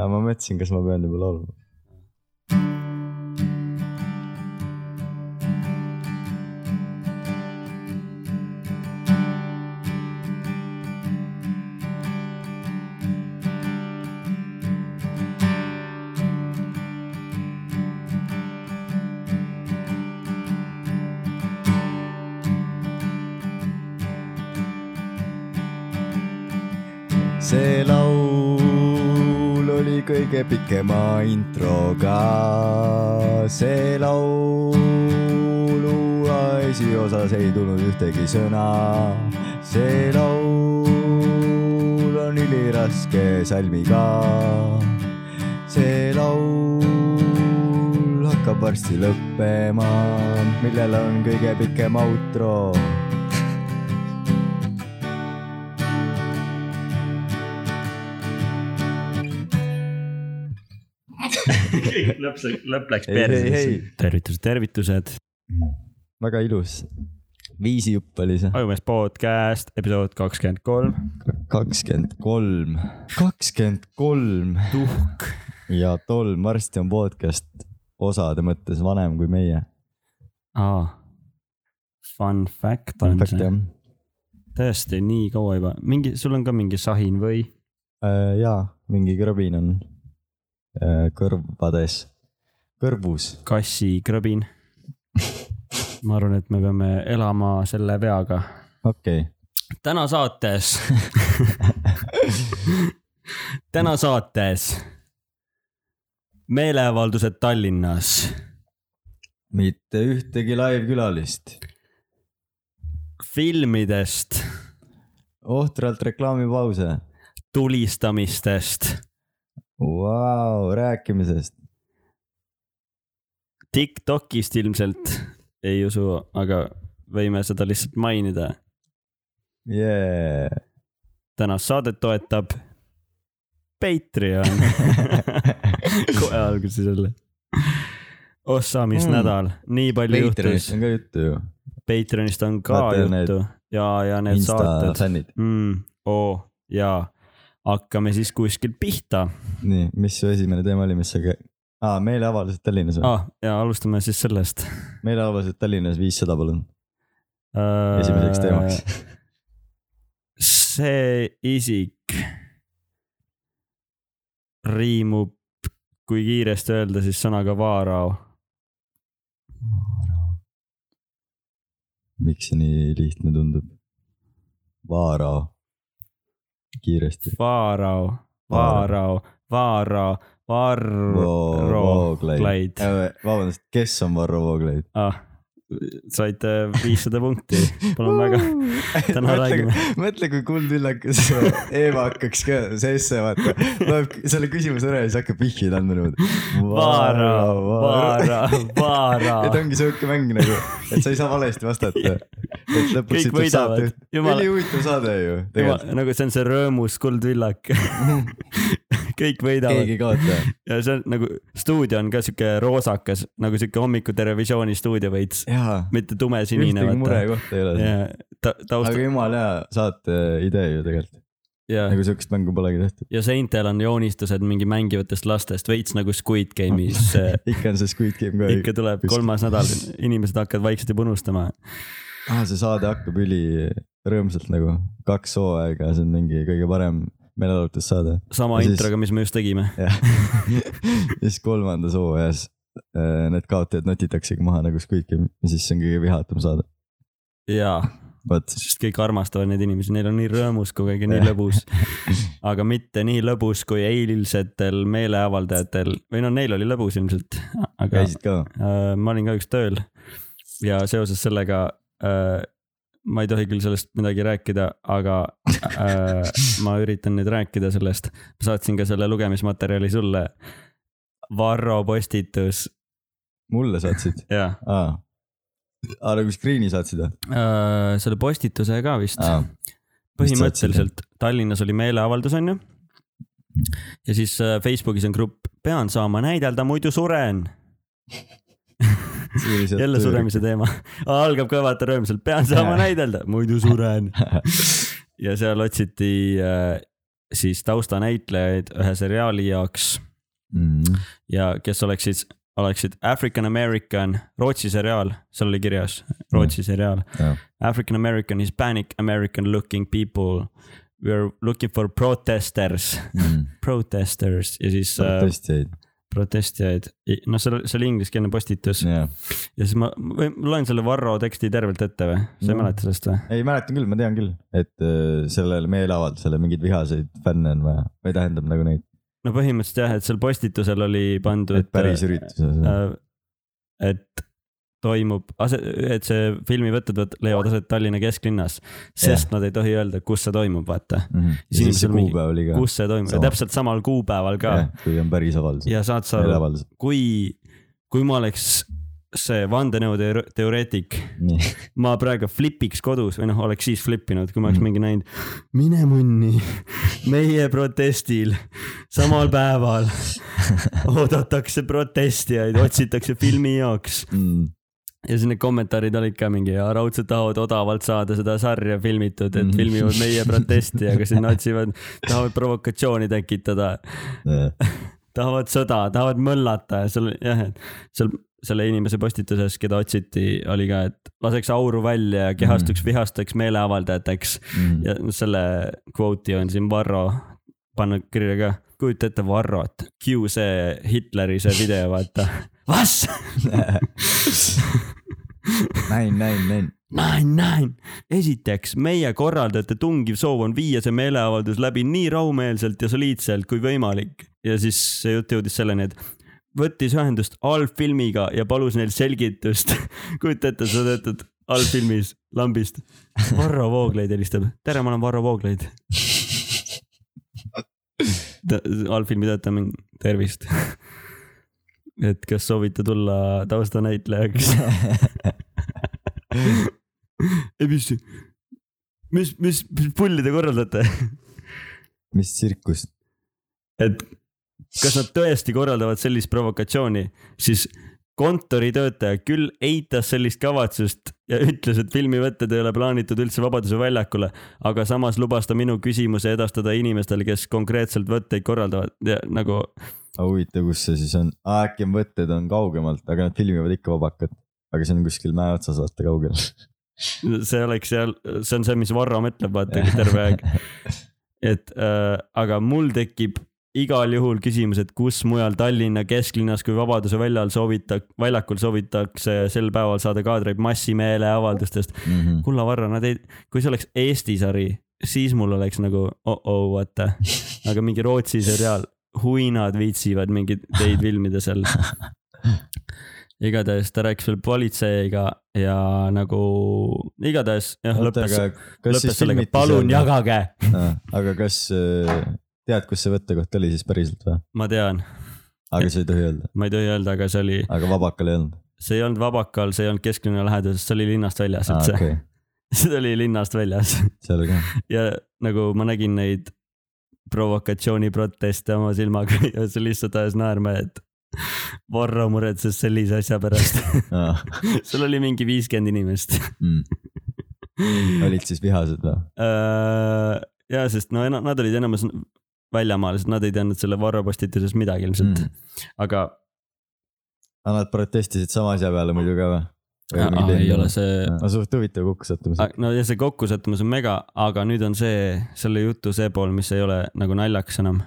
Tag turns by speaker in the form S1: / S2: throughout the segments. S1: aga ma mõtlesin , kas ma pean juba laulma . see laul oli kõige pikema introga . see laulu esiosas ei tulnud ühtegi sõna . see laul on üliraske salmiga . see laul hakkab varsti lõppema , millel on kõige pikem outro
S2: lõpp , lõpp läks
S1: Ei, ei, ei.
S2: perse .
S3: tervitused , tervitused ,
S1: väga ilus . viisijupp oli see .
S3: Ajumees podcast , episood kakskümmend kolm .
S1: kakskümmend kolm , kakskümmend kolm
S3: tuhk .
S1: ja tolm , varsti on podcast osade mõttes vanem kui meie .
S3: aa , fun fact on
S1: fakt
S3: see ,
S1: jah .
S3: tõesti nii kaua juba , mingi , sul on ka mingi sahin või ?
S1: Äh, jaa , mingi krõbin on äh, kõrvades , kõrvus .
S3: kassi krõbin . ma arvan , et me peame elama selle veaga .
S1: okei
S3: täna saates täna saates meeleavaldused Tallinnas ,
S1: mitte ühtegi laivkülalist ,
S3: filmidest ,
S1: ohtralt reklaamipause
S3: tulistamistest ,
S1: wow, , rääkimisest ,
S3: Tiktokist ilmselt , ei usu , aga võime seda lihtsalt mainida .
S1: jee .
S3: tänast saadet toetab Patreon kohe alguses jälle . ossa , mis
S1: Mm.
S3: mm. nädal , nii palju
S1: Patreonist
S3: juhtus ,
S1: on ka juttu ju ,
S3: Patreonist on ka
S1: Vaata
S3: Vaata,
S1: need
S3: juttu ja , ja need Insta
S1: insta
S3: saated
S1: fännid .
S3: mm, , oo jaa , hakkame siis kuskilt pihta
S1: nii , mis su esimene teema oli , mis sa ka... , aa , meeleavaldused Tallinnas või ah. ?
S3: ah, ja alustame siis sellest .
S1: meeleavaldused Tallinnas viissada , palun , esimeseks teemaks .
S3: Äh, see isik riimub , kui kiiresti öelda , siis sõnaga vaarao .
S1: miks see nii lihtne tundub ? Vaarao , kiiresti .
S3: vaarao , vaarao , vaarao , varro ,
S1: Vooglaid ,
S3: klaid .
S1: Äh, vabandust , kes on Varro Vooglaid ?
S3: ah , saite viissada punkti , palun väga . täna räägime .
S1: mõtle , kui kuldvillakas Eeva hakkaks ka sisse vaata , loeb selle küsimuse ära ja siis hakkab vihjeid andma niimoodi .
S3: vaarao , vaarao ,
S1: ja ta
S3: vaarao .
S1: ongi sihuke mäng nagu , et sa ei saa valesti vastata . et lõpuks
S3: Kõik
S1: ütled saate
S3: võidavad. , Jumala-
S1: ülihuvitav saade ju tegelikult ,
S3: nagu see on see rõõmus kuldvillak . kõik võidavad
S1: keegi ei kaota .
S3: ja see on nagu stuudio on ka sihuke roosakas , nagu sihuke hommiku Televisiooni stuudio veits ,
S1: jaa ,
S3: mitte tumesinine .
S1: ühtegi murekohta ei ole .
S3: ta, taust
S1: aga jumala hea saate idee ju tegelikult ,
S3: ja ,
S1: nagu siukest mängu polegi tehtud .
S3: ja seintel on joonistused mingi mängivatest lastest , veits nagu Squid Game'is .
S1: ikka on see Squid Game ka ,
S3: ikka tuleb
S1: kuskil-
S3: kolmas nädal , inimesed hakkavad vaikselt juba unustama .
S1: ah, see saade hakkab üli rõõmsalt nagu , kaks hooaega , see on mingi kõige parem meeleolutussaade .
S3: sama
S1: Ja siis-
S3: introga , mis me just tegime .
S1: ja siis kolmandas hooajas äh, need kaotajad notitaksegi maha nagu Squid Game ja siis see on kõige vihatum saade ,
S3: jaa ,
S1: vot .
S3: sest kõik armastavad neid inimesi , neil on nii rõõmus kui ka nii
S1: Jah.
S3: lõbus . aga mitte nii lõbus kui eilsetel meeleavaldajatel või no neil oli lõbus ilmselt , aga
S1: käisid ka ?
S3: Äh, ma olin kahjuks tööl ja seoses sellega äh, ma ei tohi küll sellest midagi rääkida , aga äh, ma üritan nüüd rääkida sellest . ma saatsin ka selle lugemismaterjali sulle . Varro postitus ,
S1: mulle saatsid ?
S3: jah
S1: aa , aa nagu screen'i saatsid või ?
S3: äh, , selle postituse ka vist
S1: aa ,
S3: põhimõtteliselt Tallinnas oli meeleavaldus , onju . ja siis äh, Facebookis on grupp , pean saama näidelda , muidu suren . jälle suremise . teema , algab ka vaata rõõmsalt , pean saama
S1: Jaa.
S3: näidelda , muidu suren . ja seal otsiti äh, siis taustanäitlejaid ühe seriaali jaoks
S1: mm. .
S3: ja kes oleksid , oleksid African American , Rootsi seriaal , seal oli kirjas , Rootsi seriaal
S1: Jah. .
S3: African American , Hispanic American looking people . We are looking for protesters ,
S1: Mm.
S3: protesters ja siis äh,
S1: protestijaid ,
S3: protestijaid , noh , see oli , see oli ingliskeelne postitus
S1: jaa .
S3: ja siis ma , ma loen selle Varro teksti tervelt ette või , sa ei
S1: Mhm.
S3: mäleta sellest või ?
S1: ei , mäletan küll , ma tean küll , et äh, sellele meeleavaldusele mingeid vihaseid fänne on vaja või tähendab nagu neid ,
S3: no põhimõtteliselt jah , et seal postitusel oli pandud .
S1: et päris ürituses äh, .
S3: Äh, et toimub ase- , et see filmi võtted võt- leiavad aset Tallinna kesklinnas , sest nad ei tohi öelda , kus see toimub , vaata .
S1: Mhm. ja siis see
S3: inimesel mingi-
S1: kuupäev oli ka ,
S3: kus see toimub ja
S1: Sama.
S3: täpselt samal kuupäeval ka ja,
S1: kui on päris avaldus ,
S3: ja saad sa aru ,
S1: meeleavaldus .
S3: kui , kui ma oleks see vandenõuteoreetik ,
S1: nii ,
S3: ma praegu flipiks kodus või noh , oleks siis flipinud , kui ma oleks mingi näinud , Mm. mine munni , meie protestil samal päeval oodatakse protestijaid , otsitakse filmi jaoks
S1: Mhm.
S3: ja siis need kommentaarid olid ka mingi , raudselt tahavad odavalt saada seda sarja filmitud , et
S1: Mhm.
S3: filmivad meie protesti , aga siis nad otsivad , tahavad provokatsiooni tekitada , tahavad sõda , tahavad möllata ja seal jah , et seal selle inimese postituses , keda otsiti , oli ka , et laseks auru välja ja kehastuks vihasteks meeleavaldajateks
S1: Mhm.
S3: ja selle kvooti on siin Varro pannud kirja ka . kujuta ette Varrot , Q see Hitleri see video , vaata . Vas ?
S1: näin , näin , näin .
S3: näin , näin . esiteks , meie korraldajate tungiv soov on viia see meeleavaldus läbi nii rahumeelselt ja soliidselt kui võimalik . ja siis see jutt jõudis selleni , et võttis ühendust allfilmiga ja palus neil selgitust . kujuta ette , sa töötad allfilmis lambist . Varro Vooglaid helistab . tere , ma olen Varro Vooglaid . allfilmi töötaja on , tervist . et kas soovite tulla taustanäitlejaks ? ei , mis , mis , mis , mis pulli te korraldate ,
S1: mis tsirkus ?
S3: et kas nad tõesti korraldavad sellist provokatsiooni , siis kontoritöötaja küll eitas sellist kavatsust ja ütles , et filmivõtted ei ole plaanitud üldse Vabaduse väljakule , aga samas lubas ta minu küsimuse edastada inimestele , kes konkreetselt võtteid korraldavad ja nagu
S1: aga huvitav , kus see siis on , äkki on võtted on kaugemalt , aga nad filmivad ikka vabakat , aga see on kuskil mäe otsas vaata kaugel .
S3: see oleks seal , see on see , mis Varro mõtleb , vaata terve aeg . et äh, aga mul tekib igal juhul küsimus , et kus mujal Tallinna kesklinnas kui Vabaduse väljal soovita- , väljakul soovitakse sel päeval saada kaadreid massimeeleavaldustest .
S1: Mhm.
S3: kulla Varro , nad ei , kui see oleks Eesti sari , siis mul oleks nagu oh-oh , vaata . aga mingi Rootsi seriaal , huinad viitsivad mingeid teid filmida seal . igatahes ta rääkis veel politseiga ja nagu igatahes jah ,
S1: oota ,
S3: lõppes
S1: aga , kas
S3: lõppes
S1: siis
S3: sellega ,
S1: filmiti
S3: palun
S1: seal-
S3: jagage .
S1: Aa, aga kas äh, tead , kus see võttekoht oli siis päriselt või ?
S3: ma tean ,
S1: aga sa ei tohi öelda ,
S3: ma ei tohi öelda , aga see oli ,
S1: aga vabakal ei olnud .
S3: see ei olnud Vabakal , see ei olnud kesklinna läheduses , see oli linnast väljas
S1: aa ,
S3: üldse ,
S1: Ah, okei ,
S3: see oli linnast väljas
S1: seal ka .
S3: ja nagu ma nägin neid provokatsiooniproteste oma silmaga ja see lihtsalt ajas naerma , et Varro muretses sellise asja pärast .
S1: Ah,
S3: seal oli mingi viiskümmend inimest .
S1: mm. olid siis vihased või ?
S3: ja Äh, sest no ena- nad olid enamus väljamaalased , nad ei teadnud selle Varro postitusest midagi ilmselt
S1: Mm.
S3: mm. , aga .
S1: aga Ah, nad protestisid sama asja peale muidu ka või ?
S3: Ah, ei ole . see , Ah.
S1: no Ah, suht huvitav kokkusattumus .
S3: no ja see kokkusattumus on mega , aga nüüd on see , selle jutu see pool , mis ei ole nagu naljakas enam .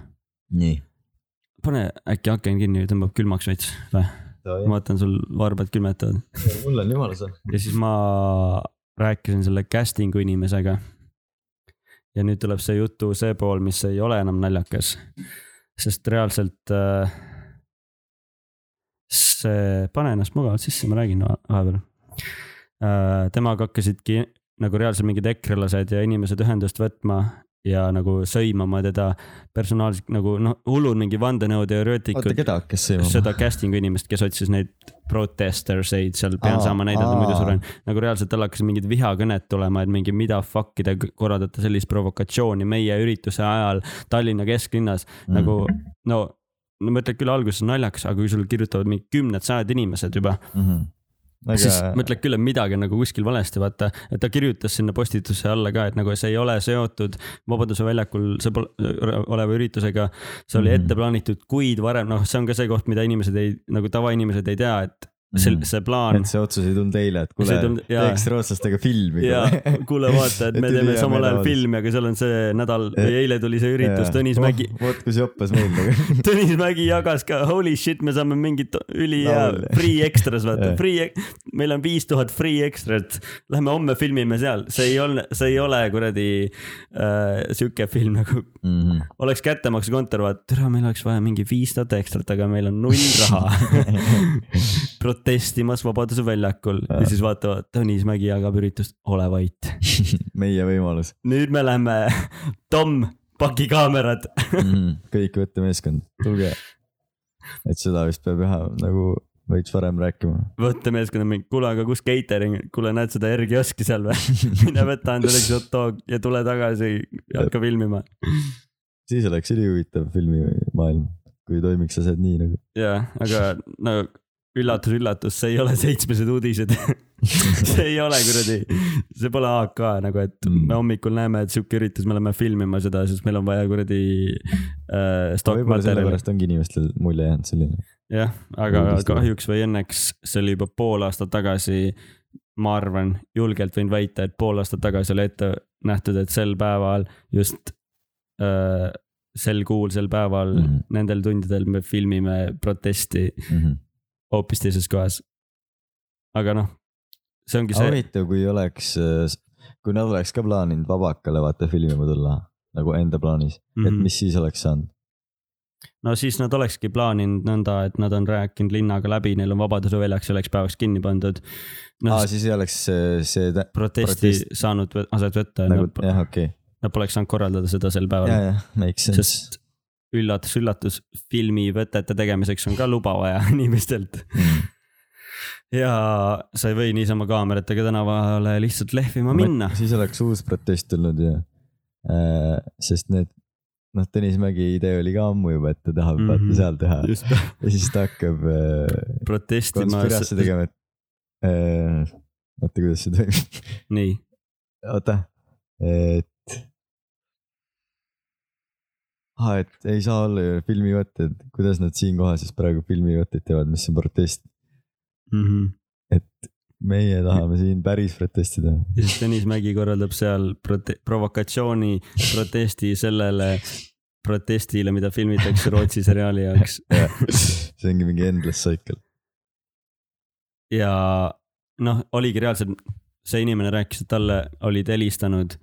S1: nii .
S3: pane äkki aken kinni , tõmbab külmaks veits või ? ma vaatan , sul varbad külmetavad
S1: mul on jumala sõnum .
S3: ja siis ma rääkisin selle casting'u inimesega . ja nüüd tuleb see jutu see pool , mis ei ole enam naljakas , sest reaalselt äh, see , pane ennast mugavalt sisse , ma räägin va- vahepeal äh, . temaga hakkasidki nagu reaalselt mingid ekrelased ja inimesed ühendust võtma ja nagu sõimama teda personaalselt nagu noh , hullud mingi vandenõuteoreetikud
S1: oota , keda hakkas sõimama ?
S3: seda casting'u inimest , kes otsis neid protesters eid seal , pean
S1: Aa,
S3: saama näidata , muidu
S1: aa.
S3: suren . nagu reaalselt tal hakkas mingid vihakõned tulema , et mingi mida fuck'i te korraldate sellist provokatsiooni meie ürituse ajal Tallinna kesklinnas mm. nagu
S1: Mhm.
S3: no , no ma ütlen küll alguses naljakas , aga kui sul kirjutavad mingi kümned sajad inimesed juba , Aga... Mhm. siis ma ütlen küll, et midagi on nagu kuskil valesti, vaata, et ta kirjutas sinna postitusse alla ka, et nagu see ei ole seotud Vabaduse väljakul see pole, oleva üritusega. see oli mm
S1: Mhm.
S3: -hmm. ette plaanitud kuid varem, noh , see on ka see koht , mida inimesed ei , nagu tavainimesed ei tea , et see
S1: Mhm. ,
S3: see plaan
S1: et see otsus ei tulnud eile , et
S3: See
S1: kuule
S3: ei , tulnud- jaa.
S1: teeks rootslastega filmi .
S3: ja kuule , vaata , et me
S1: Et
S3: teeme
S1: ülihea
S3: samal ajal
S1: meeleavaldus.
S3: filmi , aga seal on see nädal või eile tuli see üritus , Tõnis Mägi ,
S1: Oh, vot kus joppas meil nagu .
S3: Tõnis Mägi jagas ka , holy shit , me saame mingit ülihea
S1: Laule.
S3: free extras , vaata
S1: Jaa. ,
S3: free , meil on viis tuhat free extrat . Lähme homme filmime seal , see ei ole , see ei ole kuradi äh, sihuke film nagu ,
S1: Mhm.
S3: oleks kättemaksukontor , vaata , türa , meil oleks vaja mingi viis tuhat extrat , aga meil on null raha . protestimas Vabaduse väljakul ja,
S1: Jaa.
S3: ja siis vaata , Tõnis Mägi jagab üritust , ole vait .
S1: meie võimalus ,
S3: nüüd me lähme , Tom , paki kaamerad .
S1: Mhm. kõik võtta meeskond , tulge . et seda vist peab jah nagu veits varem rääkima .
S3: võtta meeskonna mingi , kuule , aga kus catering , kuule , näed seda R kioski seal või ? mine võta endale üks hot dog ja tule tagasi ja hakka filmima .
S1: siis oleks ülihuvitav filmimaailm , kui toimiks asjad nii nagu .
S3: ja , aga no üllatus-üllatus , see ei ole seitsmesed uudised . see ei ole kuradi , see pole AK nagu , et
S1: Mm.
S3: me hommikul näeme , et sihuke üritus , me lähme filmima seda , sest meil on vaja kuradi äh, stock
S1: võib-olla
S3: materjali .
S1: sellepärast ongi inimestel mulje jäänud selline .
S3: jah , aga
S1: Uudistele.
S3: kahjuks või õnneks , see oli juba pool aastat tagasi . ma arvan , julgelt võin väita , et pool aastat tagasi oli ette nähtud , et sel päeval just äh, sel kuul , sel päeval mm ,
S1: Mhm.
S3: -hmm. nendel tundidel me filmime protesti hoopis teises kohas . aga noh , see ongi see ,
S1: huvitav , kui oleks , kui nad oleks ka plaaninud Vabakale vaata filmima tulla nagu enda plaanis , et
S3: Mhm.
S1: mis siis oleks saanud .
S3: no siis nad olekski plaaninud nõnda , et nad on rääkinud linnaga läbi , neil on Vabaduse väljaks selleks päevaks kinni pandud . noh
S1: aa ,, siis ei oleks see, see tä-
S3: protesti
S1: protest-
S3: saanud võ- aset võtta
S1: nagu
S3: nagu, ,
S1: jah , okei ,
S3: nad poleks saanud korraldada seda sel päeval
S1: ja , ja make sense .
S3: sest üllatus-üllatus , filmivõtete tegemiseks on ka luba vaja inimestelt . ja sa ei või niisama kaameratega tänavale lihtsalt lehvima minna .
S1: siis oleks uus protest tulnud ja äh, , sest need , noh , Tõnis Mägi idee oli ka ammu juba , et ta tahab mm
S3: Mhm.
S1: -hmm. vaata seal teha
S3: just ,
S1: ja siis ta hakkab äh,
S3: protestima .
S1: konspiraatse tegema , et äh, oota , kuidas see toimib ,
S3: nii ,
S1: oota , et . aa , et ei saa olla ju filmivõtted , kuidas nad siinkohal siis praegu filmivõtteid teevad , mis on protest ,
S3: Mhm.
S1: meie tahame siin päris protestida
S3: ja siis Tõnis Mägi korraldab seal prote- , provokatsiooni protesti sellele protestile , mida filmitakse Rootsi seriaali jaoks
S1: see ongi mingi endless cycle .
S3: ja noh , oligi reaalselt , see inimene rääkis , et talle olid helistanud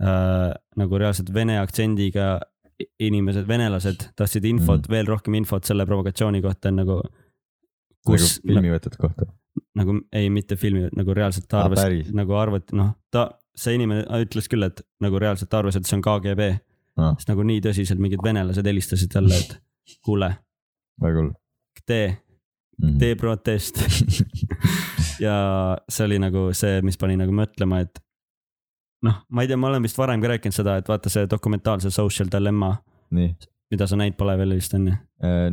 S3: äh, nagu reaalselt vene aktsendiga i- inimesed , venelased tahtsid infot mm. , veel rohkem infot selle provokatsiooni kohta nagu .
S1: nagu
S3: kus nagu,
S1: filmi võtad kohta .
S3: nagu ei , mitte filmi , nagu reaalselt ta
S1: Aa,
S3: arvas
S1: Ah, päris. ,
S3: nagu arvati , noh , ta , see inimene ütles küll , et nagu reaalselt ta arvas , et see on KGB ,
S1: Aa.
S3: sest nagu nii tõsiselt mingid venelased helistasid talle , et kuule ,
S1: väga hull . Mhm.
S3: tee , tee protest ja see oli nagu see , mis pani nagu mõtlema , et noh , ma ei tea , ma olen vist varem ka rääkinud seda , et vaata see dokumentaalse social dilemma ,
S1: nii ,
S3: mida sa näinud pole veel vist onju .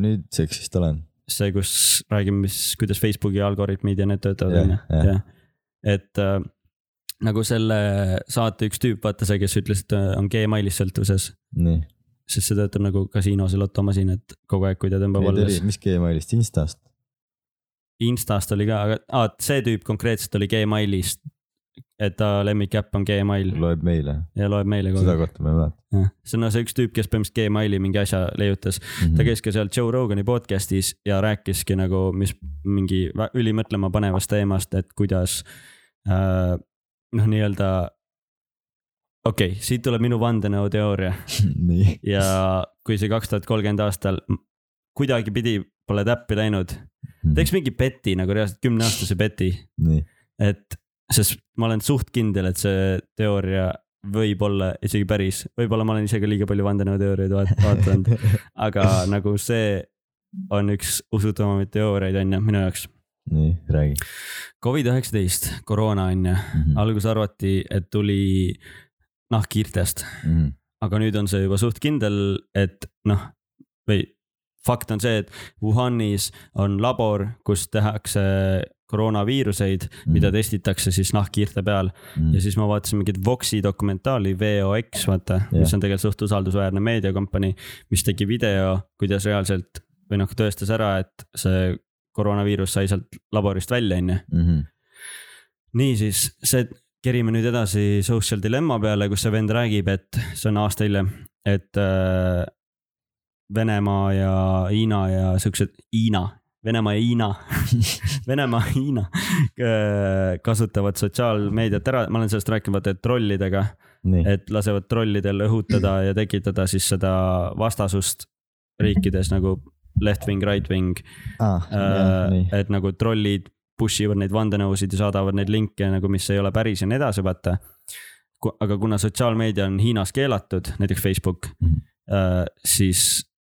S1: nüüdseks vist olen .
S3: see , kus räägime , mis , kuidas Facebooki algoritmid ja need töötavad
S1: Jah,
S3: onju ,
S1: jah.
S3: jah . et äh, nagu selle saate üks tüüp , vaata see , kes ütles , et äh, on Gmailis sõltuvuses ,
S1: nii ,
S3: sest see töötab nagu kasiinos ja lotomasin , et kogu aeg , kui ta tõmbab
S1: ei
S3: alles
S1: tuli ,. mis Gmailist , Instast ?
S3: Instast oli ka , aga aa, see tüüp konkreetselt oli Gmailist . et ta lemmikäpp on Gmail
S1: loeb meile ,
S3: ja loeb meile kogu
S1: seda
S3: aeg .
S1: kohta ma ei mäleta
S3: see on no see üks tüüp , kes põhimõtteliselt Gmaili mingi asja leiutas .
S1: Mhm. Mm.
S3: ta . käis ka seal Joe Rogani podcast'is ja rääkiski nagu , mis mingi vä- ülimõtlema panevast teemast , et kuidas äh, noh , nii-öelda okei okay, , siit tuleb minu vandenõuteooria
S1: nii ,
S3: ja kui see kaks tuhat kolmkümmend aastal kuidagipidi pole täppi läinud , teeks mingi peti nagu reaalselt kümneaastase peti
S1: Mhm. nii ,
S3: et sest ma olen suht kindel , et see teooria võib olla isegi päris , võib-olla ma olen ise ka liiga palju vandenõuteooriaid vaat- vaadanud , aga nagu see on üks usutavamaid teooriaid on ju minu jaoks .
S1: nii , räägi . Mhm.
S3: Covid üheksateist , koroona on ju , alguses arvati , et tuli nahkhiirtest ,
S1: Mhm.
S3: aga nüüd on see juba suht kindel , et noh , või fakt on see , et Wuhanis on labor , kus tehakse koroonaviiruseid mm. , mida testitakse siis nahkhiirte peal
S1: Mhm. Mm.
S3: ja siis ma vaatasin mingit Voxi dokumentaali , VOX , vaata , mis on tegelikult suht usaldusväärne meediakompanii , mis tegi video , kuidas reaalselt või noh , tõestas ära , et see koroonaviirus sai sealt laborist välja , onju .
S1: Mhm.
S3: niisiis , see , kerime nüüd edasi social dilemma peale , kus see vend räägib , et see on aasta hiljem , et äh, Venemaa ja Hiina ja siuksed , Hiina , Venemaa ja Hiina , Venemaa ja Hiina äh, kasutavad sotsiaalmeediat ära , ma olen sellest rääkinud vaata , et trollidega ,
S1: nii ,
S3: et lasevad trollidel õhutada ja tekitada siis seda vastasust riikides nagu left wing , right wing äh,
S1: aa , Ah, nii ,
S3: et nagu trollid push ivad neid vandenõusid ja saadavad neid linke nagu , mis ei ole päris ja nii edasi , vaata . aga kuna sotsiaalmeedia on Hiinas keelatud , näiteks Facebook
S1: Mhm.
S3: mm , -hmm. siis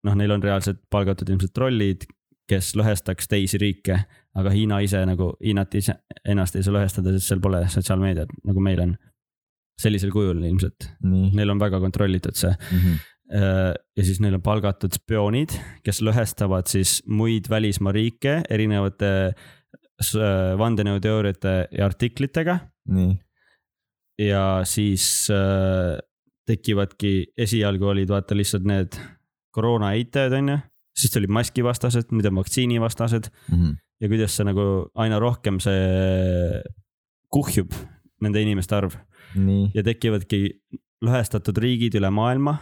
S3: noh , neil on reaalselt palgatud ilmselt trollid , kes lõhestaks teisi riike . aga Hiina ise nagu , Hiinat ise , ennast ei saa lõhestada , sest seal pole sotsiaalmeediat , nagu meil on . sellisel kujul ilmselt ,
S1: nii , Mhm.
S3: neil on väga kontrollitud see Äh, ja siis neil on palgatud spioonid , kes lõhestavad siis muid välismaa riike erinevate s- vandenõuteooriate ja artiklitega
S1: nii ,
S3: ja siis äh, tekivadki , esialgu olid vaata lihtsalt need koroona eitajad , on ju , siis tulid maskivastased , nüüd on vaktsiinivastased
S1: Mhm.
S3: ja kuidas see nagu aina rohkem see kuhjub , nende inimeste arv
S1: nii ,
S3: ja tekivadki lõhestatud riigid üle maailma .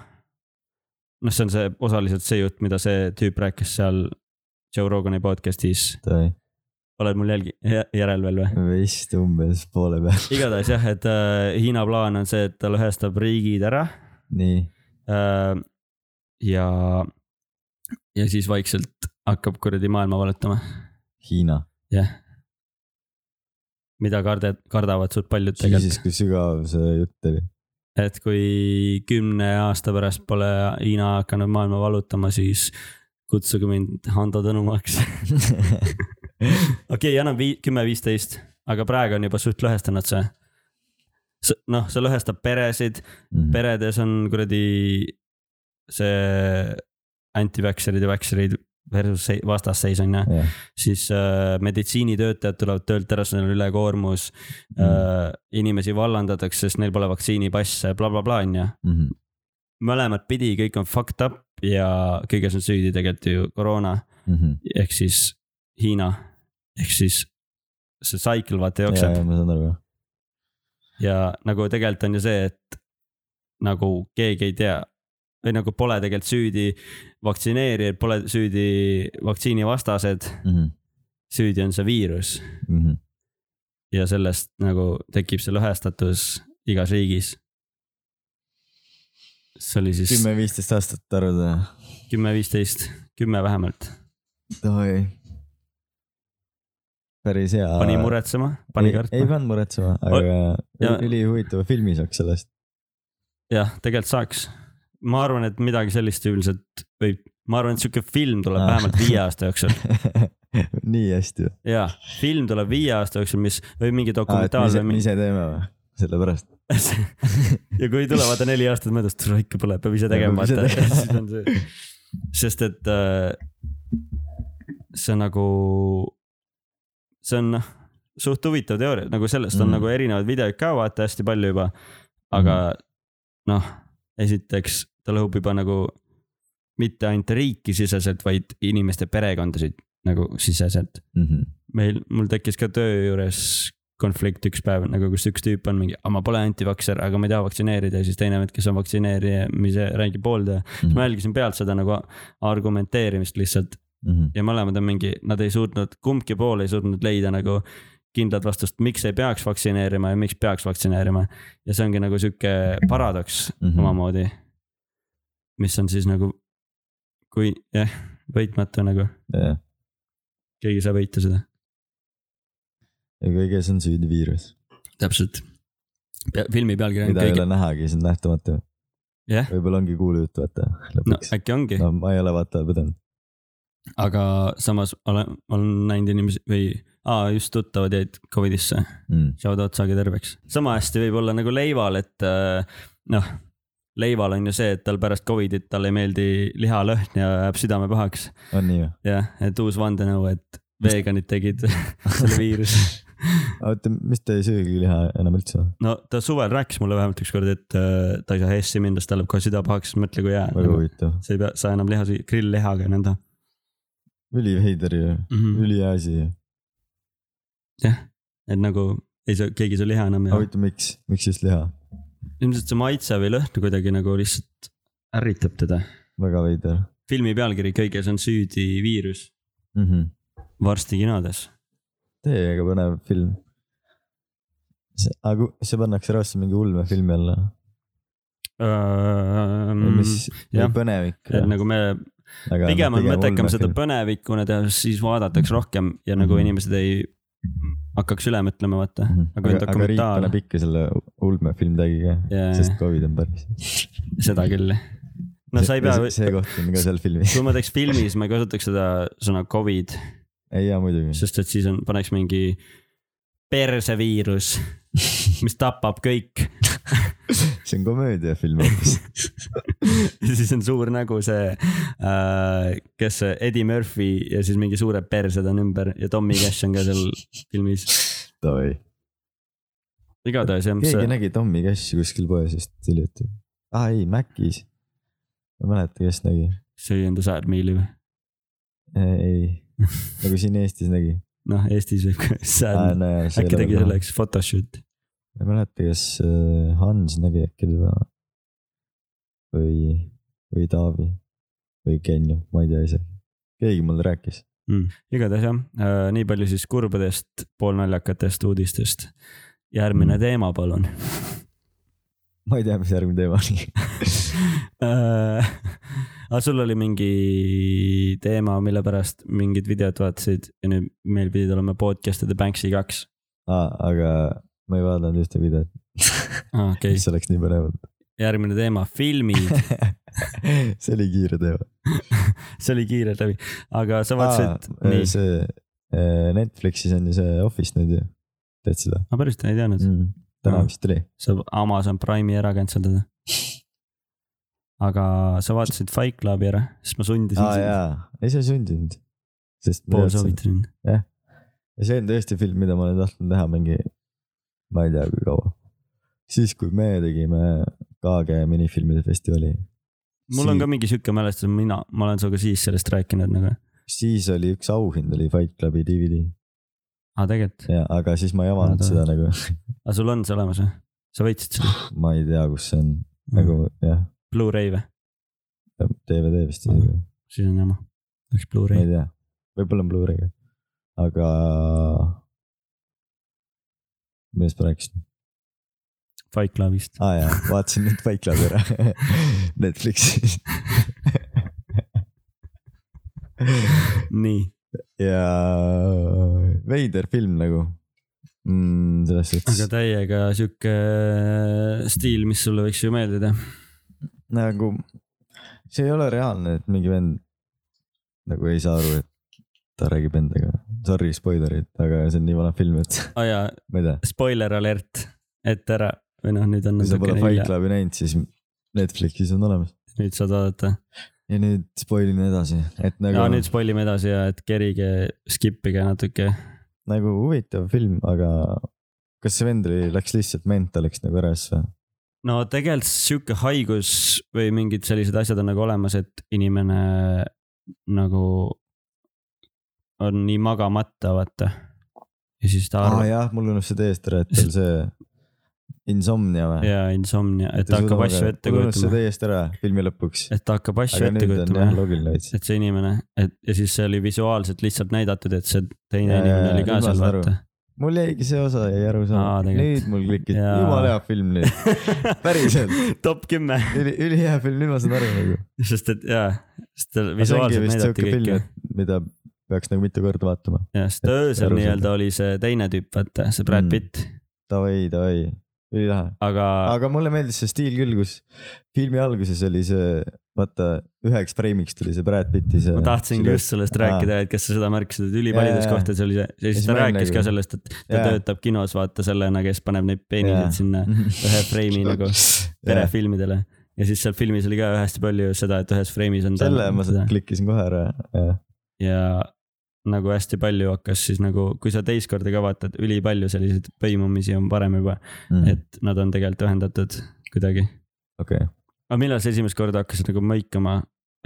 S3: noh , see on see osaliselt see jutt , mida see tüüp rääkis seal Joe Rogani podcast'is ,
S1: tõi ,
S3: oled mul jälgi , järel veel või ?
S1: vist umbes poole peal ,
S3: igatahes jah , et äh, Hiina plaan on see , et ta lõhestab riigid ära
S1: nii ,
S3: äh, . ja , ja siis vaikselt hakkab kuradi maailma valutama ,
S1: Hiina .
S3: jah . mida kardad , kardavad suht paljud
S1: Jesus ,
S3: tegelikult ,
S1: kui sügav see jutt oli .
S3: et kui kümne aasta pärast pole Hiina hakanud maailma vallutama , siis kutsuge mind Hando Tõnumaks . okei , annab vii- , kümme , viisteist , aga praegu on juba suht lõhestanud see . noh , see lõhestab peresid ,
S1: Mhm.
S3: peredes on kuradi see anti-vaxxerid ja vaxxerid versus se- vastasseis on ju ,
S1: jah ,
S3: siis äh, meditsiinitöötajad tulevad töölt ära , sest neil on ülekoormus mm. . Äh, inimesi vallandatakse , sest neil pole vaktsiinipasse bla, , blablabla on ju .
S1: mhm,
S3: mõlemat pidi kõik on fucked up ja kõiges on süüdi tegelikult ju koroona
S1: mhm.
S3: ehk siis Hiina ehk siis see cycle vaata
S1: ja ,
S3: jookseb
S1: ja ma saan aru jah ,
S3: ja nagu tegelikult on ju see , et nagu keegi ei tea või nagu pole tegelikult süüdi vaktsineerijad , pole süüdi vaktsiinivastased ,
S1: Mhm,
S3: süüdi on see viirus ja sellest nagu tekib see lõhestatus igas riigis . see oli siis
S1: kümme-viisteist aastat arvata ,
S3: kümme , viisteist , kümme vähemalt ,
S1: oi . päris hea .
S3: pani muretsema , pani
S1: ei
S3: kartma ,
S1: pannud muretsema , aga
S3: ja-
S1: ülihuvitava filmi saaks sellest .
S3: jah , tegelikult saaks . ma arvan , et midagi sellist üldiselt võib , ma arvan , et sihuke film tuleb
S1: Aa.
S3: vähemalt viie aasta jooksul .
S1: nii hästi või ?
S3: jaa , film tuleb viie aasta jooksul , mis või mingi dokumentaal või
S1: me
S3: mingi .
S1: ise teeme või ? sellepärast .
S3: ja kui ei tule , vaata neli aastat möödas , tule ikka pole , peab ise tegema ,
S1: Peab ise
S3: vaata ,
S1: tegema.
S3: siis on see . sest et äh, see on nagu , see on noh , suht huvitav teooria , nagu sellest
S1: Mhm.
S3: on mm. nagu erinevaid videoid ka vaata hästi palju juba . aga noh , esiteks ta lõhub juba nagu mitte ainult riiki siseselt , vaid inimeste perekondasid nagu siseselt .
S1: Mhm,
S3: meil , mul tekkis ka töö juures konflikt üks päev nagu , kus üks tüüp on mingi , ma pole antivakser , aga ma ei taha vaktsineerida ja siis teine vend , kes on vaktsineerimise räägib pooldaja . ma jälgisin pealt seda nagu argumenteerimist lihtsalt
S1: Mhm,
S3: ja mõlemad on mingi , nad ei suutnud , kumbki pool ei suutnud leida nagu kindlat vastust , miks ei peaks vaktsineerima ja miks peaks vaktsineerima . ja see ongi nagu sihuke paradoks
S1: Mhm.
S3: omamoodi . mis on siis nagu , kui jah , võitmatu nagu ,
S1: jah ,
S3: keegi ei saa võita seda .
S1: ja kõiges on süüdi viirus ,
S3: täpselt . filmi pealkiri on
S1: mida ei
S3: keegi ,
S1: ole nähagi , see on nähtamatu .
S3: Jah.
S1: võib-olla ongi kuulujutt , vaata ,
S3: no
S1: lõpuks .
S3: äkki ongi no. ,
S1: no ma ei ole vaata pidanud .
S3: aga samas olen , olen näinud inimesi või aa, just tuttavad jäid Covidisse ,
S1: Mm,
S3: shout out , saage terveks . sama hästi võib olla nagu leival , et äh, noh , leival on ju see , et tal pärast Covidit talle ei meeldi lihalõhn ja jääb südame pahaks .
S1: on nii või ?
S3: jah , et uus vandenõu , et veganid tegid selle viiruse .
S1: oota , mis te ei söögi liha enam üldse ?
S3: no ta suvel rääkis mulle vähemalt ükskord , et äh, ta ei saa hessi minna , sest tal läheb kohe süda pahaks , mõtle kui jää .
S1: väga huvitav .
S3: sa ei pea , sa enam liha , grill-lihaga ja nõnda
S1: üliveider ju ,
S3: mm . -hmm.
S1: ülihea asi ju .
S3: et nagu ei saa , keegi ei saa liha enam ja
S1: huvitav , miks , miks just liha ?
S3: ilmselt see maitse või lõhn kuidagi nagu lihtsalt ärritab teda .
S1: väga veider
S3: filmi pealkiri kõiges on süüdi viirus ,
S1: mm . -hmm.
S3: varsti kinodes .
S1: täiega põnev film . see , aga kui- see pannakse raudselt mingi ulmefilmi alla või mis
S3: Mm, ,
S1: või
S3: jah.
S1: põnevik ?
S3: et nagu me pigem on mõttekam seda põnevikuna teha , siis vaadatakse rohkem ja nagu
S1: Mhm.
S3: inimesed ei hakkaks üle mõtlema , vaata . Nagu aga kui on
S1: aga, aga riik
S3: dokumentaal-
S1: paneb ikka selle ulmefilm tagiga
S3: Jaa.
S1: yeah. , sest Covid on päris .
S3: seda küll . no sa ei pea ,
S1: see koht on ka seal filmis .
S3: kui ma teeks filmi , siis ma ei kasutaks seda sõna Covid ,
S1: ei jaa muidugi .
S3: sest et siis on , paneks mingi perseviirus , mis tapab kõik .
S1: see on komöödiafilm hoopis .
S3: ja siis on suur nägu see äh, , kes see Eddie Murphy ja siis mingi suured persed on ümber ja Tommy Cash on ka seal filmis .
S1: Davai .
S3: igatahes jah , mis
S1: keegi see...
S3: see ,
S1: nägi Tommy Cashi kuskil poes just hiljuti . aa ei , Macis . ma ei mäleta , kes nägi .
S3: see oli enda Sadmeili või ?
S1: ei , nagu siin Eestis nägi . Ah,
S3: noh , Eestis võib ka Sad , äkki tegi . selleks photoshoot'i .
S1: ma ei mäleta , kas äh, Hans nägi äkki teda või , või Taavi või Kenju , ma ei tea isegi . keegi mulle rääkis .
S3: igatahes jah äh, , nii palju siis kurbadest poolnaljakatest uudistest . järgmine teema , palun
S1: ma ei tea , mis järgmine teema oli .
S3: äh, . aga sul oli mingi teema , mille pärast mingid videod vaatasid ja nüüd meil pidid olema podcast ja The Banksy kaks .
S1: aa , Ah, aga ma ei vaadanud ühte videot ,
S3: aa , Ah, okei
S1: mis oleks nii põnev olnud .
S3: järgmine teema , filmid ,
S1: see oli kiire teema .
S3: see oli kiirelt läbi , aga sa vaatasid , nii ,
S1: see eh, Netflixis on ju see Office nüüd ju , tead seda
S3: ma päriselt ei teadnud ,
S1: mm. ? täna
S3: Aa.
S1: vist tuli .
S3: saab Amazon Prime'i ära canceldada . aga sa vaatasid Fight Clubi ära , siis ma sundisin
S1: aa jaa , ei sa ei sundinud . sest ma
S3: pool
S1: teadsin ,
S3: soovitasin .
S1: ja see on tõesti film , mida ma olen tahtnud näha mingi , ma ei tea , kui kaua . siis , kui me tegime KG minifilmide festivali ,
S3: mul on
S1: Sii-
S3: ka mingi sihuke mälestus , mina , ma olen sinuga siis sellest rääkinud nagu ,
S1: siis oli üks auhind oli Fight Clubi DVD
S3: aa tegelikult ,
S1: ja , aga siis ma ei avanud
S3: Nad-
S1: seda nagu ,
S3: aga sul on see olemas või ? sa võitsid seda
S1: ma ei tea , kus see on , nagu jah ,
S3: Blu-ray või ?
S1: DVD vist
S3: Mhm.
S1: isegi ,
S3: siis on jama , läks
S1: ma
S3: Blu-ray
S1: ei . tea , võib-olla on Blu-ray'ga , aga . millest ma rääkisin ,
S3: Fight Clubist .
S1: aa ah, jaa , vaatasin nüüd Fight Clubi ära Netflixis
S3: nii ,
S1: ja veider film nagu mm, , selles
S3: aga
S1: suhtes
S3: täiega sihuke stiil , mis sulle võiks ju meeldida .
S1: nagu see ei ole reaalne , et mingi vend nagu ei saa aru , et ta räägib endaga , sorry spoilerid , aga see on nii vana film , et
S3: aa Ah jaa ,
S1: ma ei tea ,
S3: spoiler alert , ette ära või noh , nüüd on
S1: kui sa pole
S3: natukene
S1: Fight
S3: hilja ,
S1: Clubi näinud , siis Netflixis on olemas .
S3: nüüd saad vaadata .
S1: ja nüüd spoil in edasi , et
S3: ja
S1: nagu ,
S3: nüüd spoil ime edasi ja et kerige , skippige natuke .
S1: nagu huvitav film , aga kas see vend oli , läks lihtsalt mentaliks nagu ära asja ?
S3: no tegelikult sihuke haigus või mingid sellised asjad on nagu olemas , et inimene nagu on nii magamata , vaata . ja siis ta
S1: aa
S3: arvab ,
S1: jah , mul unus see täiesti ära , et tal see insomnia või ?
S3: jaa , insomnia , et ta hakkab asju ette
S1: mul unus see
S3: kujutama ,
S1: täiesti ära filmi lõpuks .
S3: et ta hakkab asju
S1: aga
S3: ette
S1: nüüd on
S3: kujutama
S1: jah
S3: jah
S1: loogiline veits .
S3: et see inimene , et ja siis see oli visuaalselt lihtsalt näidatud , et see teine
S1: Jaa,
S3: inimene
S1: jaa,
S3: oli ka
S1: nüüd ma
S3: seal ,
S1: saan aru.
S3: vaata .
S1: mul jäigi see osa jäi
S3: Aa,
S1: arusaamatuks ,
S3: tegelikult.
S1: nüüd mul klikis ,
S3: Jaa.
S1: jumala hea film nüüd , päriselt ,
S3: top kümme ,
S1: üli , ülihea film , nüüd ma saan aru nagu .
S3: sest et jaa , sest ta
S1: see ongi
S3: visuaalselt
S1: vist
S3: näidati
S1: siuke film
S3: kõike ,,
S1: mida peaks nagu mitu korda vaatama .
S3: jah , sest öösel
S1: aru saada.
S3: nii-öelda oli see teine tüüp , vaata see Brad
S1: Mm.
S3: Pitt ,
S1: Davai , davai , ülilahe ,
S3: aga
S1: aga mulle meeldis see stiil küll , kus filmi alguses oli see , vaata üheks freimiks tuli see Brad Pitti see .
S3: ma tahtsingi just sellest
S1: Aa.
S3: rääkida , et kas sa seda märkasid , et ülipaljudes
S1: Jaa, jaa.
S3: kohtades oli see , ja
S1: Siis
S3: siis ta
S1: ma
S3: rääkis
S1: nagu-
S3: ka sellest , et ta
S1: Jaa.
S3: töötab kinos , vaata sellena , kes paneb neid peeniseid
S1: Jaa.
S3: sinna ühe freimi nagu
S1: perefilm .
S3: perefilmidele ja siis seal filmis oli ka hästi palju seda , et ühes freimis on ta-
S1: selle ma
S3: seda-
S1: klikkisin kohe ära , jah .
S3: ja nagu hästi palju hakkas siis nagu , kui sa teist korda ka vaatad , ülipalju selliseid põimumisi on varem juba ,
S1: mm. .
S3: et nad on tegelikult ühendatud kuidagi .
S1: okei okay. ,
S3: aga millal sa esimest korda hakkasid nagu mõikama ,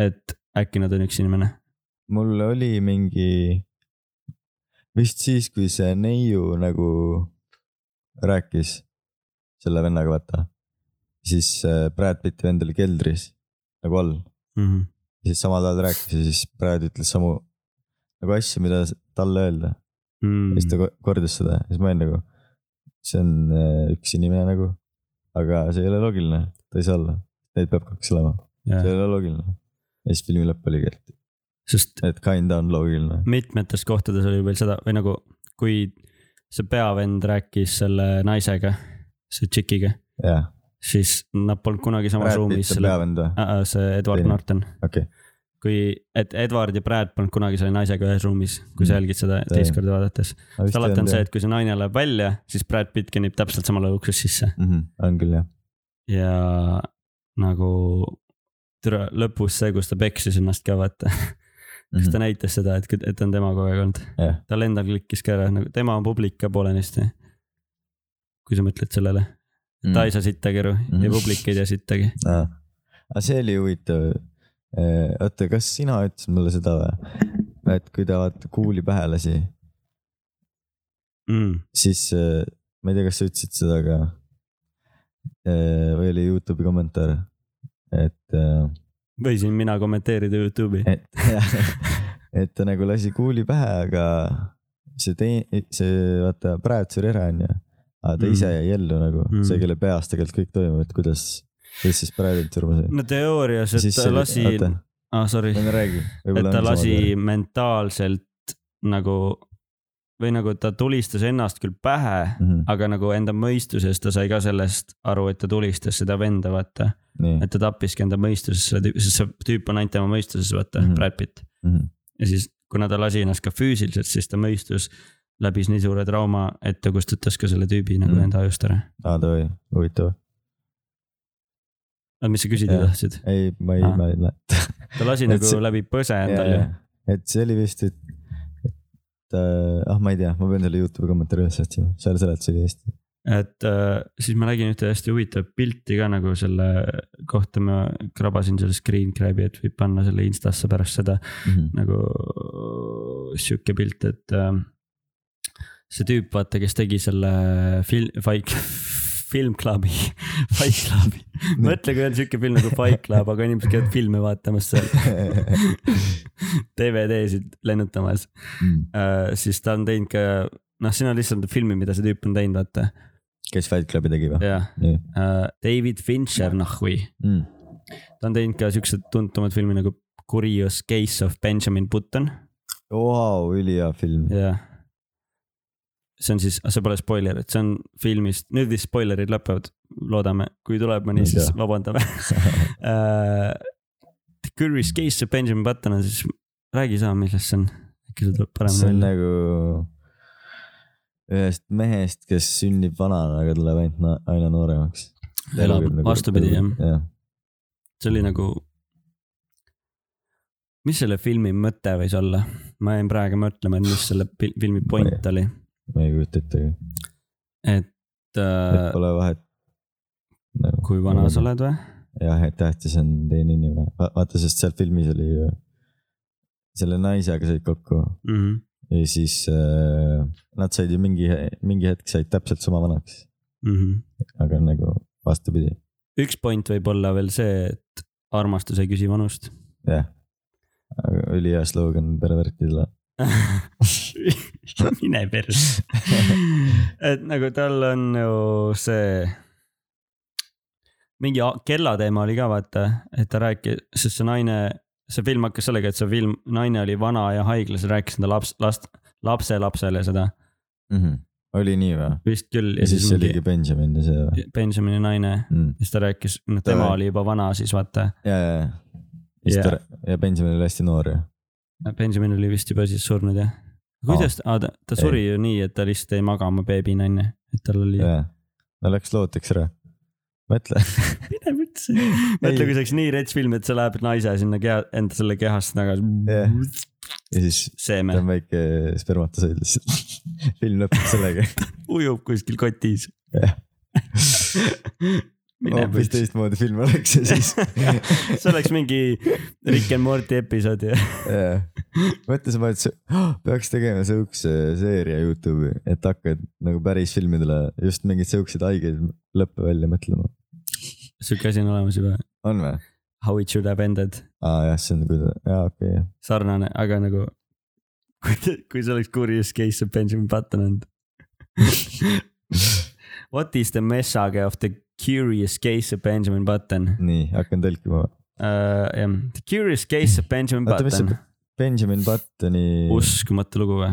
S3: et äkki nad on üks inimene ?
S1: mul oli mingi , vist siis , kui see neiu nagu rääkis selle vennaga , vaata . siis äh, Brad Pitti vend oli keldris nagu all
S3: Mm -hmm.
S1: ja siis samal ajal rääkis ja siis Brad ütles samu nagu asju , mida s- talle öelda mm. . ja siis
S3: Mm.
S1: ta ko- kordas seda ja siis ma olin nagu , see on äh, üks inimene nagu , aga see ei ole loogiline , ta ei saa olla , neid peab kaks olema , see
S3: Yeah.
S1: ei ole loogiline . ja siis filmi lõpp oligi , et ,
S3: sest
S1: et kinda on loogiline .
S3: mitmetes kohtades oli veel seda või nagu , kui see peavend rääkis selle naisega , see tšikiga ,
S1: jah ,
S3: siis nad polnud kunagi samas
S1: Brad
S3: ruumis Ah.
S1: Pitt on , peavend või ?
S3: Äh, see Edward
S1: Teine.
S3: Norton .
S1: okei ,
S3: kui , et Edward ja Brad polnud kunagi selle naisega ühes ruumis , kui sa
S1: Mm.
S3: jälgid seda
S1: Täiega.
S3: teist korda vaadates . sest alati on see ,. et kui see naine läheb välja , siis Brad Pitt kõnnib täpselt samal ajal uksest sisse
S1: Mhm. on küll jah ,
S3: ja nagu türa- lõpus see , kus ta peksis ennast ka vaata , kus ta näitas seda , et , et on tema kogu aeg olnud
S1: Mhm. Jah. .
S3: tal endal klikkis ka ära , nagu tema on publik ka poolenisti . kui sa mõtled sellele , ta ei saa sittagi aru
S1: Mhm.
S3: ja publik ei tea sittagi .
S1: saa . aga see oli huvitav . oota , kas sina ütlesid mulle seda või ? et kui ta vaata kuuli pähe lasi ,
S3: Mm.
S1: siis äh, ma ei tea , kas sa ütlesid seda ka . või oli Youtube'i kommentaar , et ,
S3: võisin mina kommenteerida Youtube'i .
S1: et , et ta nagu lasi kuuli pähe , aga see tei- , see vaata praegu suri ära , onju . aga ta
S3: Mm.
S1: ise jäi ellu nagu
S3: Mm.
S1: see , kelle peas tegelikult kõik toimub , et kuidas , kuidas siis praegu surma sai .
S3: no teoorias , et ta lasi , ah sorry ,
S1: ma ei räägi .
S3: et ta lasi mentaalselt nagu või nagu ta tulistas ennast küll pähe
S1: mm . -hmm.
S3: aga nagu enda mõistuses ta sai ka sellest aru , et ta tulistas seda venda , vaata .
S1: nii
S3: et ta tappiski enda mõistuses selle tüüpi , sest see tüüp on ainult tema mõistuses , vaata mm ,
S1: Mhm.
S3: -hmm. Brad Pitt .
S1: mm . -hmm.
S3: ja siis , kuna ta lasi ennast ka füüsiliselt , siis ta mõistus läbis nii suure trauma , et ta kustutas ka selle tüübi nagu mm
S1: Mhm.
S3: -hmm. enda ajust ära .
S1: aa , davai , huvitav .
S3: aga mis sa küsida
S1: Jah.
S3: tahtsid ?
S1: ei , ma ei
S3: Aa. ,
S1: ma ei mäleta .
S3: ta lasi
S1: Et
S3: nagu
S1: see-
S3: see... läbi põse endal ju .
S1: et see oli vist , et , et äh, ah , ma ei tea , ma pean selle Youtube'i kommentaari üles otsima , seal seletus oli hästi .
S3: et äh, siis ma nägin ühte hästi huvitavat pilti ka nagu selle kohta , ma krabasin selle screen grab'i , et võib panna selle instasse pärast seda .
S1: Mhm.
S3: nagu sihuke pilt , et ähm, see tüüp , vaata , kes tegi selle film , Fight , filmklubi , Fight Clubi . mõtle , kui on sihuke film nagu Fight Club , aga inimesed käivad filme vaatamas seal DVD-sid lennutamas , siis ta on teinud ka , noh , siin on lihtsalt filmi , mida see tüüp on teinud , vaata .
S1: kes Fight Clubi tegi või ?
S3: jah ,
S1: nii
S3: David Fincher , noh või ,
S1: mm. .
S3: ta on teinud ka siuksed tuntumad filmi nagu Curious Case of Benjamin Button
S1: Vau , ülihea film .
S3: jah . see on siis , see pole spoiler , et see on filmist , nüüd vist spoilerid lõpevad , loodame , kui tuleb mõni ,
S1: Ei
S3: siis
S1: tea.
S3: vabandame Äh, Curious case of Benjamin Button on siis , räägi sa , millest see on , äkki see
S1: see
S3: tuleb
S1: on
S3: paremini välja .
S1: nagu ühest mehest , kes sünnib vanana , aga tuleb ainult na- aina nooremaks .
S3: Elab vastupidi, jah.
S1: jah .
S3: see oli nagu . mis selle filmi mõte võis olla ? ma jäin praegu mõtlema , et mis selle pil- filmi point oli ,
S1: ma ei kujuta ettegi ,
S3: et
S1: et
S3: äh,
S1: pole vahet nagu, .
S3: kui vana sa oled või ?
S1: jah , et tähtis on teine inimene , vaata , sest seal filmis oli ju , selle naisega said kokku ja siis äh, nad said ju mingi , mingi hetk said täpselt sama vanaks , aga nagu vastupidi ,
S3: üks point võib olla veel see , et armastus ei küsi vanust .
S1: jah . aga ülihea slogan pervertidele .
S3: mine persse . et nagu tal on ju see . mingi a- kella teema oli ka vaata , et ta rääkis , sest see naine , see film hakkas sellega , et see film , naine oli vana ja haiglas , rääkis enda laps , last , lapselapsele seda
S1: oli nii või ?
S3: vist küll
S1: Mhm. ja siis see
S3: mingi
S1: oligi Benjamin ja see või ?
S3: Benjamini naine ,
S1: ja ,
S3: siis ta rääkis , noh tema
S1: Ta-
S3: oli juba vana siis vaata ,
S1: ja , ja . ja siis
S3: Jaa.
S1: ta , ja Benjamin oli hästi noor ju .
S3: Benjamin Äh, oli vist juba siis surnud jah . kuidas ta , ta, ta suri ju nii , et ta lihtsalt jäi magama beebina onju , et tal oli
S1: jaa , no läks looteks ära . mõtle ,
S3: mine vitsi . mõtle , kui see oleks nii rets film , et sa lähed naise sinna keha , enda selle kehasse tagasi
S1: Jah. . ja siis ta
S3: seeme
S1: on väike spermatosoid lihtsalt . film lõpeb sellega .
S3: ujub kuskil kotis .
S1: Jah.
S3: mine
S1: hoopis
S3: vitsi .
S1: teistmoodi film oleks ja siis .
S3: see oleks mingi Rick and Morty episood ja
S1: jaa , mõtlesin ma , et see, "Ah, peaks tegema siukse seeria Youtube'i , et hakkad nagu päris filmidele just mingeid siukseid haigeid lõppe välja mõtlema .
S3: siuke asi on olemas juba .
S1: on või ?
S3: How it should have ended ,
S1: aa jah , see on nagu , jaa okei okay, ,
S3: sarnane , aga nagu kui , kui see oleks Curious Case of Benjamin Button olnud . What is the message of the curious case of Benjamin Button ?
S1: nii hakkan tõlkima .
S3: uh, . jah , The Curious Case of Benjamin
S1: Oota, mis see
S3: Button ,
S1: Benjamin Buttoni
S3: uskumatu lugu või ?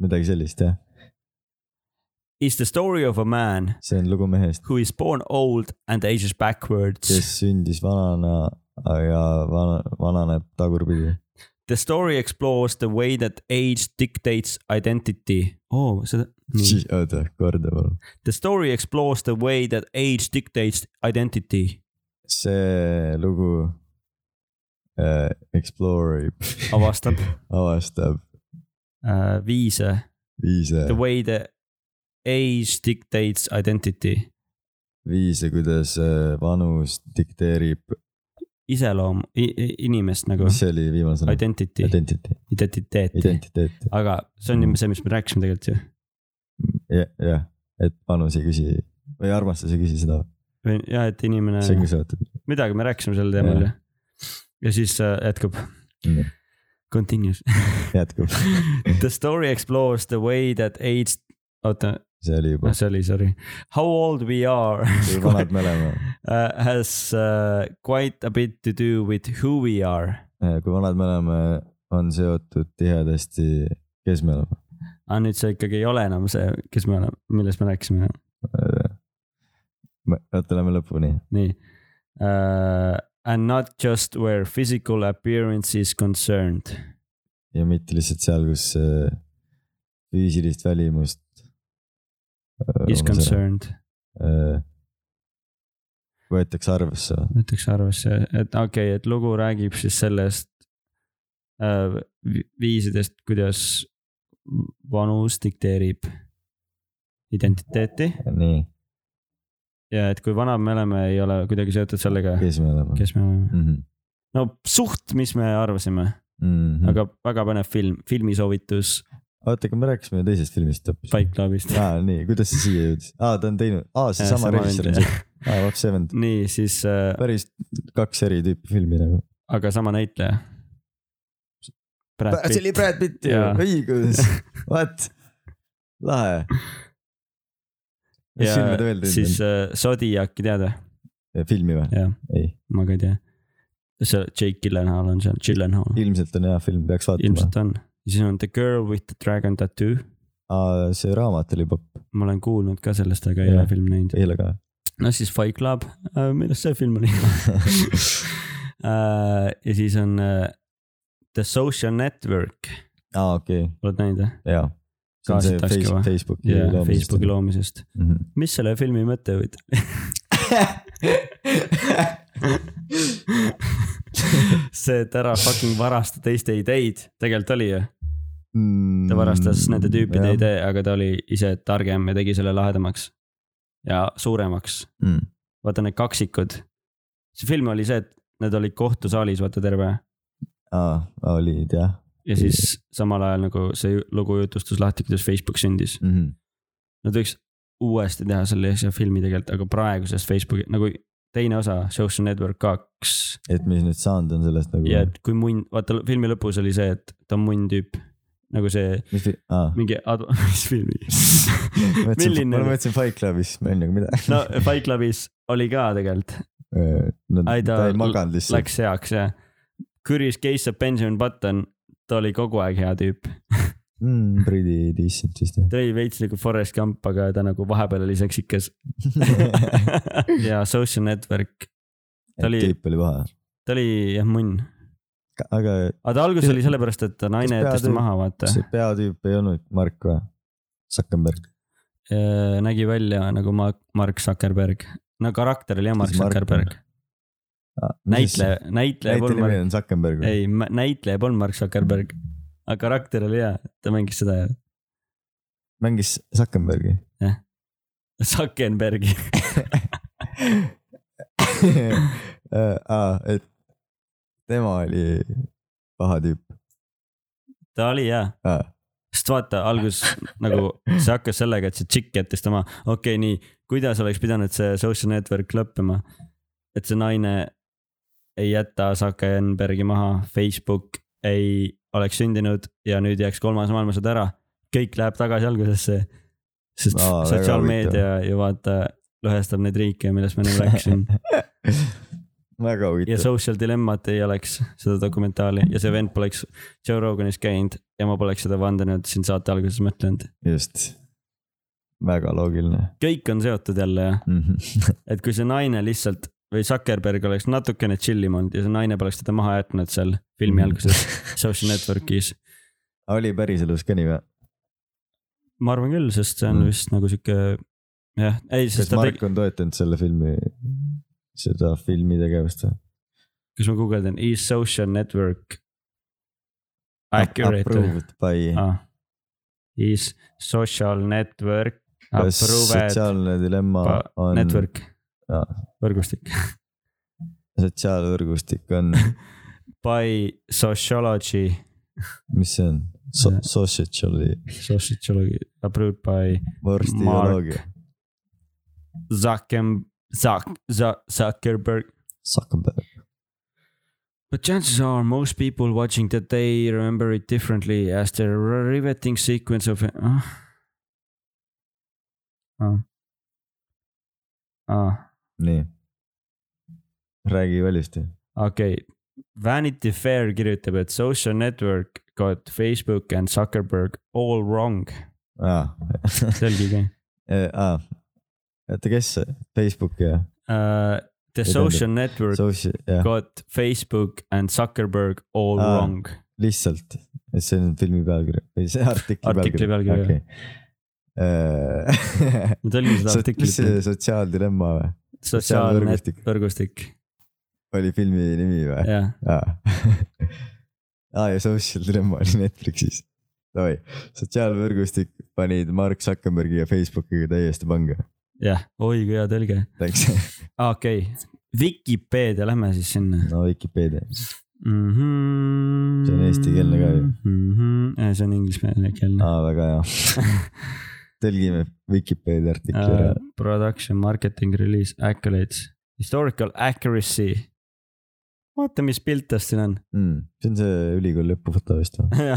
S1: midagi sellist jah ,
S3: Is the story of a man
S1: see on lugu mehest ,
S3: who is born old and ages backwards yes. .
S1: kes sündis vanana ja vana , vananeb tagurpidi .
S3: The story explores the way that age dictates identity oh, . seda .
S1: oota , korda palun .
S3: The story explores the way that age dictates identity .
S1: see lugu äh, explore ib ,
S3: avastab
S1: avastab
S3: uh, viise .
S1: viise
S3: The way that age dictates identity .
S1: viise , kuidas äh, vanus dikteerib ,
S3: iseloom , inimest nagu .
S1: mis see oli viimane sõna ?
S3: Identity ,
S1: Identity ,
S3: identiteeti .
S1: identiteet ,
S3: aga see
S1: Mm.
S3: on ju see , mis me rääkisime tegelikult ju .
S1: jah , jah , et vanus ei küsi või armastus ei küsi seda ,
S3: või jah , et inimene ,
S1: see ongi seotud .
S3: midagi me rääkisime sel teemal ju . ja siis äh, jätkub .
S1: Mm.
S3: Continues .
S1: jätkub ,
S3: The story explores the way that age , oota ,
S1: see oli juba ,
S3: see oli , sorry . How old we are
S1: kui vanad me oleme ,
S3: uh, has uh, quite a bit to do with who we are .
S1: Äh, kui vanad me oleme , on seotud tihedasti , kes me oleme .
S3: aga nüüd see ikkagi ei ole enam see , kes me oleme , millest me rääkisime ,
S1: Äh, oota , lähme lõpuni .
S3: nii uh, . And not just where physical appearance is concerned .
S1: ja mitte lihtsalt seal , kus äh, füüsilist välimust . äh,
S3: Is . concerned ,
S1: võetakse arvesse või ?
S3: võtaks arvesse , et okei okay, , et lugu räägib siis sellest äh, vi- viisidest , kuidas vanus dikteerib identiteeti
S1: nii ,
S3: ja et kui vanad me oleme , ei ole kuidagi seotud sellega ,
S1: kes me oleme ?
S3: kes me oleme .
S1: mm .
S3: no suht , mis me arvasime ,
S1: -hmm. aga
S3: aga väga põnev film , filmisoovitus
S1: oota , aga me rääkisime ju teisest filmist hoopis .
S3: Fight Clubist .
S1: aa , nii , kuidas see siia jõudis ? aa , ta on teinud ,
S3: Äh,
S1: aa , seesama režissöör on see , aa , Rob Sevend ,
S3: nii , siis äh, ,
S1: päris kaks eri tüüpi filmi nagu .
S3: aga sama näitleja .
S1: see oli Brad Pitt ju
S3: Jaa. ,
S1: õigus , what , lahe . mis filme ta veel
S3: ja siis
S1: teinud
S3: äh, Zodiaki tead või ?
S1: on ? filmi või ?
S3: jah ,
S1: ei ,
S3: ma ka ei tea . see Jake Gyllenhaal on seal , Gyllenhaal
S1: ilmselt on hea film , peaks vaatama .
S3: ilmselt on . siis on The Girl with the Dragon Tattoo ,
S1: aa , see raamat oli popp ,
S3: ma olen kuulnud ka sellest , aga ei
S1: Jah.
S3: ole filmi näinud .
S1: eile ka .
S3: no siis Fight Club , millest see film oli ? ja siis on äh, The Social Network ,
S1: aa , okei ,
S3: oled näinud või ?
S1: jaa . see on
S3: Ka
S1: see
S3: siit Aske
S1: Face-
S3: või?
S1: Facebooki
S3: jaa ,
S1: loomisest.
S3: Facebooki loomisest .
S1: Mhm.
S3: mis selle filmi mõte võid ? see , et ära fucking varasta teiste ideid , tegelikult oli ju ,
S1: Mm,
S3: ta varastas nende tüüpide
S1: jah.
S3: idee , aga ta oli ise targem ja tegi selle lahedamaks ja suuremaks .
S1: mm. .
S3: vaata need kaksikud , see film oli see , et need olid kohtusaalis , vaata terve
S1: aa , olid jah
S3: ja siis samal ajal nagu see ju- lugu jutustus lahti , kuidas Facebook sündis .
S1: mm . -hmm.
S3: Nad võiks uuesti teha selle asja filmi tegelikult , aga praegusest Facebooki nagu teine osa , Social Network kaks
S1: et mis nüüd saanud on sellest nagu
S3: ja et kui munn , vaata l- filmi lõpus oli see , et ta on munn tüüp nagu see
S1: mis fi- , aa .
S3: mingi adv- , mis filmi ,
S1: ma
S3: milline ,
S1: mõtlesin Fight Clubis , ma ei tea midagi
S3: no Fight Clubis oli ka tegelikult ,
S1: Äh, no, .
S3: Ai, ta
S1: ta ei maganud lihtsalt .
S3: läks heaks ja Curious Case of Benjamin Button , ta oli kogu aeg hea tüüp ,
S1: Mm, pretty decent vist jah .
S3: ta oli veits nagu Forest Gump , aga ta nagu vahepeal oli seksikas ja Social Network , ta oli-
S1: tüüp oli paha .
S3: ta oli jah munn ,
S1: aga
S3: aga ta alguses oli sellepärast , et ta naine
S1: Kas
S3: jättis ta
S1: peatüü-
S3: maha , vaata ,
S1: see peatüüp ei olnud Mark või ? Zuckerberg .
S3: nägi välja nagu Ma- , Mark Zuckerberg , no karakter oli jah Mark
S1: Siis Mark-
S3: Zuckerberg , näitleja , näitleja
S1: näitleja
S3: polnud
S1: nimi
S3: Mark ,
S1: on Zuckerberg .
S3: ei , näitleja polnud Mark Zuckerberg , aga karakter oli hea , ta mängis seda ja
S1: mängis Zuckerbergi .
S3: Zuckerbergi ,
S1: Äh, aa , et tema oli paha tüüp .
S3: ta oli hea
S1: Aa.
S3: sest vaata , alguses nagu see hakkas sellega , et see tšikk jättis tema , okei okay, , nii , kuidas oleks pidanud see social network lõppema . et see naine ei jäta Zuckerbergi maha , Facebook ei oleks sündinud ja nüüd jääks kolmas maailmasõda ära . kõik läheb tagasi algusesse , sest
S1: Aa,
S3: no,
S1: väga
S3: sotsiaalmeedia ju vaata lõhestab neid riike , millest ma enne rääkisin
S1: väga
S3: ja
S1: huvitav .
S3: Social Dilemmat ei oleks seda dokumentaali ja see vend poleks Joe Roganis käinud ja ma poleks seda vandenõud siin saate alguses mõtlenud .
S1: just , väga loogiline
S3: kõik on seotud jälle jah ,
S1: mm . -hmm.
S3: et kui see naine lihtsalt või Zuckerberg oleks natukene chill im olnud ja see naine poleks teda maha jätnud seal
S1: Mhm.
S3: filmi alguses Social Network'is .
S1: oli päriselus ka nii või ?
S3: ma arvan küll , sest see on
S1: Mm.
S3: vist nagu sihuke jah , ei ,
S1: kas
S3: sest ta
S1: Mark
S3: tegi ,
S1: on toetanud selle filmi , seda filmi tegevust või ?
S3: kas ma guugeldan , is social network accurate või ?
S1: Approved by
S3: ah. . Is social network
S1: kas
S3: approved
S1: sotsiaalne dilemma
S3: pa-
S1: on ,
S3: network
S1: Jaa. ,
S3: võrgustik
S1: sotsiaalvõrgustik on ,
S3: by sociology ,
S1: mis see on
S3: Äh.
S1: so ? Sociology ,
S3: sociology approved by
S1: vorstioloogia ,
S3: Zuckem- , Zuck- , Zuck- , Zuckerberg .
S1: Zuckerberg .
S3: But chances are most people watching that they remember it differently as the riveting sequence of ah. Ah. Ah.
S1: nii , räägi valjusti .
S3: okei okay. , Vanity Fair kirjutab , et social network got Facebook and Zuckerberg all wrong .
S1: aa ,
S3: selgige
S1: aa , oota , kes see , Facebook ja
S3: uh, . The
S1: tähendab-
S3: social network
S1: Soci- , jah ,
S3: got Facebook and Zuckerberg all
S1: Aa.
S3: wrong .
S1: lihtsalt , see on filmi pealkiri või see artikli
S3: Artikli pealkiri,
S1: okei .
S3: ma tõlgin
S1: E.
S3: seda
S1: mis
S3: artiklit ,
S1: see sotsiaaldilemma või ?
S3: sotsiaalne
S1: sotsiaalvõrgustik.
S3: võrgustik ,
S1: oli filmi nimi või ?
S3: jah .
S1: aa ah, ja Social Dilemma oli Netflixis . Davai , sotsiaalvõrgustik panid Mark Zuckerbergi ja Facebookiga täiesti pange .
S3: jah , oi kui hea tõlge ,
S1: Läks ,
S3: Ah, okei okay. , Vikipeedia , lähme siis sinna
S1: no Vikipeedia ,
S3: mm . -hmm.
S1: See on eestikeelne ka ju.
S3: mm . -hmm. see on ingliskeelne .
S1: aa väga hea . tõlgime Vikipeedia artikli Ah, ära
S3: Uh, . production , marketing , release , accolades , historical accuracy . vaata , mis pilt tast siin on .
S1: Mm, see on see ülikooli lõpufoto vist või ?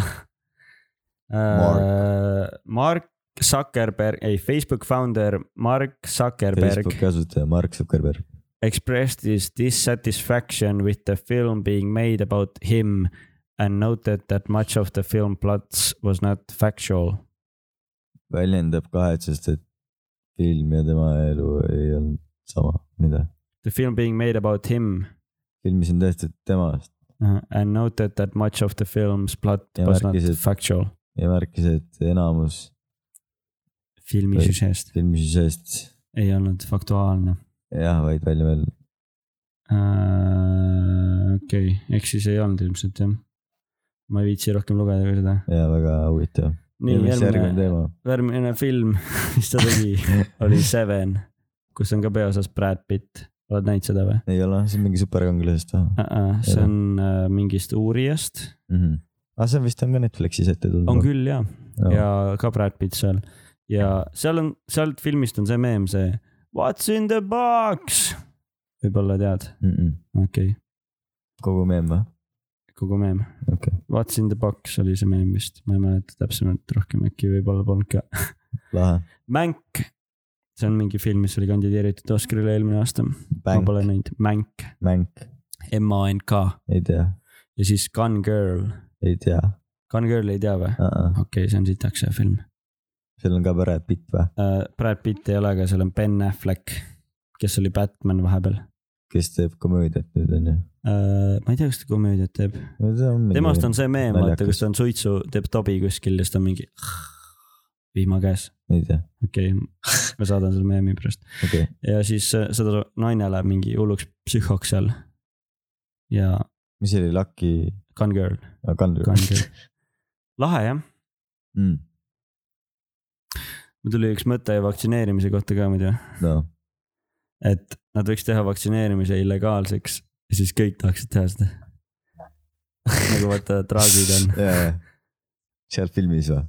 S3: Mark. Äh, Mark Zuckerberg , ei Facebook founder Mark Zuckerberg
S1: Facebooki asutaja Mark Zuckerberg .
S3: expressed his dissatisfaction with the film being made about him and noted that much of the film plots was not factual .
S1: väljendab kahetsust , et film ja tema elu ei olnud sama , mida .
S3: The film being made about him
S1: filmis on tehtud temast
S3: uh, and noted that much of the film's plot
S1: Ja
S3: was not
S1: märkis, et-
S3: factual .
S1: ja märkis , et enamus
S3: filmi
S1: Või-
S3: süžeest
S1: filmi sisest
S3: ei olnud faktuaalne
S1: jah , vaid välja veel
S3: uh, . okei okay. , ehk siis ei olnud ilmselt jah . ma ei viitsi rohkem lugeda ka seda .
S1: ja väga huvitav .
S3: nii , äh,
S1: mis järgmine
S3: järgmine ,
S1: teema ?
S3: järgmine film , mis ta tegi , oli Seven , kus on ka peaosas Brad Pitt . oled näinud seda või
S1: ei ole , see on mingi superkangelasest või
S3: uh ? -uh, see
S1: Ei.
S3: on uh, mingist uurijast ,
S1: mm -hmm. ? aga see vist on ka Netflixis ette tulnud .
S3: Ah. on küll jaa ,
S1: Jaa.
S3: ja ka Brad Pitt seal . ja seal on , sealt filmist on see meem , see What's in the box ? võib-olla tead ,
S1: mm . -mm.
S3: okei okay. ,
S1: kogu meem või ?
S3: kogu meem .
S1: okei okay. ,
S3: What's in the box oli see meem vist , ma ei mäleta täpsemalt rohkem , äkki võib-olla polnud ka .
S1: lahe .
S3: Mänk , see on mingi film , mis oli kandideeritud Oscarile eelmine aasta , ma
S1: Bänk ,
S3: pole näinud , Mänk ,
S1: mänk ,
S3: M-A-N-K
S1: ei tea ,
S3: ja siis Gun Girl ,
S1: ei tea
S3: Gun Girl ei tea või ?
S1: uh . -uh.
S3: okei okay, , see on sitaks hea film
S1: seal on ka Brad Pitt või ,
S3: uh, . Brad Pitt ei ole , aga seal on Ben Affleck , kes oli Batman vahepeal
S1: kes teeb komöödiat nüüd on ju .
S3: uh, . ma ei tea , kas ta komöödiat teeb , temast on see meem , vaata ,
S1: naljakas.
S3: kus ta on suitsu , teeb tobi kuskil ja siis ta on mingi . vihma käes ,
S1: ei tea ,
S3: okei okay, , ma saadan selle meemi pärast .
S1: okei okay. ,
S3: ja siis äh, seda naine läheb mingi hulluks psühhoks seal . ja
S1: mis see oli , Lucky
S3: Gun Girl ,
S1: ah, Gunner
S3: Gun Girl . lahe jah ,
S1: mm, ?
S3: mul tuli üks mõte vaktsineerimise kohta ka muidu ,
S1: no
S3: et nad võiks teha vaktsineerimise illegaalseks ja siis kõik tahaksid teha seda . nagu vaata traagid on
S1: ja , ja seal filmis või ,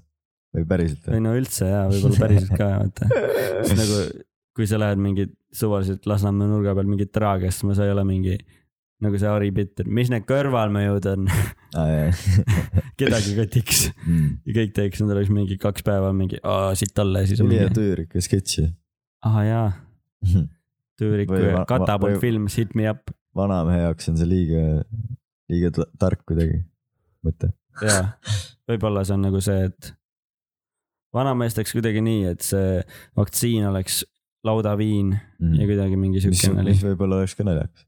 S1: või päriselt
S3: või
S1: või ?
S3: no üldse jaa , võib-olla päriselt ka vaata . siis nagu , kui sa lähed mingi suvaliselt Lasnamäe nurga peal mingit traagi ostma , sa ei ole mingi nagu see Harry Potter , mis need kõrvalmõjud on ,
S1: aa jaa , Mm.
S3: kedagi kotiks ja kõik teeks endale siis mingi kaks päeva mingi aa, siit alla ja siis on
S1: ülihea
S3: mingi
S1: tüürikas sketš ju .
S3: ahah jaa , tüüriku
S1: Mhm. Või
S3: ja
S1: va-
S3: Katapult
S1: või-
S3: film Hit me up
S1: vanamehe jaoks on see liiga , liiga ta- tark kuidagi , mõte .
S3: jaa , võib-olla see on nagu see , et vanameesteks kuidagi nii , et see vaktsiin oleks laudaviin ja
S1: Mm. mis ,
S3: kuidagi mingi siukene oli
S1: mis võib-olla oleks ka naljakas .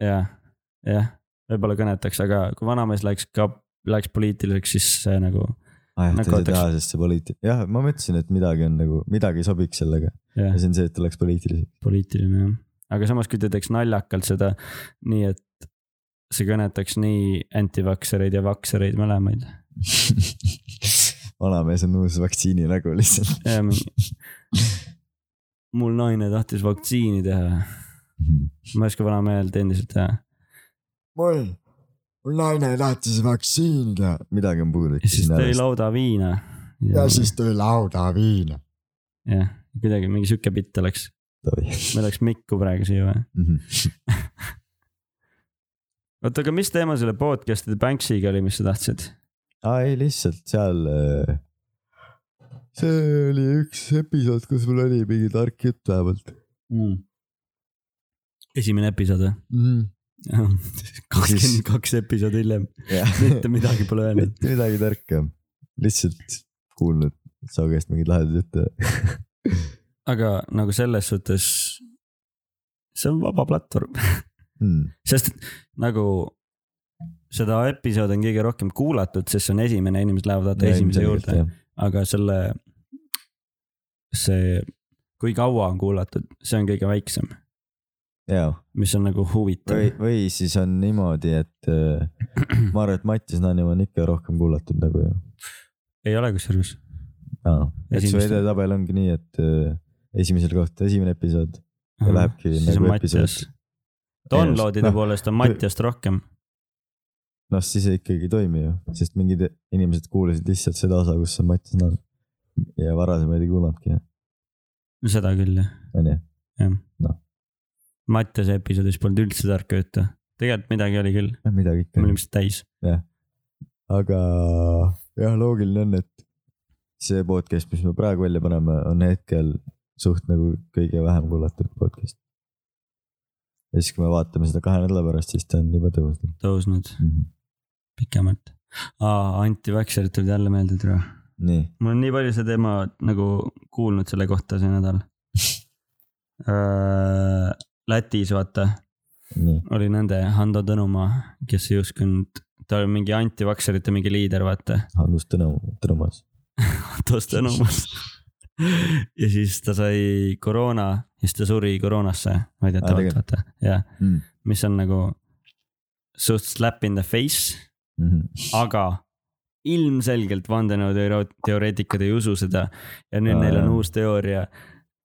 S3: jah , jah , võib-olla kõnetaks , aga kui vanamees läheks ka , läheks poliitiliseks , siis see nagu
S1: aa Ah, jah , ta ei
S3: Nagu
S1: saa
S3: võtaks-
S1: teha , sest see poliit- , jah , ma mõtlesin , et midagi on nagu , midagi sobiks sellega
S3: jah
S1: ja , see on see , et ta läks poliitiliseks .
S3: poliitiline jah . aga samas , kui ta teeks naljakalt seda nii , et see kõnetaks nii antivaksereid ja vaksereid mõlemaid .
S1: vanamees on uus vaktsiini nägu lihtsalt .
S3: mul naine tahtis vaktsiini teha , ma ei oska vanamehelt endiselt teha
S1: mul , mul naine tahtis vaktsiini teha . midagi on puudu
S3: ja siis tõi . lauda viina .
S1: tõi lauda viina .
S3: jah , kuidagi mingi sihuke bitt oleks , meil oleks mikku praegu siia vaja .
S1: Mhm.
S3: oota , aga mis teema selle podcast'i Banksiga oli , mis sa tahtsid ?
S1: aa ei , lihtsalt seal . see oli üks episood , kus mul oli mingi tark jutt vähemalt
S3: mm. . esimene episood või ?
S1: mm. .
S3: kakskümmend kaks episoodi hiljem , mitte
S1: mitte
S3: midagi pole öelnud .
S1: midagi tarka , lihtsalt kuulnud su käest mingeid lahedaid jutte .
S3: aga nagu selles suhtes , see on vaba platvorm ,
S1: Hmm.
S3: sest et nagu seda episoodi on kõige rohkem kuulatud , sest see on esimene , inimesed lähevad vaata esimese juurde , aga selle , see , kui kaua on kuulatud , see on kõige väiksem ,
S1: jaa ,
S3: mis on nagu huvitav
S1: või , või siis on niimoodi , et äh, ma arvan , et Mattis Naanimaa on ikka rohkem kuulatud nagu ju .
S3: ei ole kusjuures .
S1: et su
S3: Esimestel-
S1: edetabel ongi nii , et äh, esimesel kohta esimene episood ja lähebki
S3: siis on
S1: nagu
S3: Mattias
S1: episood ..
S3: Downloadide
S1: Noh,
S3: poolest on Mattiast rohkem ,
S1: noh , siis ei ikkagi ei toimi ju , sest mingid inimesed kuulasid lihtsalt seda osa , kus on Mattis Naan . ja varasemaid ei kuulanudki ,
S3: seda küll jah .
S1: onju .
S3: Mattiase episoodis polnud üldse tarka juttu , tegelikult midagi oli küll ,
S1: noh , midagi
S3: me
S1: ikka
S3: olime . lihtsalt täis .
S1: aga jah , loogiline on , et see podcast , mis me praegu välja paneme , on hetkel suht nagu kõige vähem kuulatud podcast . ja siis , kui me vaatame seda kahe nädala pärast , siis ta on juba tõusnud
S3: tõusnud
S1: mm . -hmm.
S3: pikemalt . aa , antivakserid tulid jälle meelde , Tro .
S1: nii ,
S3: ma olen nii palju seda teema nagu kuulnud selle kohta see nädal Äh, Lätis vaata ,
S1: nii ,
S3: oli nende Hando Tõnumaa , kes ei uskunud , ta oli mingi antivakserite mingi liider , vaata .
S1: Andrus Tõnu- , Tõnumas .
S3: Handos Tõnumas . ja siis ta sai koroona , siis ta suri koroonasse , väidetavalt ,
S1: tegelikult?
S3: vaata , jah
S1: Mm. .
S3: mis on nagu suht slap in the face ,
S1: Mhm.
S3: aga ilmselgelt vandenõuteoreetikud ei usu seda ja nüüd
S1: Aa,
S3: neil on
S1: jah.
S3: uus teooria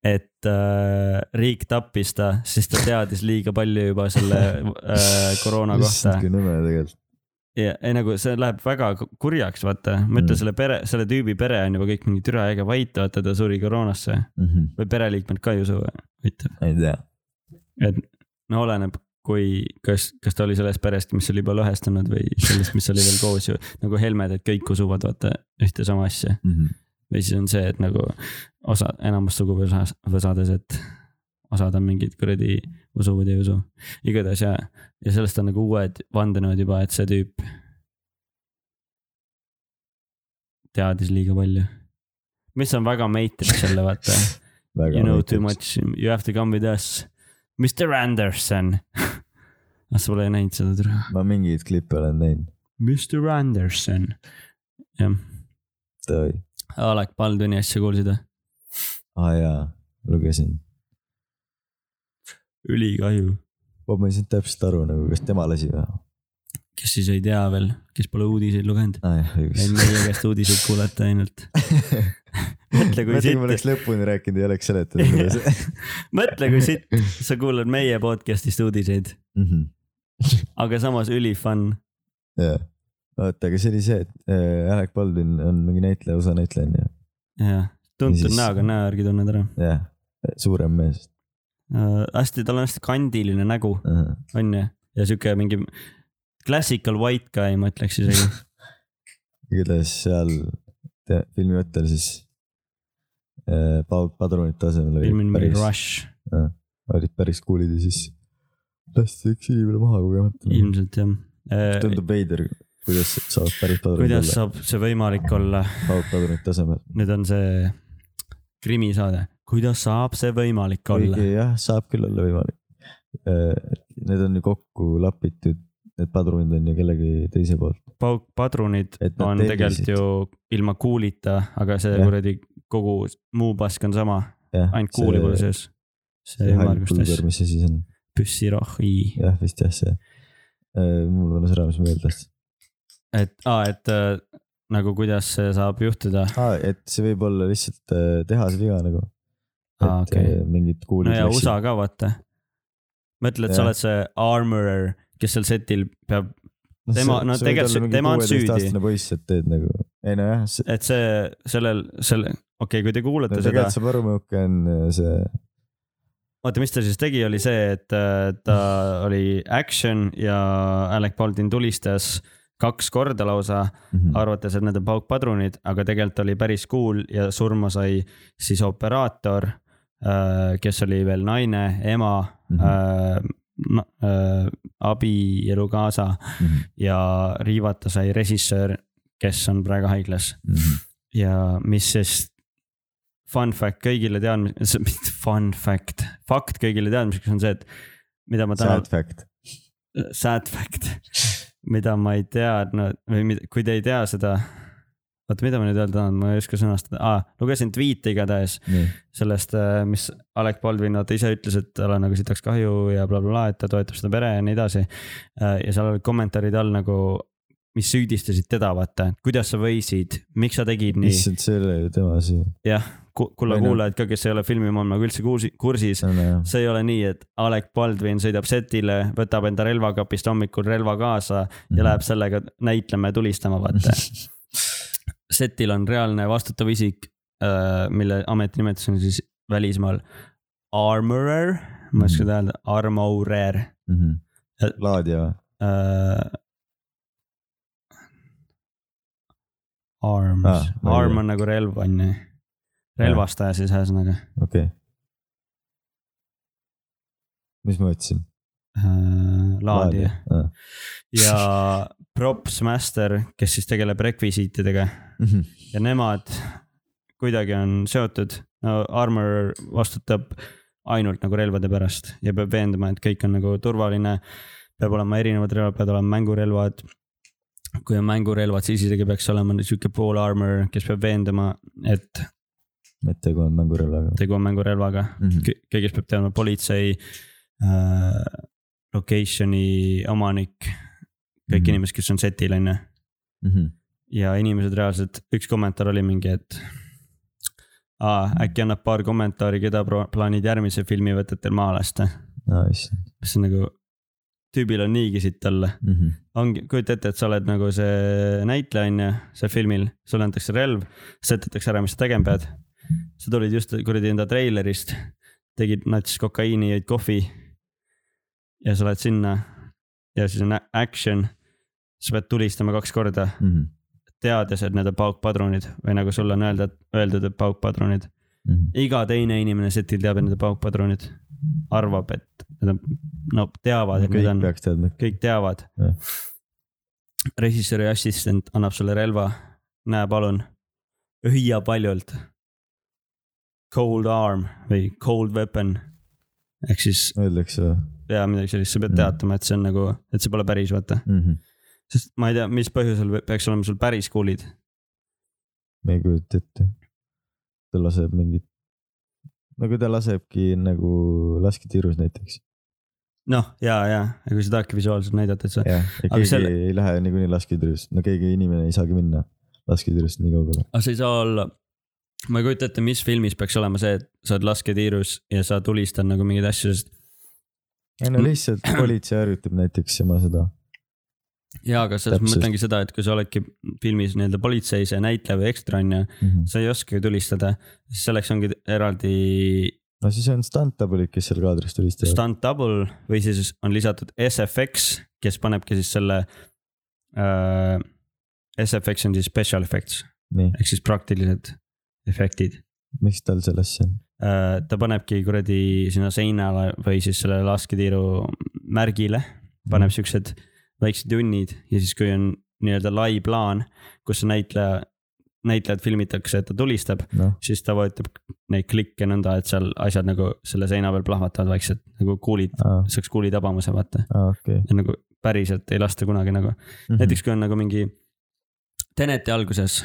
S3: et äh, riik tappis ta , sest ta teadis liiga palju juba selle äh, koroona kohta .
S1: kui nõme tegelikult .
S3: ja ei nagu see läheb väga ku- kurjaks , vaata , ma ütlen
S1: Mm.
S3: selle pere , selle tüübi pere on juba kõik mingi türa äge vait , vaata ta suri koroonasse või pereliikmed ka ei usu , vaata ,
S1: ei tea ,
S3: et no oleneb , kui , kas , kas ta oli sellest perest , mis oli juba lõhestunud või sellest , mis oli veel koos ju nagu Helmed , et kõik usuvad vaata ühte sama asja või siis on see , et nagu osa , enamus suguvõsas , võsades , et osad on mingid kuradi usuvad ja ei usu , igatahes ja , ja sellest on nagu uued vandenõud juba , et see tüüp teadis liiga palju . mis on väga meitriks jälle vaata ,
S1: väga
S3: you know too . much , you have to come with us , Mr Anderson . ah , sa pole näinud seda türa ,
S1: ma mingeid klippe olen näinud ,
S3: Mr Anderson , jah
S1: oi ,
S3: Alek Baldwini asja kuulsid või ?
S1: aa ah, jaa , lugesin .
S3: ülikahju .
S1: ma ei saanud täpselt aru nagu , kas tema lasi või ?
S3: kes siis ei tea veel , kes pole uudiseid lugenud .
S1: aa Ah jah , õigus
S3: ei , meie käest uudiseid kuulete ainult . mõtle kui
S1: mõtle , kui ma
S3: sitt ,
S1: oleks lõpuni rääkinud , ei oleks seletanud kuidas .
S3: mõtle kui sitt , sa kuulad meie podcast'ist uudiseid , aga samas ülifunn .
S1: jah , oota , aga see oli see , et äh, Alec Baldwin on mingi näitleja , USA näitleja on ju ,
S3: jah , tuntud
S1: Niisiis.
S3: näoga , näo järgi tunned ära .
S1: jah , suurem mees
S3: hästi , tal on hästi kandiline nägu ,
S1: uh . -huh.
S3: on ju , ja sihuke mingi classical white guy , ma ütleks isegi .
S1: igatahes seal te, filmi võttel siis äh, pa- padrunite asemel
S3: film on
S1: olid
S3: mingi
S1: päris ,
S3: Rush ,
S1: olid päris cool'id ja siis lasti üks inimene maha kogemata .
S3: ilmselt jah .
S1: Mhm. tundub veider , kuidas saab päris padrunid
S3: kuidas
S1: olla ,
S3: saab see võimalik olla ,
S1: paukpadrunite asemel .
S3: nüüd on see krimisaade , kuidas saab see võimalik olla ?
S1: kuigi jah , saab küll olla võimalik . Need on ju kokku lapitud , need padrunid on ju kellegi teise poolt .
S3: pauk , padrunid
S1: Et nad
S3: on
S1: tellisid.
S3: tegelikult ju ilma kuulita , aga see
S1: Jah.
S3: kuradi kogu muu pask on sama , ainult kuuli pole sees . see ümmargustas
S1: mis see siis on ,
S3: püssirohi ,
S1: jah vist jah see . mul on särav , mis meeldes .
S3: et aa , et äh, nagu kuidas see saab juhtuda .
S1: ah, . et see võib olla lihtsalt äh, tehase viga nagu . et
S3: Aa, Ah, okei.
S1: äh, mingid kuulid
S3: no ja USA ka vaata . mõtle , et sa
S1: Jah.
S3: oled see armorer , kes seal setil peab , tema- no tegelikult see- tema on süüdi.
S1: aastane poiss , et teed nagu , ei nojah , see .
S3: et see sellel , selle , okei okay, , kui te kuulete seda
S1: tegelikult . saab aru , milline on äh, see ,
S3: vaata , mis ta siis tegi , oli see , et äh, ta oli action ja Alec Baldwin tulistas kaks korda lausa ,
S1: Mhm,
S3: arvates , et need on paukpadrunid , aga tegelikult oli päris cool ja surma sai siis operaator , kes oli veel naine , ema mm ,
S1: Mhm.
S3: -hmm. äh, abielukaasa
S1: mhm,
S3: ja riivata sai režissöör , kes on praegu haiglas
S1: mhm.
S3: ja mis siis . Fun fact kõigile teadmiseks , fun fact , fakt kõigile teadmiseks on see , et mida ma täna
S1: sad , fact .
S3: sad fact , mida ma ei teadnud või mida, kui te ei tea seda . oota , mida ma nüüd öelda tahan , ma ei oska sõnastada ah, , lugesin tweet'i igatahes
S1: nii ,
S3: sellest , mis Alec Baldwin vaata ise ütles , et tal on nagu sitaks kahju ja blablabla bla, , et ta toetab seda pere ja nii edasi . ja seal olid kommentaarid all nagu , mis süüdistasid teda , vaata , et kuidas sa võisid , miks sa tegid nii
S1: issand , see ei ole ju tema asi .
S3: jah , kulla
S1: Või noh.
S3: kuulajad ka , kes ei ole filmimaailmaga üldse kuusi- kursis ,
S1: see on jah ,
S3: see ei ole nii , et Alec Baldwin sõidab setile , võtab enda relvakapist hommikul relva kaasa ja läheb sellega näitlema ja tulistama ,
S1: Mhm.
S3: vaata . Mhm. setil on reaalne vastutav isik , mille ametinimetus on siis välismaal armorer , ma ei oska öelda , armorer .
S1: Mhm. laadija või ?
S3: äh, Arms
S1: Ah,
S3: ah, ,
S1: ma ei
S3: arm
S1: tea.
S3: on nagu relv , on ju . relvastaja siis ühesõnaga
S1: okei okay. . mis ma ütlesin ?
S3: Äh, laadija
S1: ah. .
S3: ja props master , kes siis tegeleb rekvisiitidega
S1: Mhm.
S3: ja nemad kuidagi on seotud . no armor vastutab ainult nagu relvade pärast ja peab veenduma , et kõik on nagu turvaline . peab olema erinevad relvad , peavad olema mängurelvad . kui on mängurelvad , siis isegi peaks olema sihuke pool armor , kes peab veenduma , et
S1: mitte kui on mängurelvaga .
S3: tegu on mängurelvaga
S1: Mhm.
S3: Kõ- kõigest peab teadma politsei äh, , location'i omanik , kõik mm
S1: Mhm.
S3: -hmm. inimesed , kes on setil , on ju . ja inimesed reaalselt , üks kommentaar oli mingi , et aa, äkki annab paar kommentaari , keda pro- plaanid järgmise filmi võtetel maha lasta .
S1: aa , Ah, issand .
S3: mis on nagu , tüübil on niigi sitt olla .
S1: Mhm.
S3: ongi , kujuta ette , et sa oled nagu see näitleja , on ju , seal filmil , sulle antakse relv , sätetakse ära , mis sa tegema pead . sa tulid just kuradi enda treilerist , tegid nats kokaiini , jõid kohvi . ja sa lähed sinna ja siis on a- action . sa pead tulistama kaks korda ,
S1: Mhm.
S3: teades , et need on paukpadrunid või nagu sulle on öelda , öeldud , et paukpadrunid .
S1: Mhm.
S3: iga teine inimene setil teab , et need on paukpadrunid . arvab , et need on , no teavad , et need
S1: kõik
S3: on
S1: peaks teadma .
S3: kõik teavad
S1: Jah. .
S3: režissööri assistent annab sulle relva , näe palun , hüüa paljult . Cold arm või cold weapon ehk siis
S1: Öeldakse
S3: ja midagi sellist , sa pead
S1: Mhm.
S3: teatama , et see on nagu , et see pole päris , vaata .
S1: või ?
S3: sest ma ei tea , mis põhjusel või- peaks olema sul päris kuulid .
S1: ma ei kujuta ette . ta laseb mingit , nagu ta lasebki nagu lasketiirus näiteks .
S3: noh , ja , ja , ja kui sa tahadki visuaalselt näidata , et sa ,
S1: ja
S3: Aga
S1: keegi
S3: selle-
S1: selle... ei lähe niikuinii lasketiirust , no keegi inimene ei saagi minna lasketiirust nii kaugele .
S3: aga see ei saa olla . ma ei kujuta ette , mis filmis peaks olema see , et sa oled lasketiirus ja sa tulistad nagu mingeid asju , sest
S1: ei
S3: Mm.
S1: no lihtsalt politsei harjutab näiteks tema seda .
S3: jaa , aga selles ma
S1: Täpselt.
S3: mõtlengi seda , et kui sa oledki filmis nii-öelda politsei , see näitleja või ekstra on ju ,
S1: Mhm.
S3: sa ei oska ju tulistada , siis selleks ongi eraldi
S1: no siis on stunt-tabulid , kes seal kaadris tulistavad .
S3: stunt double või siis on lisatud SFX , kes panebki siis selle äh, . SFX on siis special effects
S1: nii ,
S3: ehk siis praktilised efektid
S1: miks tal seal asja on ?
S3: äh, . ta panebki kuradi sinna seinale või siis selle lasketiiru märgile , paneb siuksed väiksed junnid ja siis , kui on nii-öelda lai plaan , kus näitleja , näitlejad filmitakse , et ta tulistab ,
S1: noh ,
S3: siis ta vajutab neid klikke nõnda , et seal asjad nagu selle seina peal plahvatavad vaikselt nagu kuulid ,
S1: aa ,
S3: saaks kuulitabamuse vaata .
S1: okei .
S3: nagu päriselt ei lasta kunagi nagu ,
S1: Mhm.
S3: näiteks kui on nagu mingi Teneti alguses .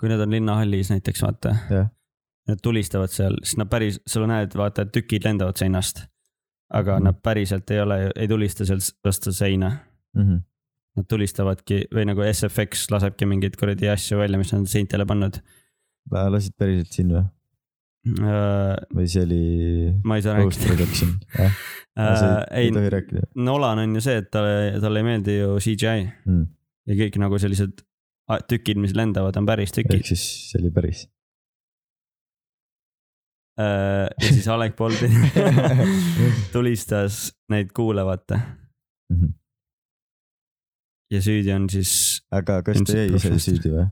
S3: kui nad on linnahallis näiteks vaata
S1: Jah. .
S3: Nad tulistavad seal , siis nad päris , sa näed , vaata , et tükid lendavad seinast . aga
S1: Mhm.
S3: mm. nad päriselt ei ole , ei tulista sealt vastu seina .
S1: Mhm.
S3: Nad tulistavadki või nagu SFX lasebki mingeid kuradi asju välja , mis nad on seintele pannud .
S1: lasid päriselt siin või ,
S3: ma
S1: või see oli
S3: Äh, ei saa
S1: post
S3: rääkida .
S1: production ? jah , sa ei,
S3: Äh, ei
S1: ei , tohi rääkida
S3: Nolan on ju see , et talle , talle ei meeldi ju CGI
S1: mm. .
S3: ja kõik nagu sellised a- tükid , mis lendavad , on päris tükid .
S1: ehk siis see oli päris .
S3: Äh, ja siis Alec Baldwin tulistas neid kuule , vaata
S1: Mhm. .
S3: ja süüdi on siis
S1: aga kas ta
S3: Ilmselt
S1: jäi ise
S3: professor.
S1: süüdi või ?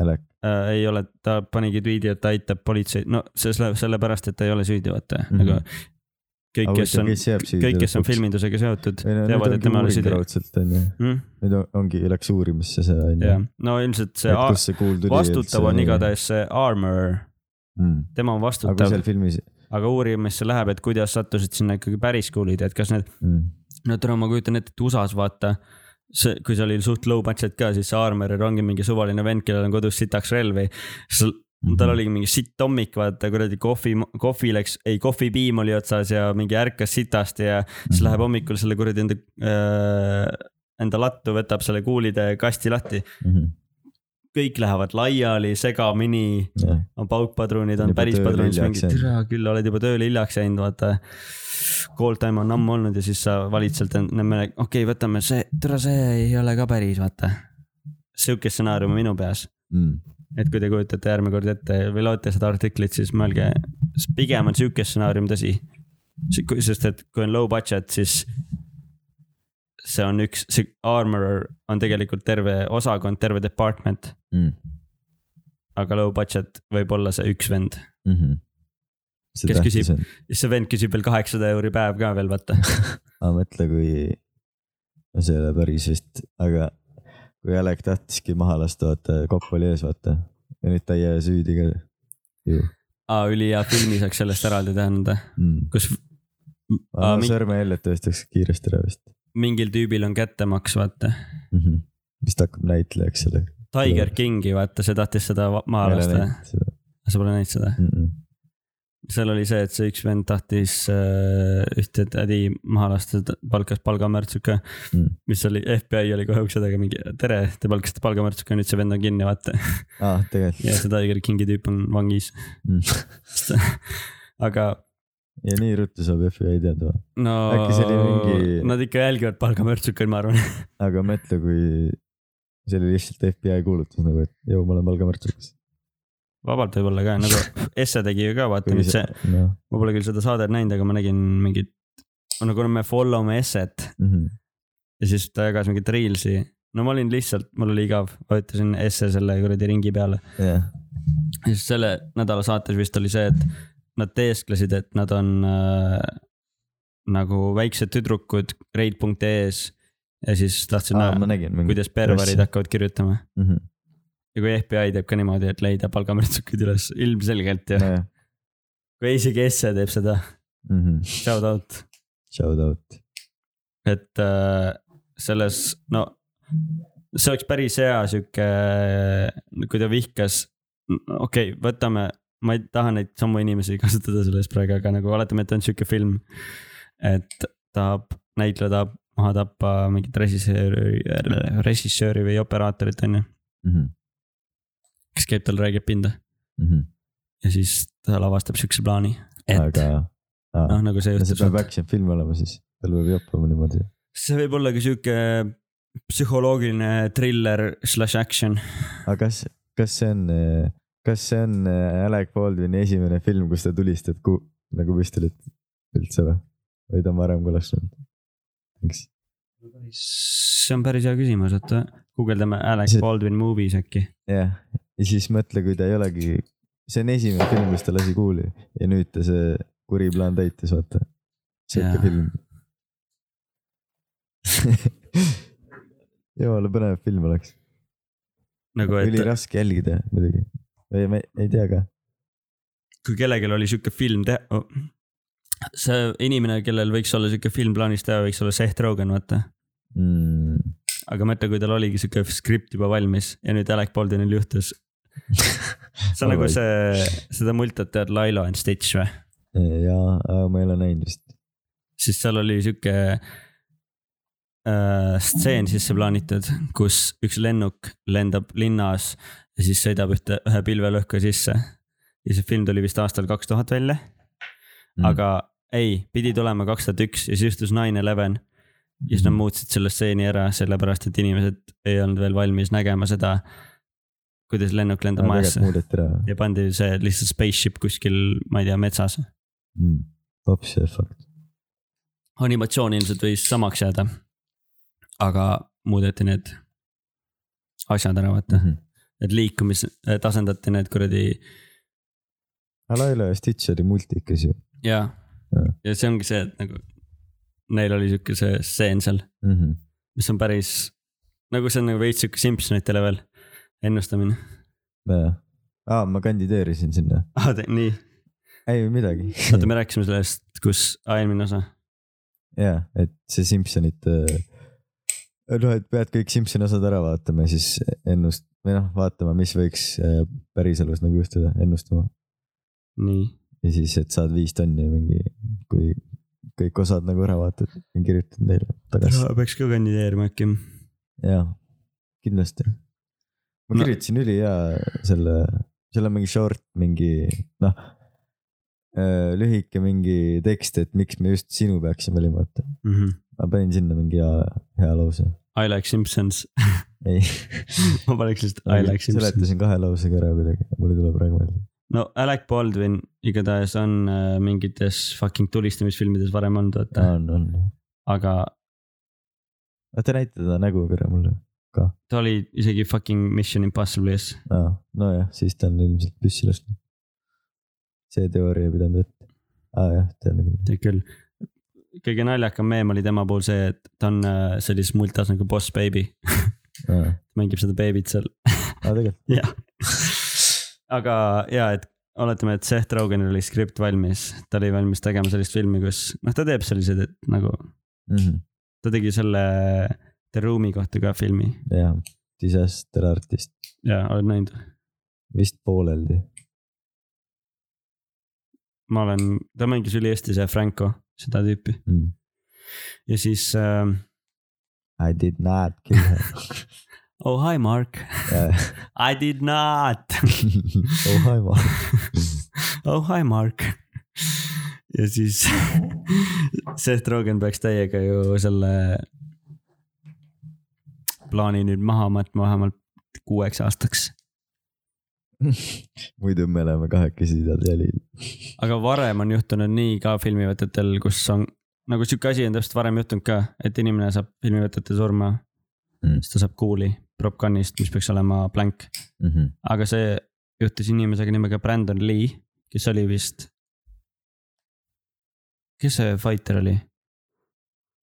S1: Alek ,
S3: äh, , ei ole , ta panigi tweet'i , et ta aitab politseid , no see läheb sellepärast , et ta ei ole süüdi , vaata mm ,
S1: Mhm.
S3: -hmm. aga kõik , kes on ,
S1: kes jääb süüdi ?
S3: kõik , kes on . filmindusega seotud ,
S1: või no
S3: teavad,
S1: nüüd
S3: et tema
S1: ongi
S3: oli
S1: uuring
S3: süüdi.
S1: raudselt onju ,
S3: mm, .
S1: nüüd on- ongi , läks uurimisse see onju
S3: jah ., no ilmselt see
S1: et
S3: a-
S1: kust see kuul tuli .
S3: vastutav on . igatahes see armor ,
S1: Mm.
S3: tema
S1: aga
S3: on
S1: kui
S3: vastutav ,
S1: seal filmis
S3: aga uurimisse läheb , et kuidas sattusid sinna ikkagi päris kuulid , et kas need
S1: mm. ,
S3: no tore , ma kujutan ette , et USA-s vaata , see , kui seal oli suht low budget ka , siis see armoril ongi mingi suvaline vend , kellel on kodus sitaks relvi . siis
S1: Mhm.
S3: Mm, tal oligi mingi sitt hommik , vaata kuradi kohvi , kohvi läks , ei kohvipiim oli otsas ja mingi ärkas sitast ja siis läheb hommikul selle kuradi enda äh, , enda lattu , võtab selle kuulide kasti lahti .
S1: mm .
S3: kõik lähevad laiali , segamini ,
S1: -hmm.
S3: on paukpadrunid , on
S1: Juba
S3: päris
S1: tööle
S3: padrunid ,
S1: hiljaks
S3: mingi
S1: jäänud.
S3: türa küll oled juba tööle hiljaks jäänud , vaata . Call time on ammu olnud ja siis sa valid sealt endale , okei okay, , võtame see , türa see ei ole ka päris , vaata . sihuke stsenaarium on minu peas ,
S1: Mm.
S3: et kui te kujutate järgmine kord ette või loete seda artiklit , siis mõelge , pigem on sihuke stsenaarium tõsi . sest et kui on low budget , siis see on üks , see armorer on tegelikult terve osakond , terve department ,
S1: Mm.
S3: aga low budget võib olla see üks vend
S1: Mm -hmm. see
S3: Kes
S1: tähtis
S3: küsib?
S1: on ,
S3: siis see vend küsib veel kaheksasada euri päev ka veel , vaata .
S1: aga mõtle , kui , no see ei ole päris vist , aga kui Alek tahtiski maha lasta , vaata kopp oli ees , vaata ja nüüd ta ei jää süüdi ka ju
S3: aa , ülihea filmi saaks sellest eraldi teha nõnda ,
S1: mm. .
S3: kus
S1: aga
S3: Aa,
S1: no,
S3: mi-
S1: sõrmejäljed tõestaks kiiresti ära vist
S3: mingil tüübil on kättemaks , vaata .
S1: mm . -hmm. vist hakkab näitlejaks selle .
S3: Tiger Kingi , vaata , see tahtis seda va- maha lasta . sa pole näinud seda ?
S1: Mhm.
S3: seal oli see , et see üks vend tahtis äh, ühte tädi maha lasta , ta palkas palgamärtsuka
S1: Mm.
S3: mm. . mis oli , FBI oli kohe ukse taga mingi , tere , te palkasite palgamärtsuka , nüüd see vend on kinni , vaata .
S1: aa ,
S3: ja
S1: tegelikult .
S3: see Tiger Kingi tüüp on vangis .
S1: Mm.
S3: aga
S1: ja nii ruttu saab FBI teada ,
S3: no .
S1: Äkki see oli mingi-
S3: Nad ikka jälgivad palgamärtsukaid , ma arvan .
S1: aga mõtle , kui see oli lihtsalt FBI kuulutus nagu , et jõu , ma olen palgamärtsukas .
S3: vabalt võib-olla ka , nagu Esse tegi ju ka , vaata nüüd see ,
S1: noh ,
S3: ma pole küll seda saadet näinud , aga ma nägin mingit , no kuna me follow me Esset
S1: mhm,
S3: ja siis ta jagas mingit reels'i . no ma olin lihtsalt , mul oli igav , vajutasin Esse selle kuradi ringi peale .
S1: jah ,
S3: ja siis selle nädala saates vist oli see , et nad teesklesid , et nad on äh, nagu väiksed tüdrukud raid.ee-s ja siis tahtsin
S1: aa ,
S3: näha ,
S1: ma nägin Mhm, mingit .
S3: kuidas perverid
S1: asja.
S3: hakkavad kirjutama . ja kui FBI teeb ka niimoodi , et leida palgamärtsukud üles , ilmselgelt ju .
S1: nojah ,
S3: kui isegi Esse teeb seda , shout out .
S1: shout mhm. out .
S3: et äh, selles , no see oleks päris hea sihuke , kui ta vihkas , okei okay, , võtame , ma ei taha neid samu inimesi kasutada selles praegu , aga nagu oletame , et on sihuke film . et tahab , näitleja tahab maha tappa mingit režissööri , režissööri või operaatorit , on ju ,
S1: Mhm,
S3: kes käib tal , räägib pinda ja siis ta lavastab siukse plaani , et
S1: aga aa,
S3: noh , nagu see
S1: no see
S3: juhtus .
S1: peab action film olema siis , tal peab joppama niimoodi .
S3: see võib olla ka sihuke psühholoogiline thriller slash action .
S1: aga kas , kas see on , kas see on äh, Alec Baldwini esimene film , kus ta tulistab ku- , nagu püstolit üldse või ? või ta on varem ka lasknud ? eks ,
S3: see on päris hea küsimus , oota , guugeldame Alec
S1: See-
S3: Baldwin movies äkki .
S1: jah . ja siis mõtle , kui ta ei olegi , see on esimene film , kus ta lasi kuuli ja nüüd ta see kuri plaan täitis , vaata . sihuke
S3: Jaa.
S1: film . jumala põnev film oleks .
S3: nagu , et
S1: üliraske jälgida muidugi . või ma ei- ei tea ka .
S3: kui kellelgi oli sihuke film teha oh. , see inimene , kellel võiks olla sihuke film plaanis teha , võiks olla Seth Rogen , vaata .
S1: Mm.
S3: aga mõtle , kui tal oligi sihuke skript juba valmis ja nüüd Alec Baldwinil juhtus . see on nagu
S1: Alright.
S3: see , seda multat tead Lilo and Stitch või ?
S1: jaa , ma ei ole näinud vist .
S3: siis seal oli sihuke äh, stseen sisse plaanitud , kus üks lennuk lendab linnas ja siis sõidab ühte , ühe pilvelõhka sisse . ja see film tuli vist aastal kaks tuhat välja mm. , aga ei , pidi tulema kaks tuhat üks ja siis juhtus nine eleven . ja siis nad
S1: Mm.
S3: muutsid selle stseeni ära , sellepärast et inimesed ei olnud veel valmis nägema seda , kuidas lennuk lendab
S1: Aa,
S3: majasse
S1: tegelikult muudeti ära
S3: ja pandi see lihtsalt spaceship kuskil , ma ei tea , metsas .
S1: mm. . hops ja fakt .
S3: animatsioon ilmselt võis samaks jääda . aga muudeti need asjad ära , vaata ,
S1: Mhm.
S3: need liikumis , tasandati need kuradi
S1: Alaila ja Stitch oli multikas ju
S3: ja ,
S1: Jah.
S3: ja see ongi see , et nagu neil oli sihuke see stseen seal ,
S1: mm . -hmm.
S3: mis on päris nagu see on nagu veits sihuke Simsonite level ennustamine .
S1: jaa , aa ma kandideerisin sinna ,
S3: ah, . nii ,
S1: ei midagi .
S3: oota , me rääkisime sellest , kus , aa eelmine osa ,
S1: jaa , et see Simsonite , noh et pead kõik Simsoni osad ära vaatama ja siis ennust- või noh , vaatama , mis võiks äh, päriselus nagu juhtuda , ennustama .
S3: nii .
S1: ja siis , et saad viis tonni mingi , kui kõik osad nagu ära vaatad , kirjutan teile tagasi .
S3: peaks ka kandideerima äkki .
S1: jaa , kindlasti . ma
S3: No-
S1: kirjutasin ülihea selle , seal on mingi short , mingi noh , lühike mingi tekst , et miks me just sinu peaksime olema , vaata . ma panin sinna mingi hea , hea lause .
S3: Mhm. I like Simpsons ,
S1: ei ,
S3: ma paneks lihtsalt I like Simpsons .
S1: seletasin kahe lausega ära kuidagi , mul ei tule praegu meelde .
S3: no Alec Baldwin igatahes on äh, mingites fucking tulistamisfilmides varem olnud , vaata ,
S1: on , on .
S3: aga
S1: oota , näita seda nägu korra mulle .
S3: ta oli isegi fucking Mission Impossible'is .
S1: aa , nojah , siis ta on ilmselt püssi lasknud . see teooria ei pidanud vett . aa jah , tean küll .
S3: tead küll . kõige naljakam meem oli tema puhul see , et ta on äh, sellises multas nagu Boss Baby ,
S1: aa ,
S3: mängib seda beebit seal ,
S1: tegelikult ,
S3: jah . aga ja , et oletame , et Seth Rogenil oli skript valmis , ta oli valmis tegema sellist filmi , kus noh , ta teeb selliseid , et nagu
S1: Mhm.
S3: ta tegi selle äh, The Room'i kohta ka filmi
S1: jaa , disaster artist .
S3: ja oled näinud ?
S1: vist pooleldi .
S3: ma olen , ta mängis ülihästi see Franco , seda tüüpi
S1: Mm.
S3: ja siis äh, .
S1: I did not kill her .
S3: Oh hi Mark , I did not ,
S1: oh hi ma .
S3: oh hi Mark . ja siis Seth Rogen peaks täiega ju selle plaani nüüd maha matma vähemalt kuueks aastaks .
S1: muidu me oleme kahekesi seal jälil .
S3: aga varem on juhtunud nii ka filmivõtetel , kus on nagu sihuke asi on täpselt varem juhtunud ka , et inimene saab filmivõtete surma
S1: Mm.
S3: mm. . siis ta saab kuuli propkannist , mis peaks olema blank ,
S1: Mhm.
S3: aga see juhtus inimesega nimega Brandon Lee , kes oli vist . kes see fighter oli ,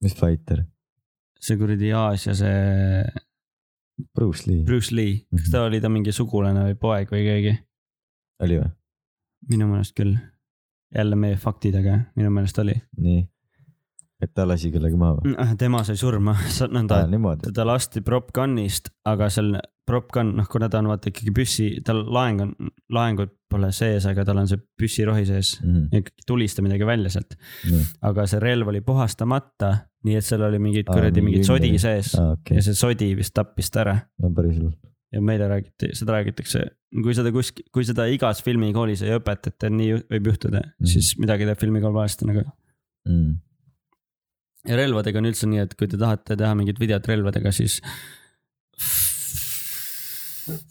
S1: mis fighter ?
S3: see kuradi Aasia , see
S1: Bruce Lee Bru
S3: Bruce Lee , kas ta oli ta mingi sugulane või poeg või keegi ?
S1: oli või ?
S3: minu meelest küll , jälle meie faktid , aga minu meelest oli
S1: nii , et ta lasi kellegi maha või ?
S3: Ah, tema sai surma nõnda ,
S1: niimoodi ,
S3: ta lasti propgunnist , aga seal propgunn , noh , kuna ta on vaata ikkagi püssi , tal laeng on , laengud pole sees , aga tal on see püssirohi sees .
S1: Mhm.
S3: ikkagi tulista midagi välja sealt , aga see relv oli puhastamata , nii et seal oli mingid
S1: Aa,
S3: kuradi
S1: mingi
S3: mingid sodi
S1: kindel.
S3: sees
S1: Ah, okei
S3: ja , see sodi vist tappis ta ära
S1: no päris hull .
S3: ja meile räägiti , seda räägitakse , kui seda kuskil , kui seda igas filmikoolis ei õpetata , nii ju- võib juhtuda mm ,
S1: Mhm.
S3: -hmm. siis midagi teeb filmikool valesti nagu . ja relvadega on üldse nii , et kui te tahate teha mingit videot relvadega , siis .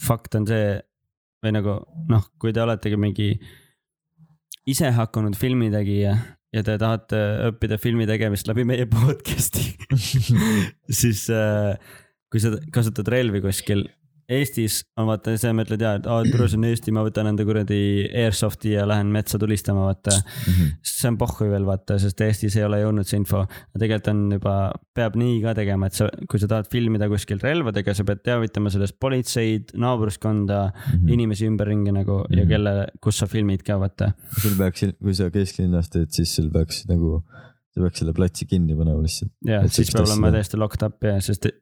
S3: fakt on see või nagu noh , kui te oletegi mingi ise hakanud filmitegija ja te tahate õppida filmi tegemist läbi meie podcast'i , siis äh, kui sa kasutad relvi kuskil . Eestis on vaata see , mõtled jaa , et aa , tore , see on Eesti , ma võtan enda kuradi airsoft'i ja lähen metsa tulistama , vaata
S1: Mhm.
S3: see on pohhu veel vaata , sest Eestis ei ole jõudnud see info . tegelikult on juba , peab nii ka tegema , et sa , kui sa tahad filmida kuskil relvadega , sa pead teavitama sellest politseid , naabruskonda mm , -hmm. inimesi ümberringi nagu mm -hmm. ja
S1: Mhm.
S3: kelle , kus sa filmid ka vaata .
S1: sul peaks , kui sa kesklinnas teed , siis sul peaks nagu , sa peaks selle platsi kinni panema lihtsalt .
S3: ja
S1: Et
S3: siis
S1: sihukest
S3: peab
S1: asja
S3: olema
S1: teha.
S3: täiesti locked up ja sest et-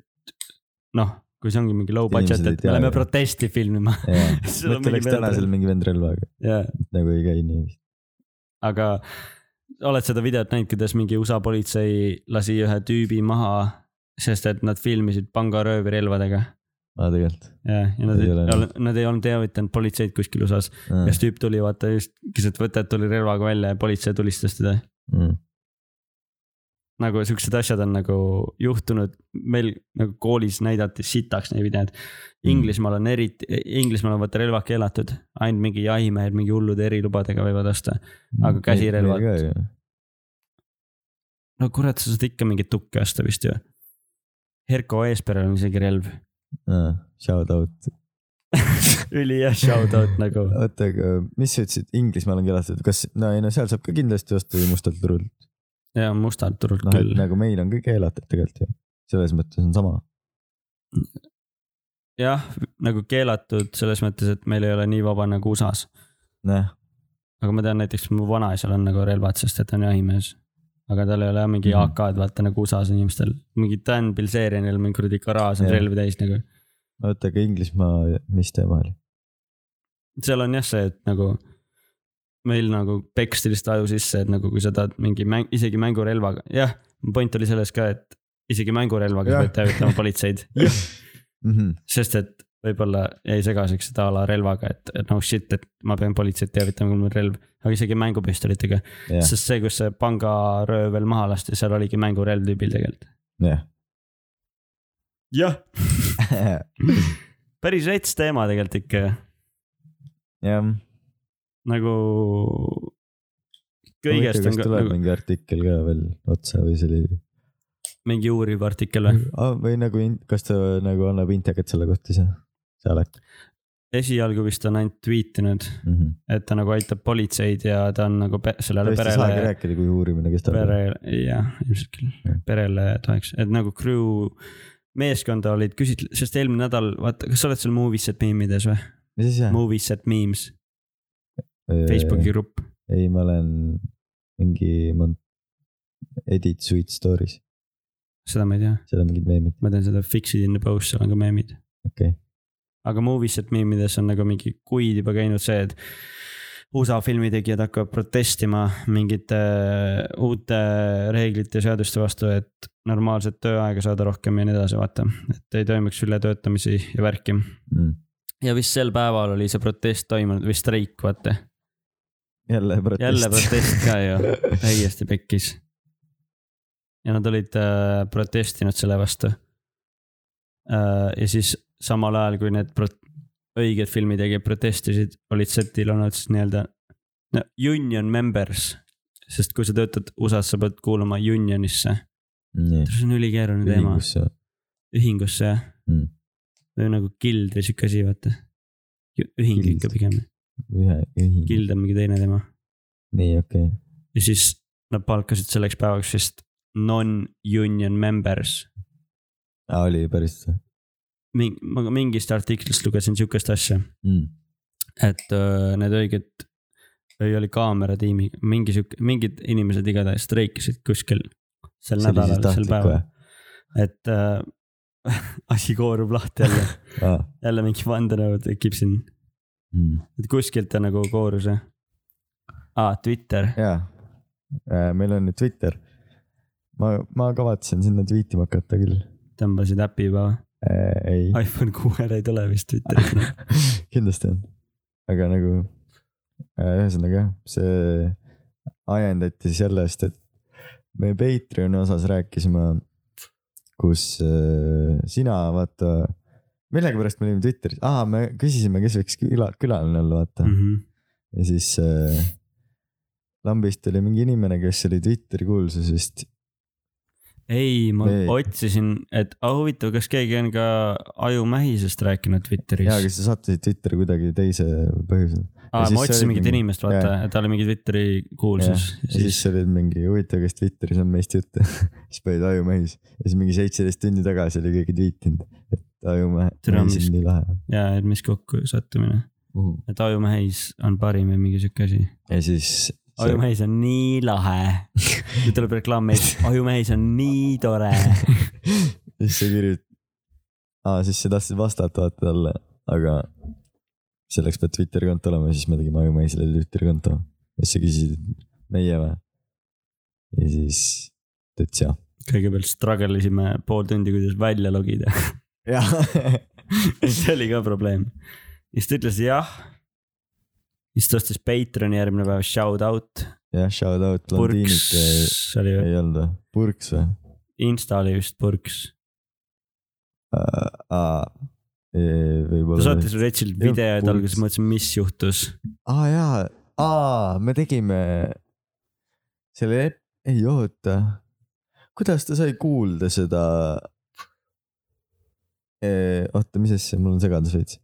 S3: noh , kui see ongi mingi low budget ,
S1: Inimesed ei
S3: et me
S1: tea
S3: lähme
S1: ju.
S3: protesti filmima . Sul
S1: mõtle ,
S3: on mingi
S1: oleks
S3: vend
S1: tänasel
S3: relv.
S1: mingi vend relvaga ,
S3: jaa ,
S1: nagu ei käi nii .
S3: aga oled seda videot näinud , kuidas mingi USA politsei lasi ühe tüübi maha , sest et nad filmisid pangaröövi relvadega
S1: aa , tegelikult .
S3: jah , ja nad
S1: Ei
S3: ei,
S1: ole
S3: ole , nad ei olnud teavitanud politseid kuskil USA-s mm. . ja siis tüüp tuli vaata just keset võtet tuli relvaga välja ja politsei tulistas teda .
S1: Mm.
S3: nagu siuksed asjad on nagu juhtunud , meil nagu koolis näidati sitaks neid videod .
S1: Mm.
S3: Inglismaal on eriti , Inglismaal on vaata relvad keelatud , ainult mingi jahimehed mingi hullude erilubadega võivad osta . Aga
S1: Mm.
S3: käsirelvad- . no kurat , sa saad ikka mingit tukke osta vist ju . Herko Eesperel on isegi relv ,
S1: Shout out .
S3: ülihea shout out nagu .
S1: oota , aga mis sa ütlesid , Inglismaal on keelatud , kas , no ei no seal saab ka kindlasti osta ju mustalt turult .
S3: ja mustalt turult
S1: noh , et
S3: küll .
S1: nagu meil on ka keelatud tegelikult ju . selles mõttes on sama .
S3: jah , nagu keelatud selles mõttes , et meil ei ole nii vaba nagu USA-s .
S1: nojah ,
S3: aga ma tean näiteks mu vanaisal on nagu relvad , sest et ta on jahimees . aga tal ei ole jah mingi
S1: Mhm.
S3: mm -hmm. AK-d vaata nagu USA-s inimestel , mingi Dan Bilzerianil mingi kuradi garaaž on
S1: Jah.
S3: relvi täis nagu .
S1: oota , aga Inglismaa , mis teema oli ?
S3: seal on jah see , et nagu meil nagu peksti lihtsalt aju sisse , et nagu kui sa tahad mingi mäng , isegi mängurelvaga , jah , point oli selles ka , et isegi mängurelvaga sa
S1: Jah.
S3: pead teavitama politseid ,
S1: Mhm.
S3: sest et võib-olla jäi segaseks seda a la relvaga , et et no shit , et ma pean politseid teavitama , kui mul on relv , aga isegi mängupüstolitega .
S1: jah ,
S3: sest see , kus see pangaröö veel maha lasti , seal oligi mängurelv tüübil tegelikult .
S1: jah .
S3: jah , päris rets teema tegelikult ikka ju.
S1: jah ,
S3: nagu . kõigest on
S1: kas
S3: ka,
S1: tuleb
S3: nagu,
S1: mingi artikkel ka veel otsa või see oli ,
S3: mingi uuriv artikkel või ?
S1: või nagu , kas ta nagu annab intekat selle kohta ise ? seal äkki
S3: esialgu vist on ainult tweetinud ,
S1: mm . -hmm.
S3: et ta nagu aitab politseid ja ta on nagu pe sellele
S1: tõesti ei saagi
S3: perele ,
S1: rääkida , kui uurimine kestab .
S3: perele , jah , ilmselt küll
S1: Jah. ,
S3: perele toeks , et nagu crew meeskonda olid küsitlenud , sest eelmine nädal , vaata , kas sa oled seal Movies at Meemides või ?
S1: mis asi see on ?
S3: Movies at Memes , Facebooki grupp .
S1: ei , ma olen mingi mont- , Edit Sweet Stories ,
S3: seda ma ei tea ,
S1: seal on mingid meemid ,
S3: ma teen seda fixed in the post , seal on ka meemid .
S1: okei okay. .
S3: aga movies et meemides on nagu mingi kuid juba käinud see , et USA filmitegijad hakkavad protestima mingite äh, uute reeglite ja seaduste vastu , et normaalset tööaega saada rohkem ja nii edasi , vaata . et ei toimuks ületöötamisi ja värki .
S1: Mm.
S3: ja vist sel päeval oli see protest toimunud või streik , vaata .
S1: jälle protest .
S3: jälle protest ka ju , täiesti pekkis . ja nad olid äh, protestinud selle vastu äh, . ja siis samal ajal , kui need pro- , õiged filmitegijad protestisid , olid setil olnud siis nii-öelda no, union members . sest kui sa töötad USA-s , sa pead kuuluma union'isse .
S1: nii ,
S3: see on ülikeeruline teema ,
S1: ühingusse .
S3: ühingusse jah
S1: Mm.
S3: mm. . või nagu guild või sihuke asi , vaata . ühing
S1: Guild.
S3: ikka pigem ,
S1: ühe , ühing .
S3: guild on mingi teine teema
S1: nii , okei
S3: ja siis nad palkasid selleks päevaks vist non-union members .
S1: okay. . oli päris
S3: mingi , ma ka mingist artiklist lugesin sihukest asja ,
S1: mm. .
S3: et öö, need õiged , või oli kaameratiimi , mingi sihuke , mingid inimesed igatahes streikisid kuskil
S1: See
S3: sel
S1: oli siis
S3: nädalal , sel
S1: tahtlik
S3: päeval
S1: või? ,
S3: et äh, asi koorub lahti jälle ,
S1: aa
S3: jälle mingi vandenõu tekib siin ,
S1: mm. .
S3: et kuskilt ta nagu koorus jah . aa , Twitter ,
S1: jaa , meil on nüüd Twitter . ma , ma kavatsen sinna tweetima hakata küll .
S3: tõmbasid äpi juba või ?
S1: ei ,
S3: iPhone kuuel ei tule vist Twitterit no. .
S1: kindlasti on . aga nagu äh, ühesõnaga jah , see ajendati sellest , et me Patreoni osas rääkisime , kus äh, sina vaata , millegipärast me olime Twitteris , aa , me küsisime , kes võiks küla , külaline olla , vaata
S3: Mm -hmm.
S1: ja siis äh, lambist oli mingi inimene , kes oli Twitteri kuulsus vist .
S3: ei , ma
S1: Ei.
S3: ei. otsisin , et ah, huvitav , kas keegi on ka ajumähisest rääkinud
S1: jaa , aga
S3: Twitteris .
S1: sa sattusid Twitteri kuidagi teise põhjusel .
S3: aa ,
S1: siis
S3: ma
S1: see
S3: otsisin
S1: oli
S3: mingit
S1: mingi-
S3: inimest , vaata , ta oli mingi Twitteri kuulsus .
S1: ja siis sa olid mingi huvitav , kas Twitteris on meist juttu . siis panid ajumehis ja siis mingi seitseteist tundi tagasi oli keegi tweetinud , et ajumehe ,
S3: Türa,
S1: mees
S3: mis-
S1: on nii lahe
S3: ja , et mis kokkusattumine ,
S1: uh .
S3: et ajumähis on parim või mingi siuke asi .
S1: -huh. ja siis .
S3: ajumähis on nii lahe . nüüd tuleb reklaam meil , ajumähis on nii tore .
S1: siis sa kirjutad , aa siis sa tahtsid vastata vaata talle , aga selleks peab Twitteri konto olema , siis me tegime Ajumäisele Twitteri konto . ja siis sa küsisid , et meie või ? ja siis ta ütles jah .
S3: kõigepealt struggle isime pool tundi , kuidas välja logida .
S1: jah ,
S3: see oli ka probleem . siis ta ütles jah . siis ta ostis Patreoni järgmine päev , shout out .
S1: jah , shout out blondiinid ei,
S3: Purks oli või ?
S1: ei olnud või ? Purks või ?
S3: Insta oli vist Purks .
S1: aa ,
S3: ta
S1: võib-olla .
S3: saatis Retsilt
S1: Ei olnud
S3: videoid
S1: Purks.
S3: alguses , mõtlesin , mis juhtus .
S1: aa jaa , aa me tegime selle , ei oota , kuidas ta sai kuulda seda ? oota , mis asja , mul on segadus veits .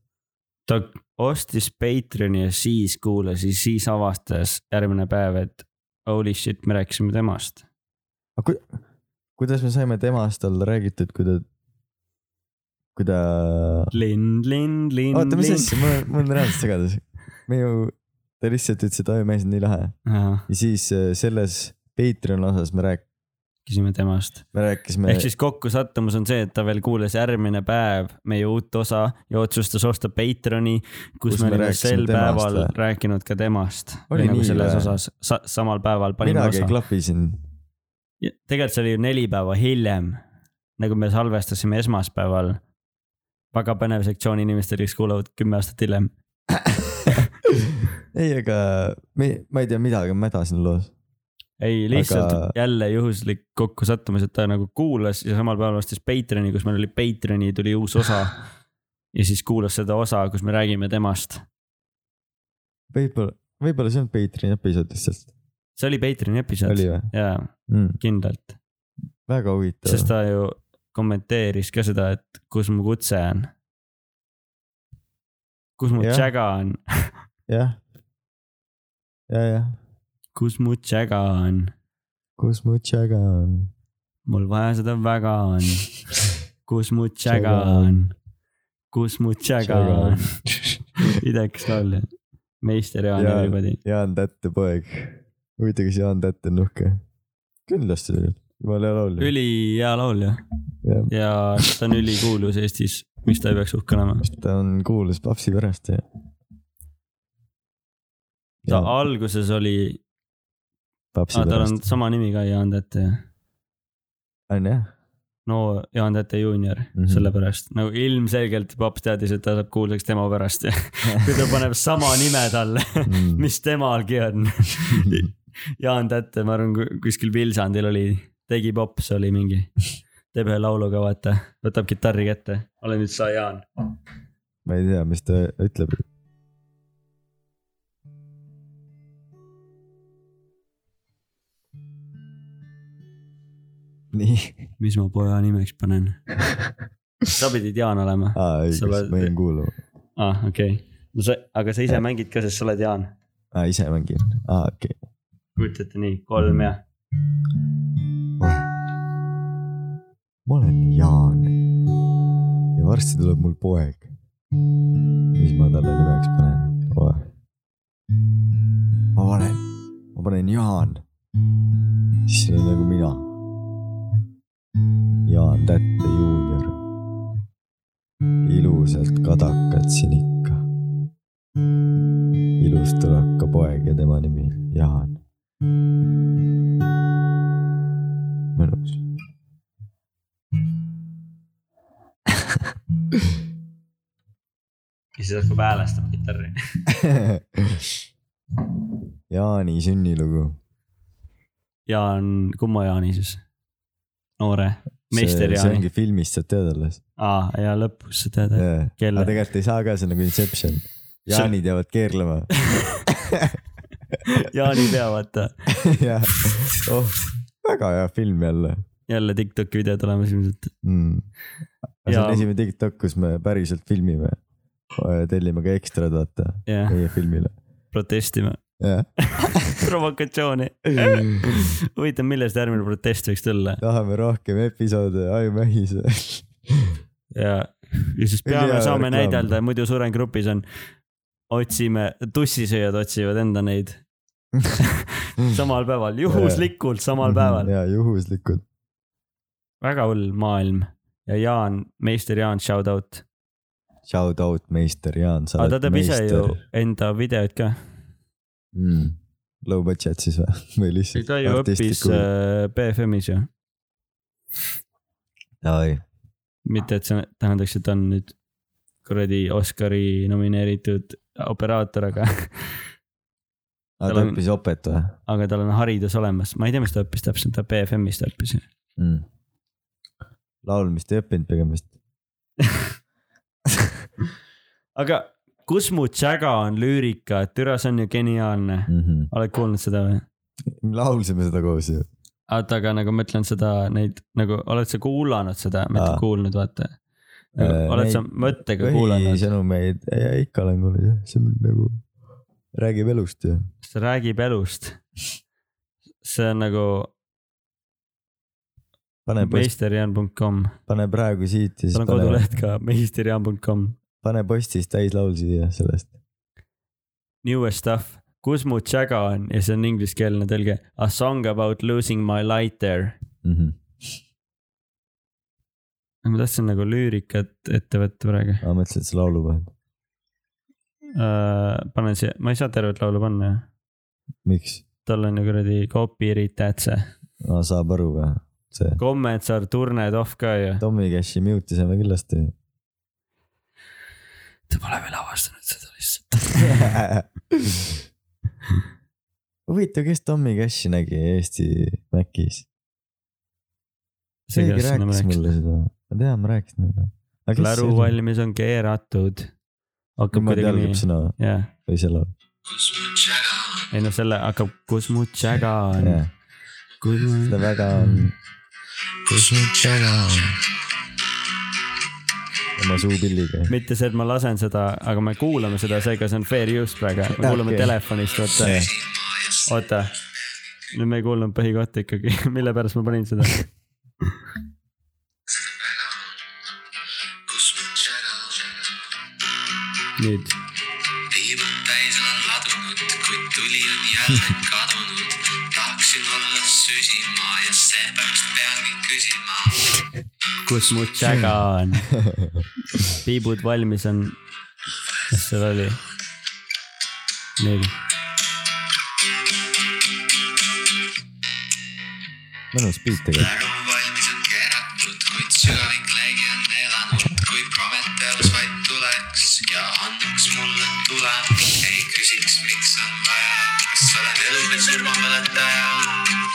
S3: ta ostis Patreoni ja siis kuulas ja siis avastas järgmine päev , et holy shit , me rääkisime temast .
S1: aga ku, kuidas me saime temast olla räägitud , kui ta , kui ta ,
S3: linn , linn , linn .
S1: oota , mis asja , mul on , mul on reaalselt segadus . me ju , ta lihtsalt ütles , et oi mees on nii lahe
S3: asja ?
S1: ja siis eh, selles Patreon osas me rääk- ,
S3: küsime temast .
S1: me rääkisime
S3: ehk siis kokkusattumus on see , et ta veel kuulas järgmine päev meie uut osa ja otsustas osta Patreoni , kus me olime
S1: rääkisime
S3: sel
S1: temast
S3: päeval
S1: või?
S3: rääkinud ka temast .
S1: Oli
S3: nagu
S1: nii
S3: selles
S1: või?
S3: osas sa , samal päeval panime
S1: minagi
S3: osa .
S1: klapisin
S3: tegelikult see oli ju neli päeva hiljem , nagu me salvestasime esmaspäeval . väga põnev sektsioon inimestele , kes kuulavad kümme aastat hiljem .
S1: ei , aga me , ma ei tea midagi , ma hädasin loos .
S3: ei , lihtsalt
S1: Aga-
S3: aga... jälle juhuslik kokkusattumus , et ta nagu kuulas ja samal päeval ostis Patreoni , kus meil oli Patreoni , tuli uus osa . ja siis kuulas seda osa , kus me räägime temast .
S1: võib-olla , võib-olla see on Patreon'i episood lihtsalt .
S3: see oli Patreoni episood
S1: oli või
S3: ja
S1: mm, ?
S3: kindlalt ,
S1: väga huvitav
S3: sest . ta ju kommenteeris ka seda , et kus mu kutse on . kus mu
S1: Jah.
S3: tšäga on ,
S1: jah . ja , jah .
S3: kus mu tšäga on ,
S1: kus mu tšäga on ?
S3: mul vaja seda väga on , kus mu tšäga
S1: Tšäga on.
S3: on , kus mu tšäga
S1: Tšäga on.
S3: on . idekas laulja , meister Jaan
S1: Jaan.
S3: Everybody ,
S1: Jaan Tätte poeg . huvitav , kas Jaan Tätt on uhke ? kindlasti tegelikult , jumala hea laulja .
S3: ülihea laulja
S1: Jah.
S3: ja ta on ülikuulus Eestis , miks ta ei peaks uhke olema ?
S1: ta on kuulus papsi pärast ja .
S3: ta alguses oli ,
S1: papsi
S3: tal on
S1: pärast ,
S3: sama nimi ka Jaan Tätte ju
S1: on jah .
S3: no Jaan Täte juunior mm
S1: Mhm.
S3: -hmm. sellepärast , nagu ilmselgelt paps teadis , et ta saab kuulsaks tema pärast ja kui ta paneb sama nime talle ,
S1: Mm.
S3: mis temalgi on . Jaan Täte , ma arvan , kuskil Vilsandil oli , tegi pops oli mingi , teeb ühe laulu ka vaata , võtab kitarri kätte , ole nüüd sa Jaan .
S1: ma ei tea , mis ta ütleb . nii ,
S3: mis ma poja nimeks panen ? sa pidid Jaan olema ,
S1: aa
S3: Sa
S1: õigus ,
S3: oled-
S1: ma jäin kuulama ,
S3: aa ah, okei okay. no sa , aga sa ise mängid ka , sest sa oled Jaan .
S1: aa ise mängin , aa okei okay. .
S3: kujuta ette nii , kolm ja .
S1: ma olen Jaan ja varsti tuleb mul poeg . mis ma talle nimeks panen oh. ? ma panen , ma panen Jaan . siis see on nagu mina , kartsin ikka . ilus tulakapoeg ja tema nimi Jaan . mõnus .
S2: ja siis hakkab häälestama kitarri .
S1: Jaani sünnilugu .
S3: Jaan , kumma Jaani siis ? noore , meister
S1: see
S3: Jaani .
S1: ongi filmist saad teada alles .
S3: aa , ja lõpus sa tead , et
S1: aga
S3: kelle .
S1: tegelikult ei saa ka , see on nagu Inception . Jaanid jäävad keerlema .
S3: Jaani pea , vaata .
S1: jah , oh , väga hea film jälle
S3: jälle Tiktoki videod olemas ilmselt .
S1: mm. . see
S3: Jaa.
S1: on esimene TikTok , kus me päriselt filmime . tellime ka ekstrad , vaata ,
S3: jah ,
S1: meie filmile .
S3: protestima .
S1: jah ,
S3: provokatsiooni . huvitav , millest järgmine protest võiks tulla
S1: tahame rohkem episoode Aimähis .
S3: ja , ja siis peame ,
S1: Ülihea
S3: saame
S1: reklaam.
S3: näidelda , muidu Suren grupis on , otsime , tussisööjad otsivad enda neid samal päeval , juhuslikult samal
S1: Mm.
S3: päeval .
S1: ja juhuslikult ,
S3: väga hull maailm ja Jaan , meister Jaan , shout out .
S1: shout out meister Jaan , sa
S3: aga ta
S1: oled
S3: teeb ise ju
S1: meister .
S3: enda videoid ka .
S1: Mm. Low budget siis või , või lihtsalt ?
S3: ta ju õppis äh, BFM-is ju , äh,
S1: Ai,
S3: mitte et see tähendaks , et ta on nüüd kuradi Oscari nomineeritud operaator , aga ,
S1: aga
S3: Tal
S1: ta
S3: on-
S1: õppis opet või
S3: aga tal on haridus olemas . ma ei tea , mis ta õppis täpselt , ta BFM-is ta õppis ju .
S1: mm. ? Hmm. laulmist ei õppinud pigem vist .
S3: aga kus mu tšäga on lüürika , türa , see on ju geniaalne . oled kuulnud seda või ?
S1: Hmm. me laulsime seda koos
S3: Äh,
S1: ju .
S3: oota , aga nagu ma ütlen seda , neid nagu , oled sa kuulanud seda , mitte
S1: Aa.
S3: kuulnud , vaata
S1: Äh,
S3: nagu, . oled sa
S1: neid
S3: mõttega kuulanud ,
S1: põhisõnumeid , ikka olen kuulnud jah , see on nagu , räägib elust ju .
S3: see räägib elust . see on nagu
S1: pane ,
S3: meisterjan.com ,
S1: pane praegu siit ja
S3: tal
S1: siis
S3: on
S1: pane ,
S3: koduleht ka , meisterjan.com .
S1: pane postis täis laulsi ja sellest .
S3: Newest stuff , kus mu tšäga on ja see on ingliskeelne tõlge . A song about losing my light there .
S1: ma
S3: ma tahtsin nagu lüürikat ette võtta praegu .
S1: mõtlesin , et sa laulu paned .
S3: Äh, panen siia , ma ei saa tervet laulu panna ju .
S1: miks ?
S3: tal on ju kuradi copyright ätse .
S1: saab aru või ? see
S3: Kommentsaar , Turned off ka ju .
S1: Tommy Cashi mute isime kindlasti .
S3: ta pole veel avastanud seda lihtsalt .
S1: huvitav , kes Tommy Cashi nägi Eesti Macis ? keegi rääkis
S3: nagu
S1: mulle seda , ma tean , ma rääkisin seda .
S3: klaru . valmis on keeratud . hakkab
S1: niimoodi
S3: kuidagi
S1: algab
S3: nii ,
S1: sõna
S3: jah .
S1: või see laul ?
S3: ei no selle hakkab , kus mu tšäga on .
S1: jah , seda väga on . kus mu tšaga on ? oma suupilliga .
S3: mitte see , et ma lasen seda , aga me kuulame seda , seega see on fair use praegu . me kuulame
S1: Okei.
S3: telefonist , oota , oota . nüüd me ei kuulnud põhikohta ikkagi , mille pärast ma panin seda .
S4: kus mu tšära on ,
S3: nüüd
S4: tiibud täis on ladunud , kuid tuli on jälle kadunud . tahaksin olla süsima ja seepärast peangi küsima .
S3: kus mu tšäga on . piibud valmis on . mis seal oli ? nii ,
S1: mõnus beat tegelikult .
S4: praegu valmis on keeratud , kuid sügavik leegi on elanud , kui Prometheus vaid tuleks ja annaks mulle tule . ei küsiks , miks on vaja , kas olen elu või surma mäletaja .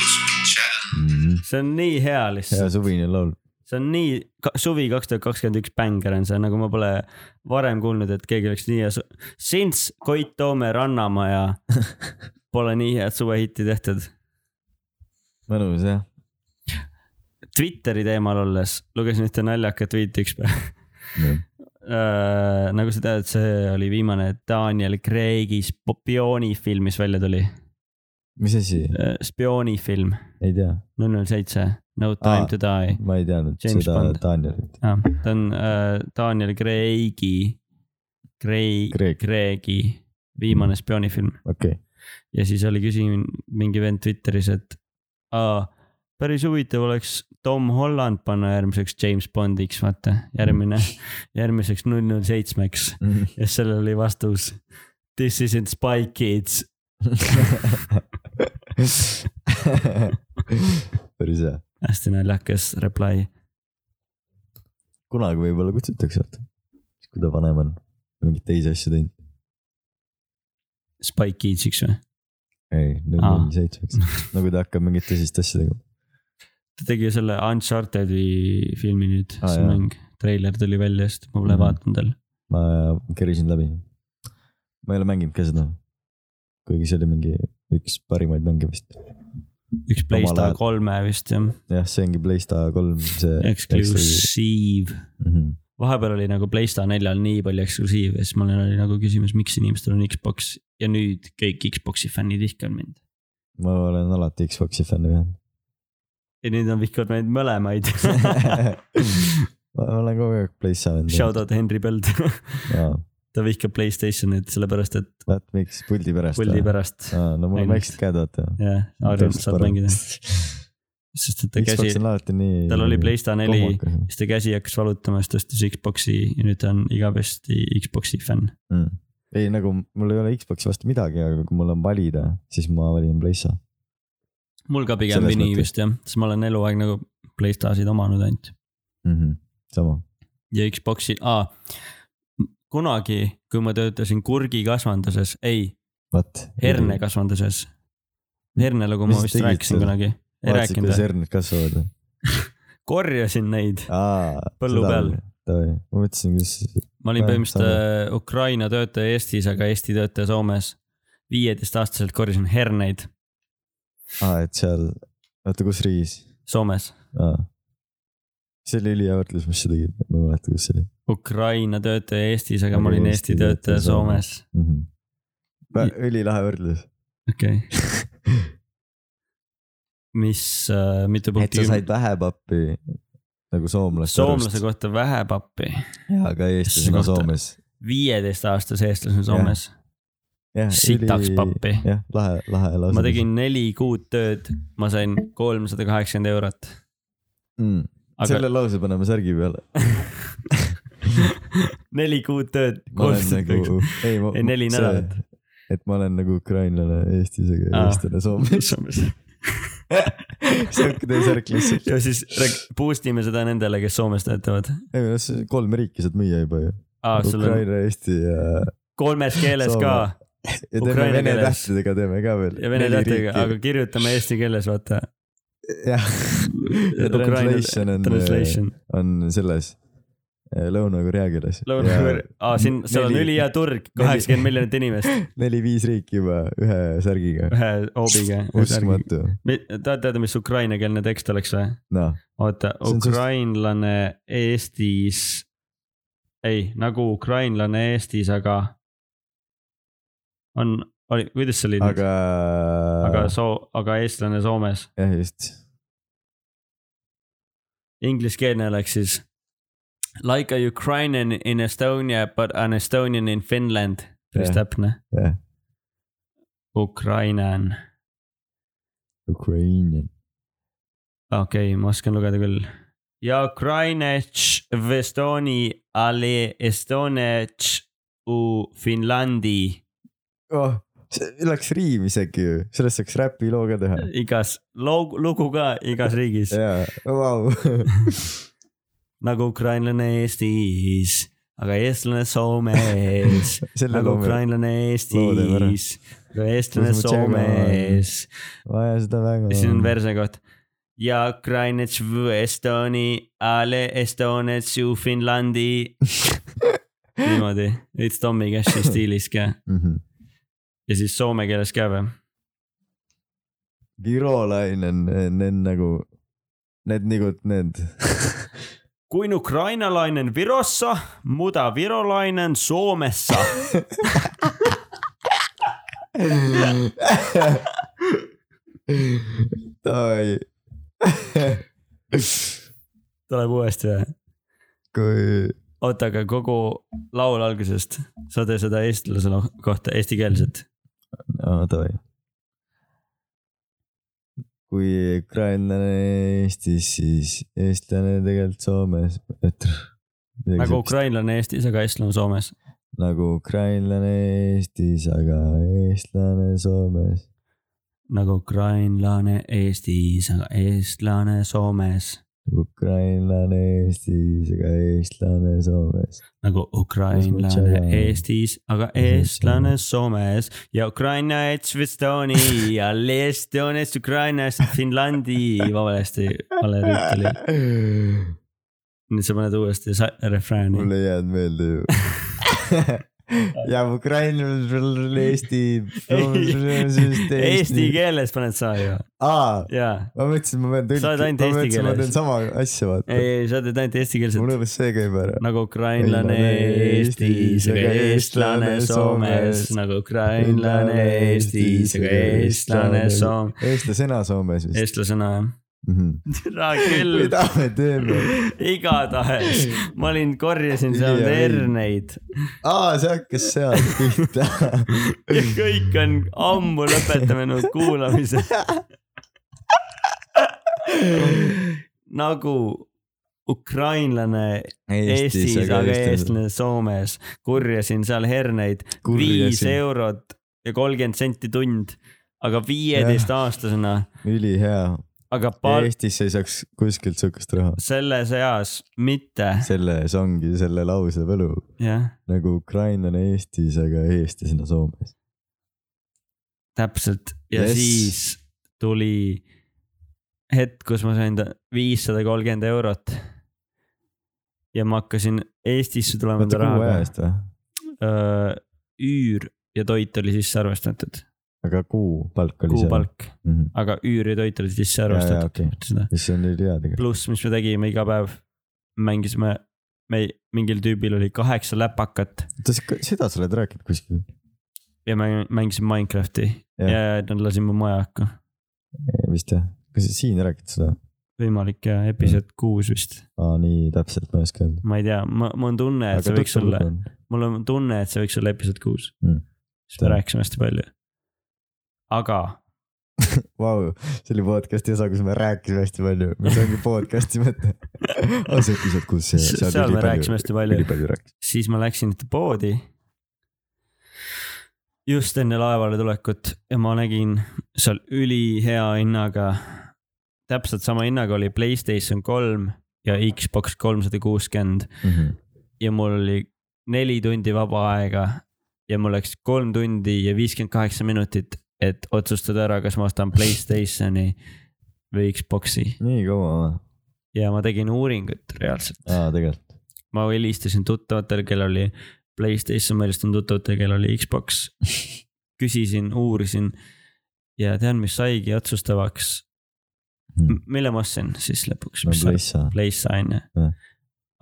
S4: kus mu tšära on ,
S3: see on nii hea
S1: Mhm. hea
S3: lihtsalt ,
S1: suvine laul .
S3: see on nii ka, suvi kaks tuhat kakskümmend üks bängar on see , nagu ma pole varem kuulnud , et keegi oleks nii hea su- . Since Koit Toome Rannamaja pole nii head suvehitti tehtud .
S1: mõnus jah .
S3: Twitteri teemal olles lugesin ühte naljakat tweet'i üks päev . Äh, nagu sa tead , see oli viimane Daniel Craig'is spioonifilm , mis välja tuli .
S1: mis asi ?
S3: äh, spioonifilm ,
S1: ei tea ,
S3: null null seitse , No time
S1: Aa.
S3: to die .
S1: ma ei teadnud
S3: James
S1: seda
S3: Bond.
S1: Danielit .
S3: ta on äh, Daniel Craig'i , Craig ,
S1: Craig.
S3: Craig'i viimane spioonifilm
S1: okei okay. ,
S3: ja siis oli küsinud mingi vend Twitteris , et aa , päris huvitav oleks Tom Holland panna järgmiseks James Bondiks , vaata , järgmine , järgmiseks null null seitsmeks ja sellel oli vastus . This isn't Spy Kids .
S1: päris hea ,
S3: hästi naljakas reply .
S1: kunagi võib-olla kutsutakse , vaata . siis kui ta vanem on , mingeid teisi asju teinud .
S3: Spy Kidsiks või ?
S1: ei , nüüd
S3: Aa.
S1: on seitsmeks , no kui ta hakkab mingit tõsist asja tegema .
S3: ta tegi ju selle Uncharted'i filmi nüüd
S1: Aa,
S3: ah, , see
S1: jah.
S3: mäng . treiler tuli välja , sest ma pole
S1: Mhm.
S3: mm -hmm. vaadanud veel .
S1: ma kerisin läbi . ma ei ole mänginud ka seda . kuigi see oli mingi üks parimaid mänge vist .
S3: üks PlayStation
S1: ajal.
S3: kolme vist jah ,
S1: jah , see ongi PlayStation kolm , see . Mhm.
S3: eksklusiiv . vahepeal oli nagu PlayStation neljal nii palju eksklusiive , siis mul oli nagu küsimus , miks inimestel on Xbox ja nüüd kõik Xbox'i fännid vihkavad mind .
S1: ma olen alati Xbox'i fänn jah .
S3: ja nüüd on vihkavad meid mõlemaid .
S1: ma olen kogu aeg PlayStation
S3: Shout . out Henry Põld , ta vihkab Playstationi't sellepärast , et
S1: vaat miks , puldi pärast .
S3: puldi . pärast
S1: no mul on
S3: Ainult.
S1: väiksed käed vaata .
S3: jah , Arjan saab mängida , sest et ta käsi
S1: Xbox , on alati nii .
S3: tal oli PlayStation neli siis ta käsi hakkas valutama , siis tõstis Xbox'i ja nüüd ta on igavesti Xbox'i fänn .
S1: mm. . ei , nagu mul ei ole Xbox'i vastu midagi , aga kui mul on valida , siis ma valin PlayStation .
S3: mul ka pigem
S1: Selles
S3: vini
S1: mõttes.
S3: vist jah , sest ma olen eluaeg nagu Playstasid omanud ainult
S1: Mm -hmm. sama .
S3: ja Xbox'i , aa . kunagi , kui ma töötasin kurgikasvanduses , ei ,
S1: vot .
S3: hernekasvanduses . hernelugu
S1: Mhm. Mis
S3: ma
S1: sa
S3: vist
S1: tegid
S3: rääkisin
S1: seal?
S3: kunagi , ei
S1: vaatasid ,
S3: rääkinud
S1: kuidas Ah,
S3: või ?
S1: herned kasvavad või ?
S3: korjasin neid , Põllu peal. .
S1: Davai , ma mõtlesin , kuidas ,
S3: ma olin
S1: jah,
S3: põhimõtteliselt äh, Ukraina töötaja Eestis , aga Eesti töötaja Soomes . viieteistaastaselt korjasin herneid
S1: aa , et seal , oota , kus riigis ?
S3: Soomes .
S1: see oli ülihea võrdlus , mis sa tegid , ma ei mäleta , kus see oli
S3: Ukraina töötaja Eestis , aga ma
S1: Aga
S3: olin
S1: Eesti
S3: Eesti töötaja
S1: töötaja Soomes.
S3: Soomes
S1: mm -hmm. . ülilahe võrdlus .
S3: okei okay. . mis äh, ,
S1: et
S3: mitu
S1: sa
S3: punkti ?
S1: said vähe pappi nagu soomlaste
S3: soomlase . kohta vähe pappi ,
S1: aga eestlasena
S3: kohta.
S1: Soomes .
S3: viieteistaastase eestlasena Soomes . Sitaks pappi.
S1: jah , lahe , lahe lause .
S3: ma tegin neli kuud tööd , ma sain kolmsada kaheksakümmend eurot .
S1: mm. . Aga...
S3: aga
S1: selle lause paneme särgi peale .
S3: neli kuud tööd ,
S1: ma olen
S3: kolmsada
S1: nagu
S3: kaheksakümmend ,,
S1: ei ma
S3: Ei, neli nädalat. .
S1: et ma olen nagu ukrainlane Eestis , aga
S3: Aa.
S1: eestlane Soomes .
S3: Soomes .
S1: see ongi teie särk lihtsalt .
S3: ja siis reg- boost ime seda nendele , kes Soomes töötavad .
S1: ei , no see kolm riiki saad müüa juba ju .
S3: aa , sul on
S1: Ukraina , Eesti ja ,
S3: kolmes keeles
S1: Soome.
S3: ka
S1: ja teeme
S3: Ukraina
S1: vene
S3: keeles.
S1: tähtedega teeme ka veel .
S3: ja vene tähtedega , aga . kirjutame eesti keeles , vaata .
S1: jah , ja translation eh, on ,
S3: Translation ,
S1: on selles eh, Lõuna-Korea keeles .
S3: Lõuna-Korea , aa siin , seal on
S1: neli-
S3: ülihea turg , kaheksakümmend miljonit inimest
S1: neli-viis riiki juba ühe särgiga .
S3: ühe hoobiga .
S1: uskumatu ,
S3: tahad teada , mis ukrainakeelne tekst oleks või ?
S1: noh ,
S3: oota ,
S1: See on suht-
S3: ukrainlane Eestis , ei nagu ukrainlane Eestis , aga on , oli , kuidas see oli nüüd ?
S1: aga .
S3: aga soo- , aga eestlane Soomes ,
S1: jah , just .
S3: ingliskeelne oleks siis like a Ukrainian in Estonia but an Estonian in Finland , päris
S1: Jah.
S3: täpne
S1: Jah. .
S3: Ukrainan ,
S1: Ukrainian .
S3: okei okay, , ma oskan lugeda küll . ja Ukrainetš v Estoni ali Estonetš u Finlandi ,
S1: oh, . see läks riim isegi ju , sellest saaks räpi loo ka teha .
S3: igas loo- , lugu ka igas riigis .
S1: jaa , vau .
S3: nagu ukrainlane Eestis , aga eestlane Soomes ,
S1: selle
S3: nagu
S1: loo me ,
S3: ukrainlane
S1: loo teeme ära.
S3: Eestis , aga eestlane
S1: Kuidas mu tšekka on?
S3: Soomes .
S1: vaja seda väga .
S3: siin on . verse kohta . ja ukrainets v Estoni , ale estonets ju Finlandi . niimoodi , veits Tommy Cashi stiilis ka
S1: Mhm.
S3: ja siis soome keeles ka või ?
S1: Virolainen , need nagu , need nagu need .
S3: kuin ukrainalainen Virossa , muda virolainen Suomessa .
S1: Davai .
S3: tuleb uuesti või ?
S1: kui ,
S3: oota , aga kogu laul algusest , sa tee seda eestlase lo- kohta , eestikeelset .
S1: no davai . kui ukrainlane Eestis , siis eestlane tegelikult Soomes , et .
S3: nagu ukrainlane Eestis , aga eestlane Soomes .
S1: nagu ukrainlane Eestis , aga eestlane Soomes .
S3: nagu ukrainlane Eestis , aga eestlane Soomes .
S1: Nagu ukrainlane Eestis , aga eestlane Soomes .
S3: nagu ukrainlane Eestis , aga eestlane Soomes ja Ukraina , Estonia , Estonia , Ukraina , Finlandi , valesti , vale riik oli . Äh. nüüd sa paned uuesti sa- refrääni
S1: mul . ei jäänud meelde ju . ja Ukrainal , Eesti .
S3: Eesti keeles paned sa ju ,
S1: aa ,
S3: jaa .
S1: ma mõtlesin , ma pean
S3: Sa oled ainult
S1: ma
S3: eesti
S1: mõtlesin , ma
S3: keeles.
S1: teen sama asja , vaata
S3: ei ,. ei , sa teed ainult
S1: mul
S3: eestikeelset
S1: õnnestus see käib ära .
S3: nagu ukrainlane Eestis , aga eestlane Soomes , nagu ukrainlane Eestis , aga eestlane Soom- ,
S1: eestlasena Soomes vist .
S3: eestlasena jah . türa küll ,
S1: mida me teeme ?
S3: igatahes ma olin , korjasin
S1: Nii
S3: seal
S1: ja nii.
S3: herneid
S1: aa , see hakkas sealt pihta .
S3: ja kõik on ammu lõpetanud kuulamise . nagu ukrainlane Eestis , aga eestlane Soomes , kurjasin seal herneid , viis
S1: Kurjasin.
S3: eurot ja kolmkümmend senti tund , aga viieteistaastasena ,
S1: ülihea ,
S3: aga pal- ,
S1: Eestis ei saaks kuskilt sihukest raha .
S3: selles eas mitte ,
S1: selles ongi selle lause võlu ,
S3: jah ,
S1: nagu ukrainlane Eestis , aga eestlasena Soomes .
S3: täpselt ja
S1: Yes.
S3: yes. siis tuli hetk , kus ma sain ta viissada kolmkümmend eurot . ja ma hakkasin Eestisse tulema
S1: oota ,
S3: enda
S1: kuu aja
S3: rahaga ,
S1: eest või ?
S3: üür ja toit oli sisse arvestatud ,
S1: aga kuu palk oli seal ?
S3: kuupalk , aga üür ja toit oli sisse arvestatud ,
S1: okei.
S3: mitte seda .
S1: mis on nüüd hea tegelikult .
S3: pluss , mis me tegime iga päev , mängisime , me mingil tüübil oli kaheksa läpakat
S1: oota , seda sa oled rääkinud kuskil ?
S3: ja me mängisime Minecrafti
S1: Jah.
S3: ja, ja nad lasid mu maja hakka .
S1: vist jah , kas sa siin räägid seda ?
S3: võimalik ja episood kuus vist ,
S1: aa , nii täpselt ma ei oska öelda .
S3: ma ei tea , ma , mul on tunne , et see võiks olla ,. mul on tunne , et see võiks olla episood kuus
S1: Mm.
S3: mm. . sest me
S1: Tänan.
S3: rääkisime hästi palju . aga
S1: Vau , see oli podcast'i osa , kus me rääkisime hästi palju , mis ongi podcast'i mõte . on see episood , kus see,
S3: seal, seal me rääkisime hästi palju ,
S1: ülipalju rääkis .
S3: siis ma läksin ühte poodi . just enne laevale tulekut ja ma nägin seal ülihea hinnaga , täpselt sama hinnaga oli Playstation kolm ja Xbox kolmsada kuuskümmend
S1: Mhm.
S3: ja mul oli neli tundi vaba aega ja mul läks kolm tundi ja viiskümmend kaheksa minutit , et otsustada ära , kas ma ostan Playstationi või Xbox'i
S1: nii kaua või ?
S3: ja ma tegin uuringut reaalselt .
S1: aa , tegelikult .
S3: ma helistasin tuttavatele , kellel oli Playstation , ma helistasin tuttavatele , kellel oli Xbox . küsisin , uurisin ja tean , mis saigi otsustavaks
S1: Hmm. .
S3: mille ma ostsin siis lõpuks ,
S1: no
S3: mis sa
S1: Playssa ,
S3: Playsta on ju
S1: Jah. .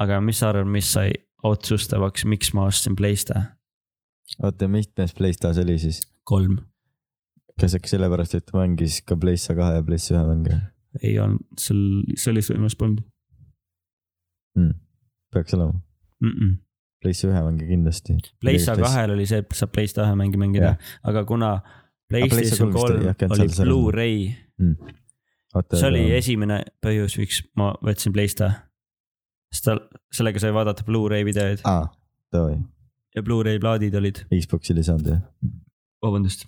S3: aga mis sa arvad , mis sai otsustavaks , miks ma ostsin Playsta
S1: oota , mitmes Playsta see oli siis ?
S3: kolm ?
S1: kas äkki sellepärast , et mängis ka Playsta kahe ja Playsta ühe mänge
S3: ei olnud , seal sellist võimalust polnud
S1: mm. ? peaks olema ,
S3: mm . -mm.
S1: Playsta ühe mänge kindlasti .
S3: Playsta . kahel oli see , et saab Playsta ühe mängi mängida , aga kuna PlayStation
S1: PlayStation kolm
S3: kolm
S1: vist oli, jah, käinud
S3: oli
S1: seal- seal-
S3: Blu-ray , see oli
S1: esimene .
S3: esimene põhjus , miks ma võtsin Playsta . sest tal , sellega sai vaadata Blu-ray videoid
S1: aa , davai ,
S3: ja Blu-ray plaadid olid ,
S1: Xbox'il ei saanud jah ?
S3: vabandust .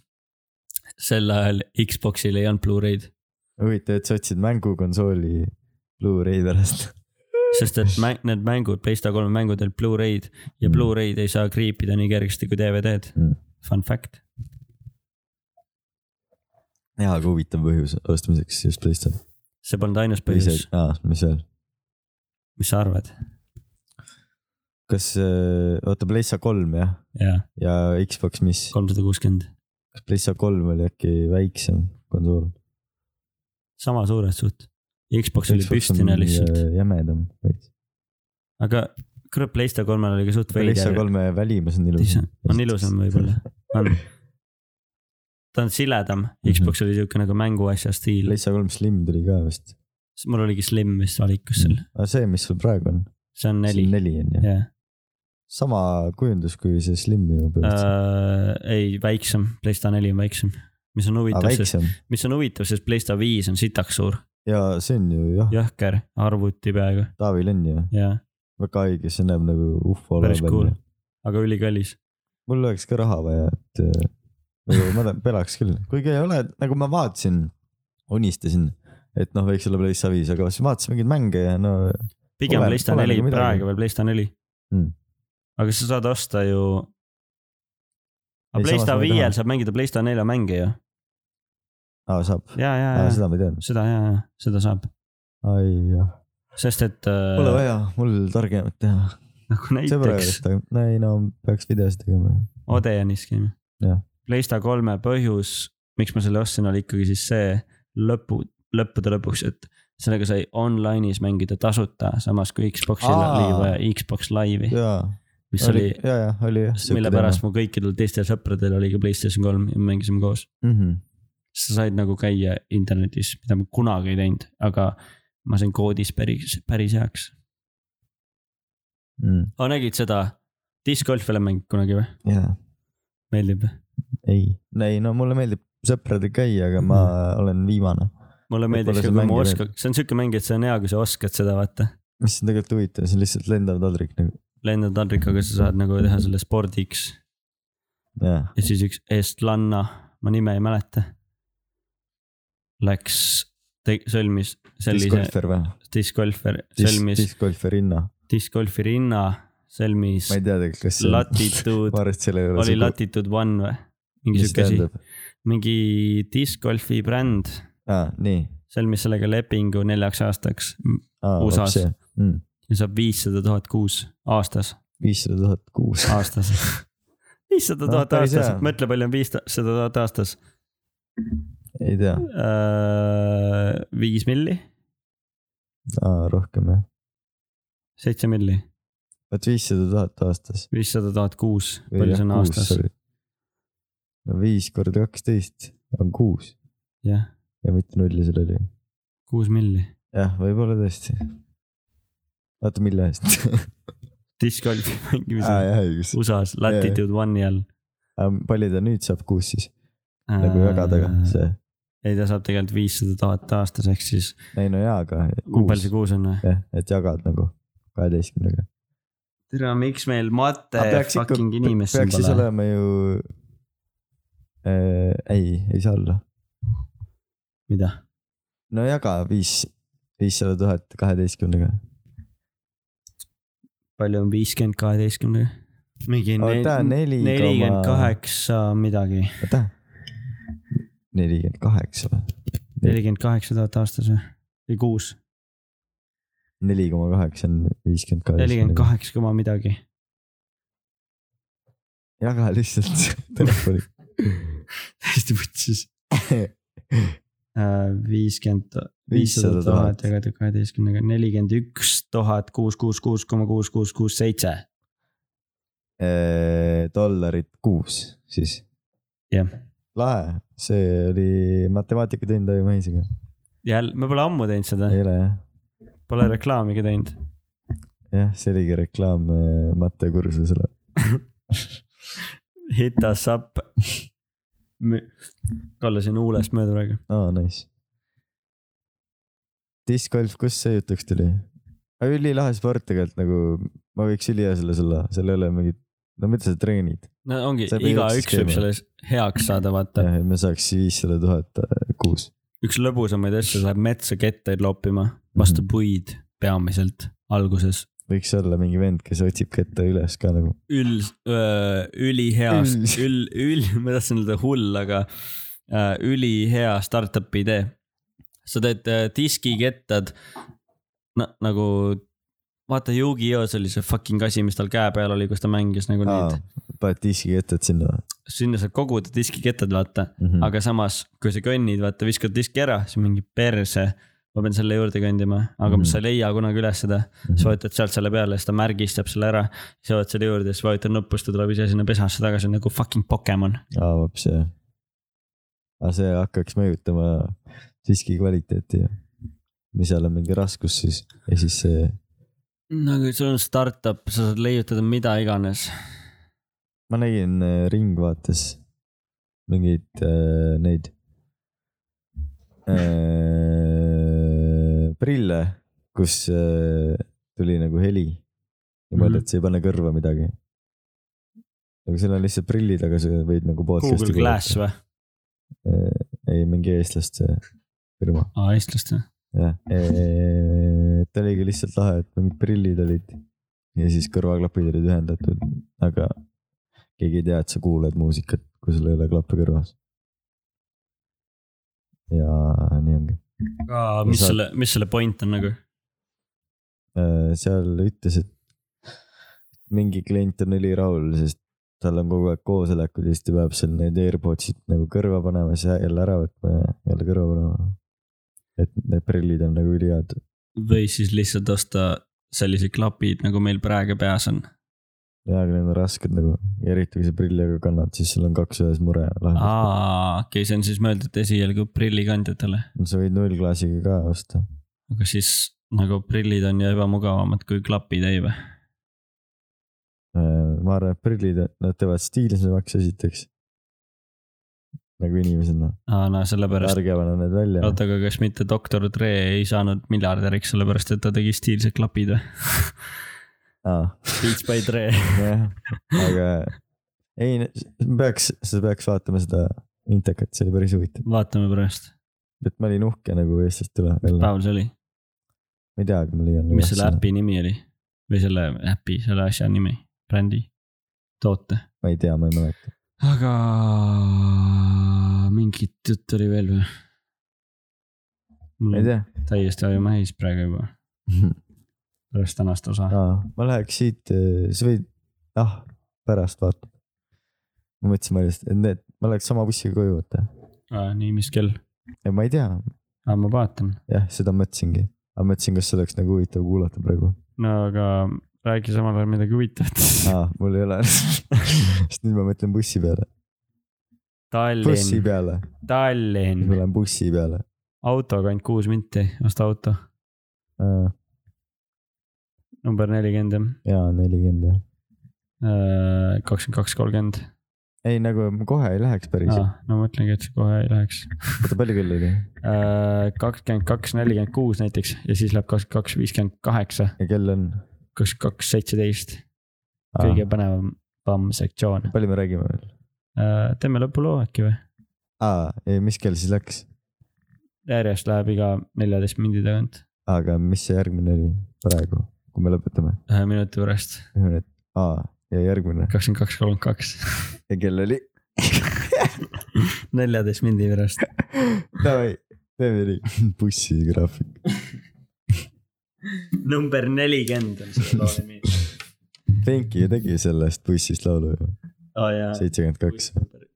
S3: sel ajal Xbox'il ei olnud Blu-ray'd ,
S1: huvitav , et sa otsid mängukonsooli Blu-ray pärast .
S3: sest et mäng, need mängud , Playsta kolme mängud olid Blu-ray'd ja
S1: Mm.
S3: Blu-ray'd ei saa kriipida nii kergesti kui DVD-d
S1: Mm. .
S3: Fun fact ,
S1: jaa , aga huvitav põhjus ostmiseks just Playsta .
S3: see polnud ainus
S1: või see
S3: põhjus ,,
S1: aa , mis veel ?
S3: mis sa arvad ?
S1: kas , oota , PlayStation kolm jah ,
S3: jaa ,
S1: ja Xbox , mis ,
S3: kolmsada kuuskümmend ,
S1: kas PlayStation kolm oli äkki väiksem konsool ?
S3: sama suures suht . Xbox oli püstine lihtsalt ,
S1: äh, jämedam veits .
S3: aga kurat , Playsta kolmel oli ka suht
S1: PlayStation
S3: veider .
S1: kolme välimus on ilusam .
S3: on ilusam võib-olla , on . ta on siledam ,
S1: Mhm.
S3: Xbox oli siuke nagu mänguasja stiil ,
S1: PlayStation kolm Slim tuli ka vist .
S3: mul oligi Slim vist valikus seal ,
S1: aga see , mis sul praegu on ?
S3: see on neli ,
S1: neli on ju ,
S3: jah .
S1: sama kujundus kui see Slim ju põhimõtteliselt .
S3: Äh, ei , väiksem , Playsta neli on väiksem , mis on
S1: aga
S3: Äh, huvitav , sest ,
S1: Ah, väiksem
S3: mis on huvitav , sest Playsta viis on sitaks suur ,
S1: ja see on ju jah ja. ,
S3: jõhker arvuti peaaegu
S1: Taavil on ju
S3: ja
S1: väga haige , see näeb nagu ufo
S3: päris cool
S1: välja .,
S3: aga ülikallis .
S1: mul oleks ka raha vaja , et äh, ma tahan- pelaks küll , kuigi ei ole , nagu ma vaatasin , unistasin , et noh , võiks olla PlayStation viis , aga siis vaatasin mingeid mänge ja no
S3: pigem
S1: Pole-
S3: Playsta
S1: pole
S3: neli
S1: nagu , midagi.
S3: praegu veel Playsta neli
S1: Mm.
S3: aga sa saad osta ju .
S1: Ei,
S3: aga Playsta
S1: samas ma ei
S3: viiel
S1: taha.
S3: saab mängida Playsta nelja mänge ju ,
S1: aa, saab ,
S3: ja , ja , ja
S1: seda ma ei teadnud .
S3: seda ja , ja seda saab ,
S1: ai jah ,
S3: sest et .
S1: pole vaja mul targemat teha ,
S3: nagu näiteks
S1: sõbrad , no ei no peaks videos tegema .
S3: Odeonis käime
S1: Jah. .
S3: Playsta kolme põhjus , miks ma selle ostsin , oli ikkagi siis see lõpu , lõppude lõpuks , et sellega sai online'is mängida tasuta , samas kui Xbox'i
S1: Aa.
S3: live ja Xbox Live'i ,
S1: jaa ,
S3: mis oli ,
S1: ja , ja oli jah .
S3: mille pärast mu kõikidel teistel sõpradel oli ka Playstation kolm ja me mängisime koos .
S1: mm . -hmm.
S3: sa said nagu käia internetis , mida ma kunagi ei teinud , aga ma sain koodis päris , päris heaks .
S1: Mm.
S3: aga nägid seda , disc golfi oled mänginud kunagi või ?
S1: jaa ,
S3: meeldib ?
S1: ei , ei no mulle meeldib sõpradega käia , aga ma
S3: Mhm.
S1: olen viimane ,
S3: mulle
S1: Et
S3: meeldiks
S1: pole
S3: ka ,
S1: seda
S3: kui ma
S1: mänge
S3: oskan , see on siuke mäng , et see on hea , kui sa oskad seda vaata .
S1: mis on tegelikult huvitav , see on lihtsalt lendav taldrik nagu ,
S3: lendad taldrikaga , sa saad nagu teha selle spordiks
S1: jaa .
S3: ja siis üks eestlanna , ma nime ei mäleta . Läks , sõlmis sellise
S1: discgolfer või ?
S3: discgolfer , sõlmis
S1: discgolferinna ,
S3: discgolfi rinna , sõlmis
S1: ma ei tea tegelikult , kas see on ,
S3: latitud
S1: ma , arvan , et selle ei ole
S3: oli latitud one või ? mingi siuke asi , mingi discgolfi bränd
S1: aa , nii .
S3: sõlmis sellega lepingu neljaks aastaks USA-s. .
S1: Hmm,
S3: ja saab viissada tuhat kuus aastas .
S1: viissada tuhat kuus .
S3: aastas . viissada
S1: No,
S3: tuhat
S1: päris
S3: aastas
S1: hea. ,
S3: mõtle , palju on viissada tuhat aastas .
S1: ei tea ,
S3: Äh, viis milli ,
S1: aa rohkem jah .
S3: seitse milli ,
S1: vot viissada tuhat aastas .
S3: viissada tuhat kuus , palju see on aastas ,
S1: no viis korda kaksteist on kuus
S3: jah ,
S1: ja mitte nulli seal oli .
S3: kuus milli .
S1: jah , võib-olla tõesti . vaata , mille eest .
S3: discgolfi
S1: aa
S3: mängimisel
S1: jah , õigus .
S3: USA-s latitude one'i all .
S1: palju ta nüüd saab kuus siis ? nagu jagadega see .
S3: Äh, ei , ta saab tegelikult viissada tuhat aastas , ehk siis
S1: ei no jaa , aga
S3: kui palju
S1: kuus
S3: see . kuus on või ?
S1: jah , et jagad nagu kaheteistkümnega .
S3: tere , miks meil mate
S1: Aga Ah, peaks ikka-
S3: fucking inimest siin
S1: peaks siis
S3: pole ?
S1: olema ju äh, . ei , ei saa olla .
S3: mida ?
S1: no jaga viis , viissada tuhat kaheteistkümnega .
S3: palju on viiskümmend kaheteistkümnega ? mingi nel-
S1: oota , neli
S3: nelikümmend
S1: koma ,
S3: kaheksa midagi ,
S1: oota . nelikümmend kaheksa või ?
S3: nelikümmend kaheksa tuhat aastas või ? või kuus ,
S1: neli koma kaheksa on viiskümmend kaheksa .
S3: nelikümmend . kaheksa koma midagi .
S1: jaga lihtsalt telefoni .
S3: hästi vutsis . viiskümmend ,
S1: viissada
S3: viissada tuhat
S1: tuhat .
S3: jagatud kaheteistkümnega , nelikümmend üks tuhat kuus , kuus , kuus koma kuus , kuus , kuus , seitse .
S1: Äh, dollarit kuus siis .
S3: jah ,
S1: lahe , see oli matemaatikatund oli Maisiga .
S3: jälle , me pole ammu teinud seda ,
S1: ei ole jah ?
S3: pole reklaamigi teinud .
S1: jah , see oligi reklaam äh, mattekursusele .
S3: Hit us up . Kalle siin huulest mööda praegu .
S1: aa , nice . discgolf , kust see jutuks tuli ? ülilahe sport tegelikult nagu , ma võiks ülihea selles olla , seal ei ole mingit , no mida sa treenid .
S3: no ongi ,
S1: See peab
S3: igaüks
S1: jooksma
S3: võib
S1: käima.
S3: selles heaks saada , vaata .
S1: jah , et me saaks viissada tuhat äh, kuus .
S3: üks lõbusamaid asju , läheb metsa kettaid loopima , vastu puid peamiselt alguses .
S1: võiks olla mingi vend , kes otsib kette üles ka nagu .
S3: Üld , üliheast ,
S1: Üld-
S3: üld , üld , ma tahtsin öelda hull , aga öö, ülihea startup'i idee . sa teed öö, diskikettad na, nagu , vaata Yugi-Yos oli see fucking asi , mis tal käe peal oli , kus ta mängis nagu neid ,
S1: paned diskiketted sinna
S3: sinna saab koguda diskikettad , vaata .
S1: mm .
S3: aga samas , kui sa kõnnid , vaata , viskad diski ära , siis mingi perse , ma pean selle juurde kõndima , aga mm
S1: Mhm.
S3: -hmm. sa ei leia kunagi üles seda , siis
S1: -hmm.
S3: vajutad sealt selle peale , siis ta märgistab selle ära , siis jõuad selle juurde , siis vajutad nuppu , siis ta tuleb ise sinna pesasse tagasi nagu fucking Pokemon .
S1: aa , vaps jah . aga see hakkaks mõjutama diski kvaliteeti ju . mis seal on mingi raskus siis ja siis see ,
S3: no aga sul Nagu on startup , sa saad leiutada mida iganes .
S1: ma nägin äh, Ringvaates mingeid äh, neid äh, prille , kus äh, tuli nagu heli .
S3: Mhm.
S1: niimoodi , et sa ei pane kõrva midagi . aga seal on lihtsalt prillid , aga sa võid nagu
S3: Google
S1: podcast'i
S3: Glass või ?
S1: kuulata. ei , mingi eestlaste firma .
S3: aa , eestlast või ?
S1: jah , et oligi lihtsalt lahe , et mingid prillid olid ja siis kõrvaklapid olid ühendatud , aga keegi ei tea , et sa kuuled muusikat , kui sul ei ole klappe kõrvas . ja nii ongi .
S3: aa , mis
S1: Sa-
S3: selle , mis selle point on nagu ?
S1: seal ütles , et mingi klient on ülirahul , sest tal on kogu aeg koosolekud ja siis ta peab seal need AirPodsid nagu kõrva panema , siis jälle ära võtma ja jälle kõrva panema . et need prillid on nagu ülihead .
S3: või siis lihtsalt osta sellised klapid , nagu meil praegu peas on .
S1: jaa , aga need on rasked nagu , eriti kui sa prilliga kannad , siis sul on kaks ühes mure lahendus .
S3: aa , okei okay, , see on siis mõeldud esialgu prillikandjatele ,
S1: sa võid nullklaasiga ka osta ,
S3: aga siis nagu prillid on ju ebamugavamad kui klapid , ei või ?
S1: Äh, ma arvan , et prillid , nad teevad stiilsemaks esiteks . nagu inimesena ,
S3: aa , no sellepärast ,
S1: ärge pane need välja ,
S3: oota , aga kas mitte doktor Dre ei saanud miljardäriks , sellepärast et ta tegi stiilsed klapid või ?
S1: aa ,
S3: Beats by Dre .
S1: jah , aga ei , peaks , sa peaks vaatama seda intekat , see oli päris huvitav ,
S3: vaatame pärast ,
S1: et ma olin uhke nagu Eestist üle ,
S3: mis
S1: ma
S3: päeval see oli ,
S1: ei tea , kui ma leian .
S3: mis selle ? äpi nimi oli või selle äpi , selle asja nimi , brändi , toote ?
S1: ma ei tea , ma ei mäleta ,
S3: aga mingit juttu oli veel või ? mul
S1: ma ei
S3: on
S1: tea
S3: täiesti aju mähis praegu juba , Mm. pärast tänast osa .
S1: aa , ma läheks siit , sa võid , ah , pärast vaata . ma mõtlesin , ma just , et need , ma läheks sama bussiga koju , vaata .
S3: nii , mis kell ?
S1: ja ma ei tea ,
S3: ma vaatan .
S1: jah , seda mõtlesingi . aga mõtlesin , kas see oleks nagu huvitav kuulata praegu .
S3: no aga räägi samal ajal midagi huvitavat .
S1: aa , mul ei ole . sest nüüd ma mõtlen bussi peale . bussi
S3: Tallinn ,
S1: peale , nüüd ma
S3: Tallinn ,
S1: lähen bussi peale .
S3: autoga ainult kuus minti , osta auto , number nelikümmend jah ,
S1: jaa , nelikümmend jah .
S3: kakskümmend kaks , kolmkümmend .
S1: ei , nagu ma kohe ei läheks päris .
S3: no mõtlengi , et see kohe ei läheks .
S1: oota , palju kell oli ?
S3: kakskümmend kaks , nelikümmend kuus näiteks ja siis läheb kakskümmend kaks , viiskümmend kaheksa ,
S1: ja kell on ?
S3: kakskümmend kaks , seitseteist , kõige põnevam sektsioon .
S1: palju me räägime veel ?
S3: teeme lõpuloo äkki või ?
S1: aa , mis kell siis läks ?
S3: järjest läheb iga neljateist mindi tagant ,
S1: aga mis see järgmine oli praegu , kui me lõpetame ?
S3: ühe minuti pärast ,
S1: ühine , et aa ja järgmine
S3: kakskümmend kaks , kolmkümmend kaks ,
S1: ja kell oli ?
S3: neljateist mindi pärast .
S1: Davai , teeme nii , bussigraafik .
S3: number nelikümmend on selle loo nimi .
S1: Fenki ju tegi sellest bussist laulu ju ,
S3: aa Oh, jaa .
S1: seitsekümmend kaks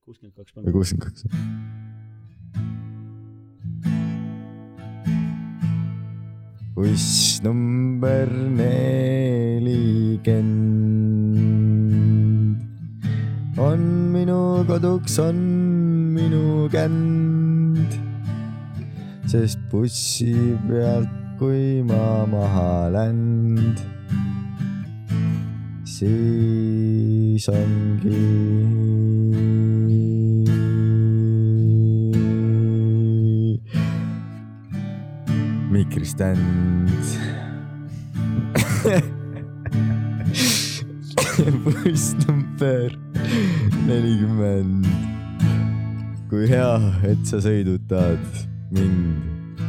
S3: kuuskümmend kaks
S1: või . kuuskümmend kaks . buss number nelikümmend on minu koduks , on minu känd . sest bussi pealt , kui ma maha länd , siis ongi . mikriständ . buss number nelikümmend . kui hea , et sa sõidutad mind .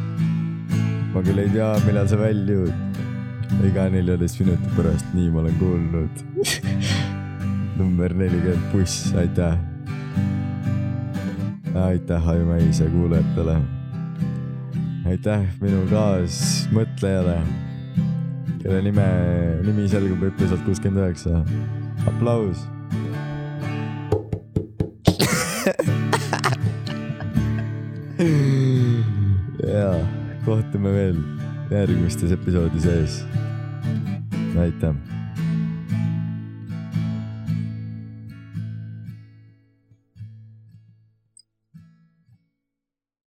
S1: ma küll ei tea , millal sa väljud . iga neljateist minuti pärast , nii ma olen kuulnud . number nelikümmend buss , aitäh . aitäh , Aju Mäise kuulajatele . aitäh minu kaasmõtlejale , kelle nime , nimi selgub episood kuuskümmend üheksa . aplaus . ja kohtume veel järgmistes episoodides . aitäh .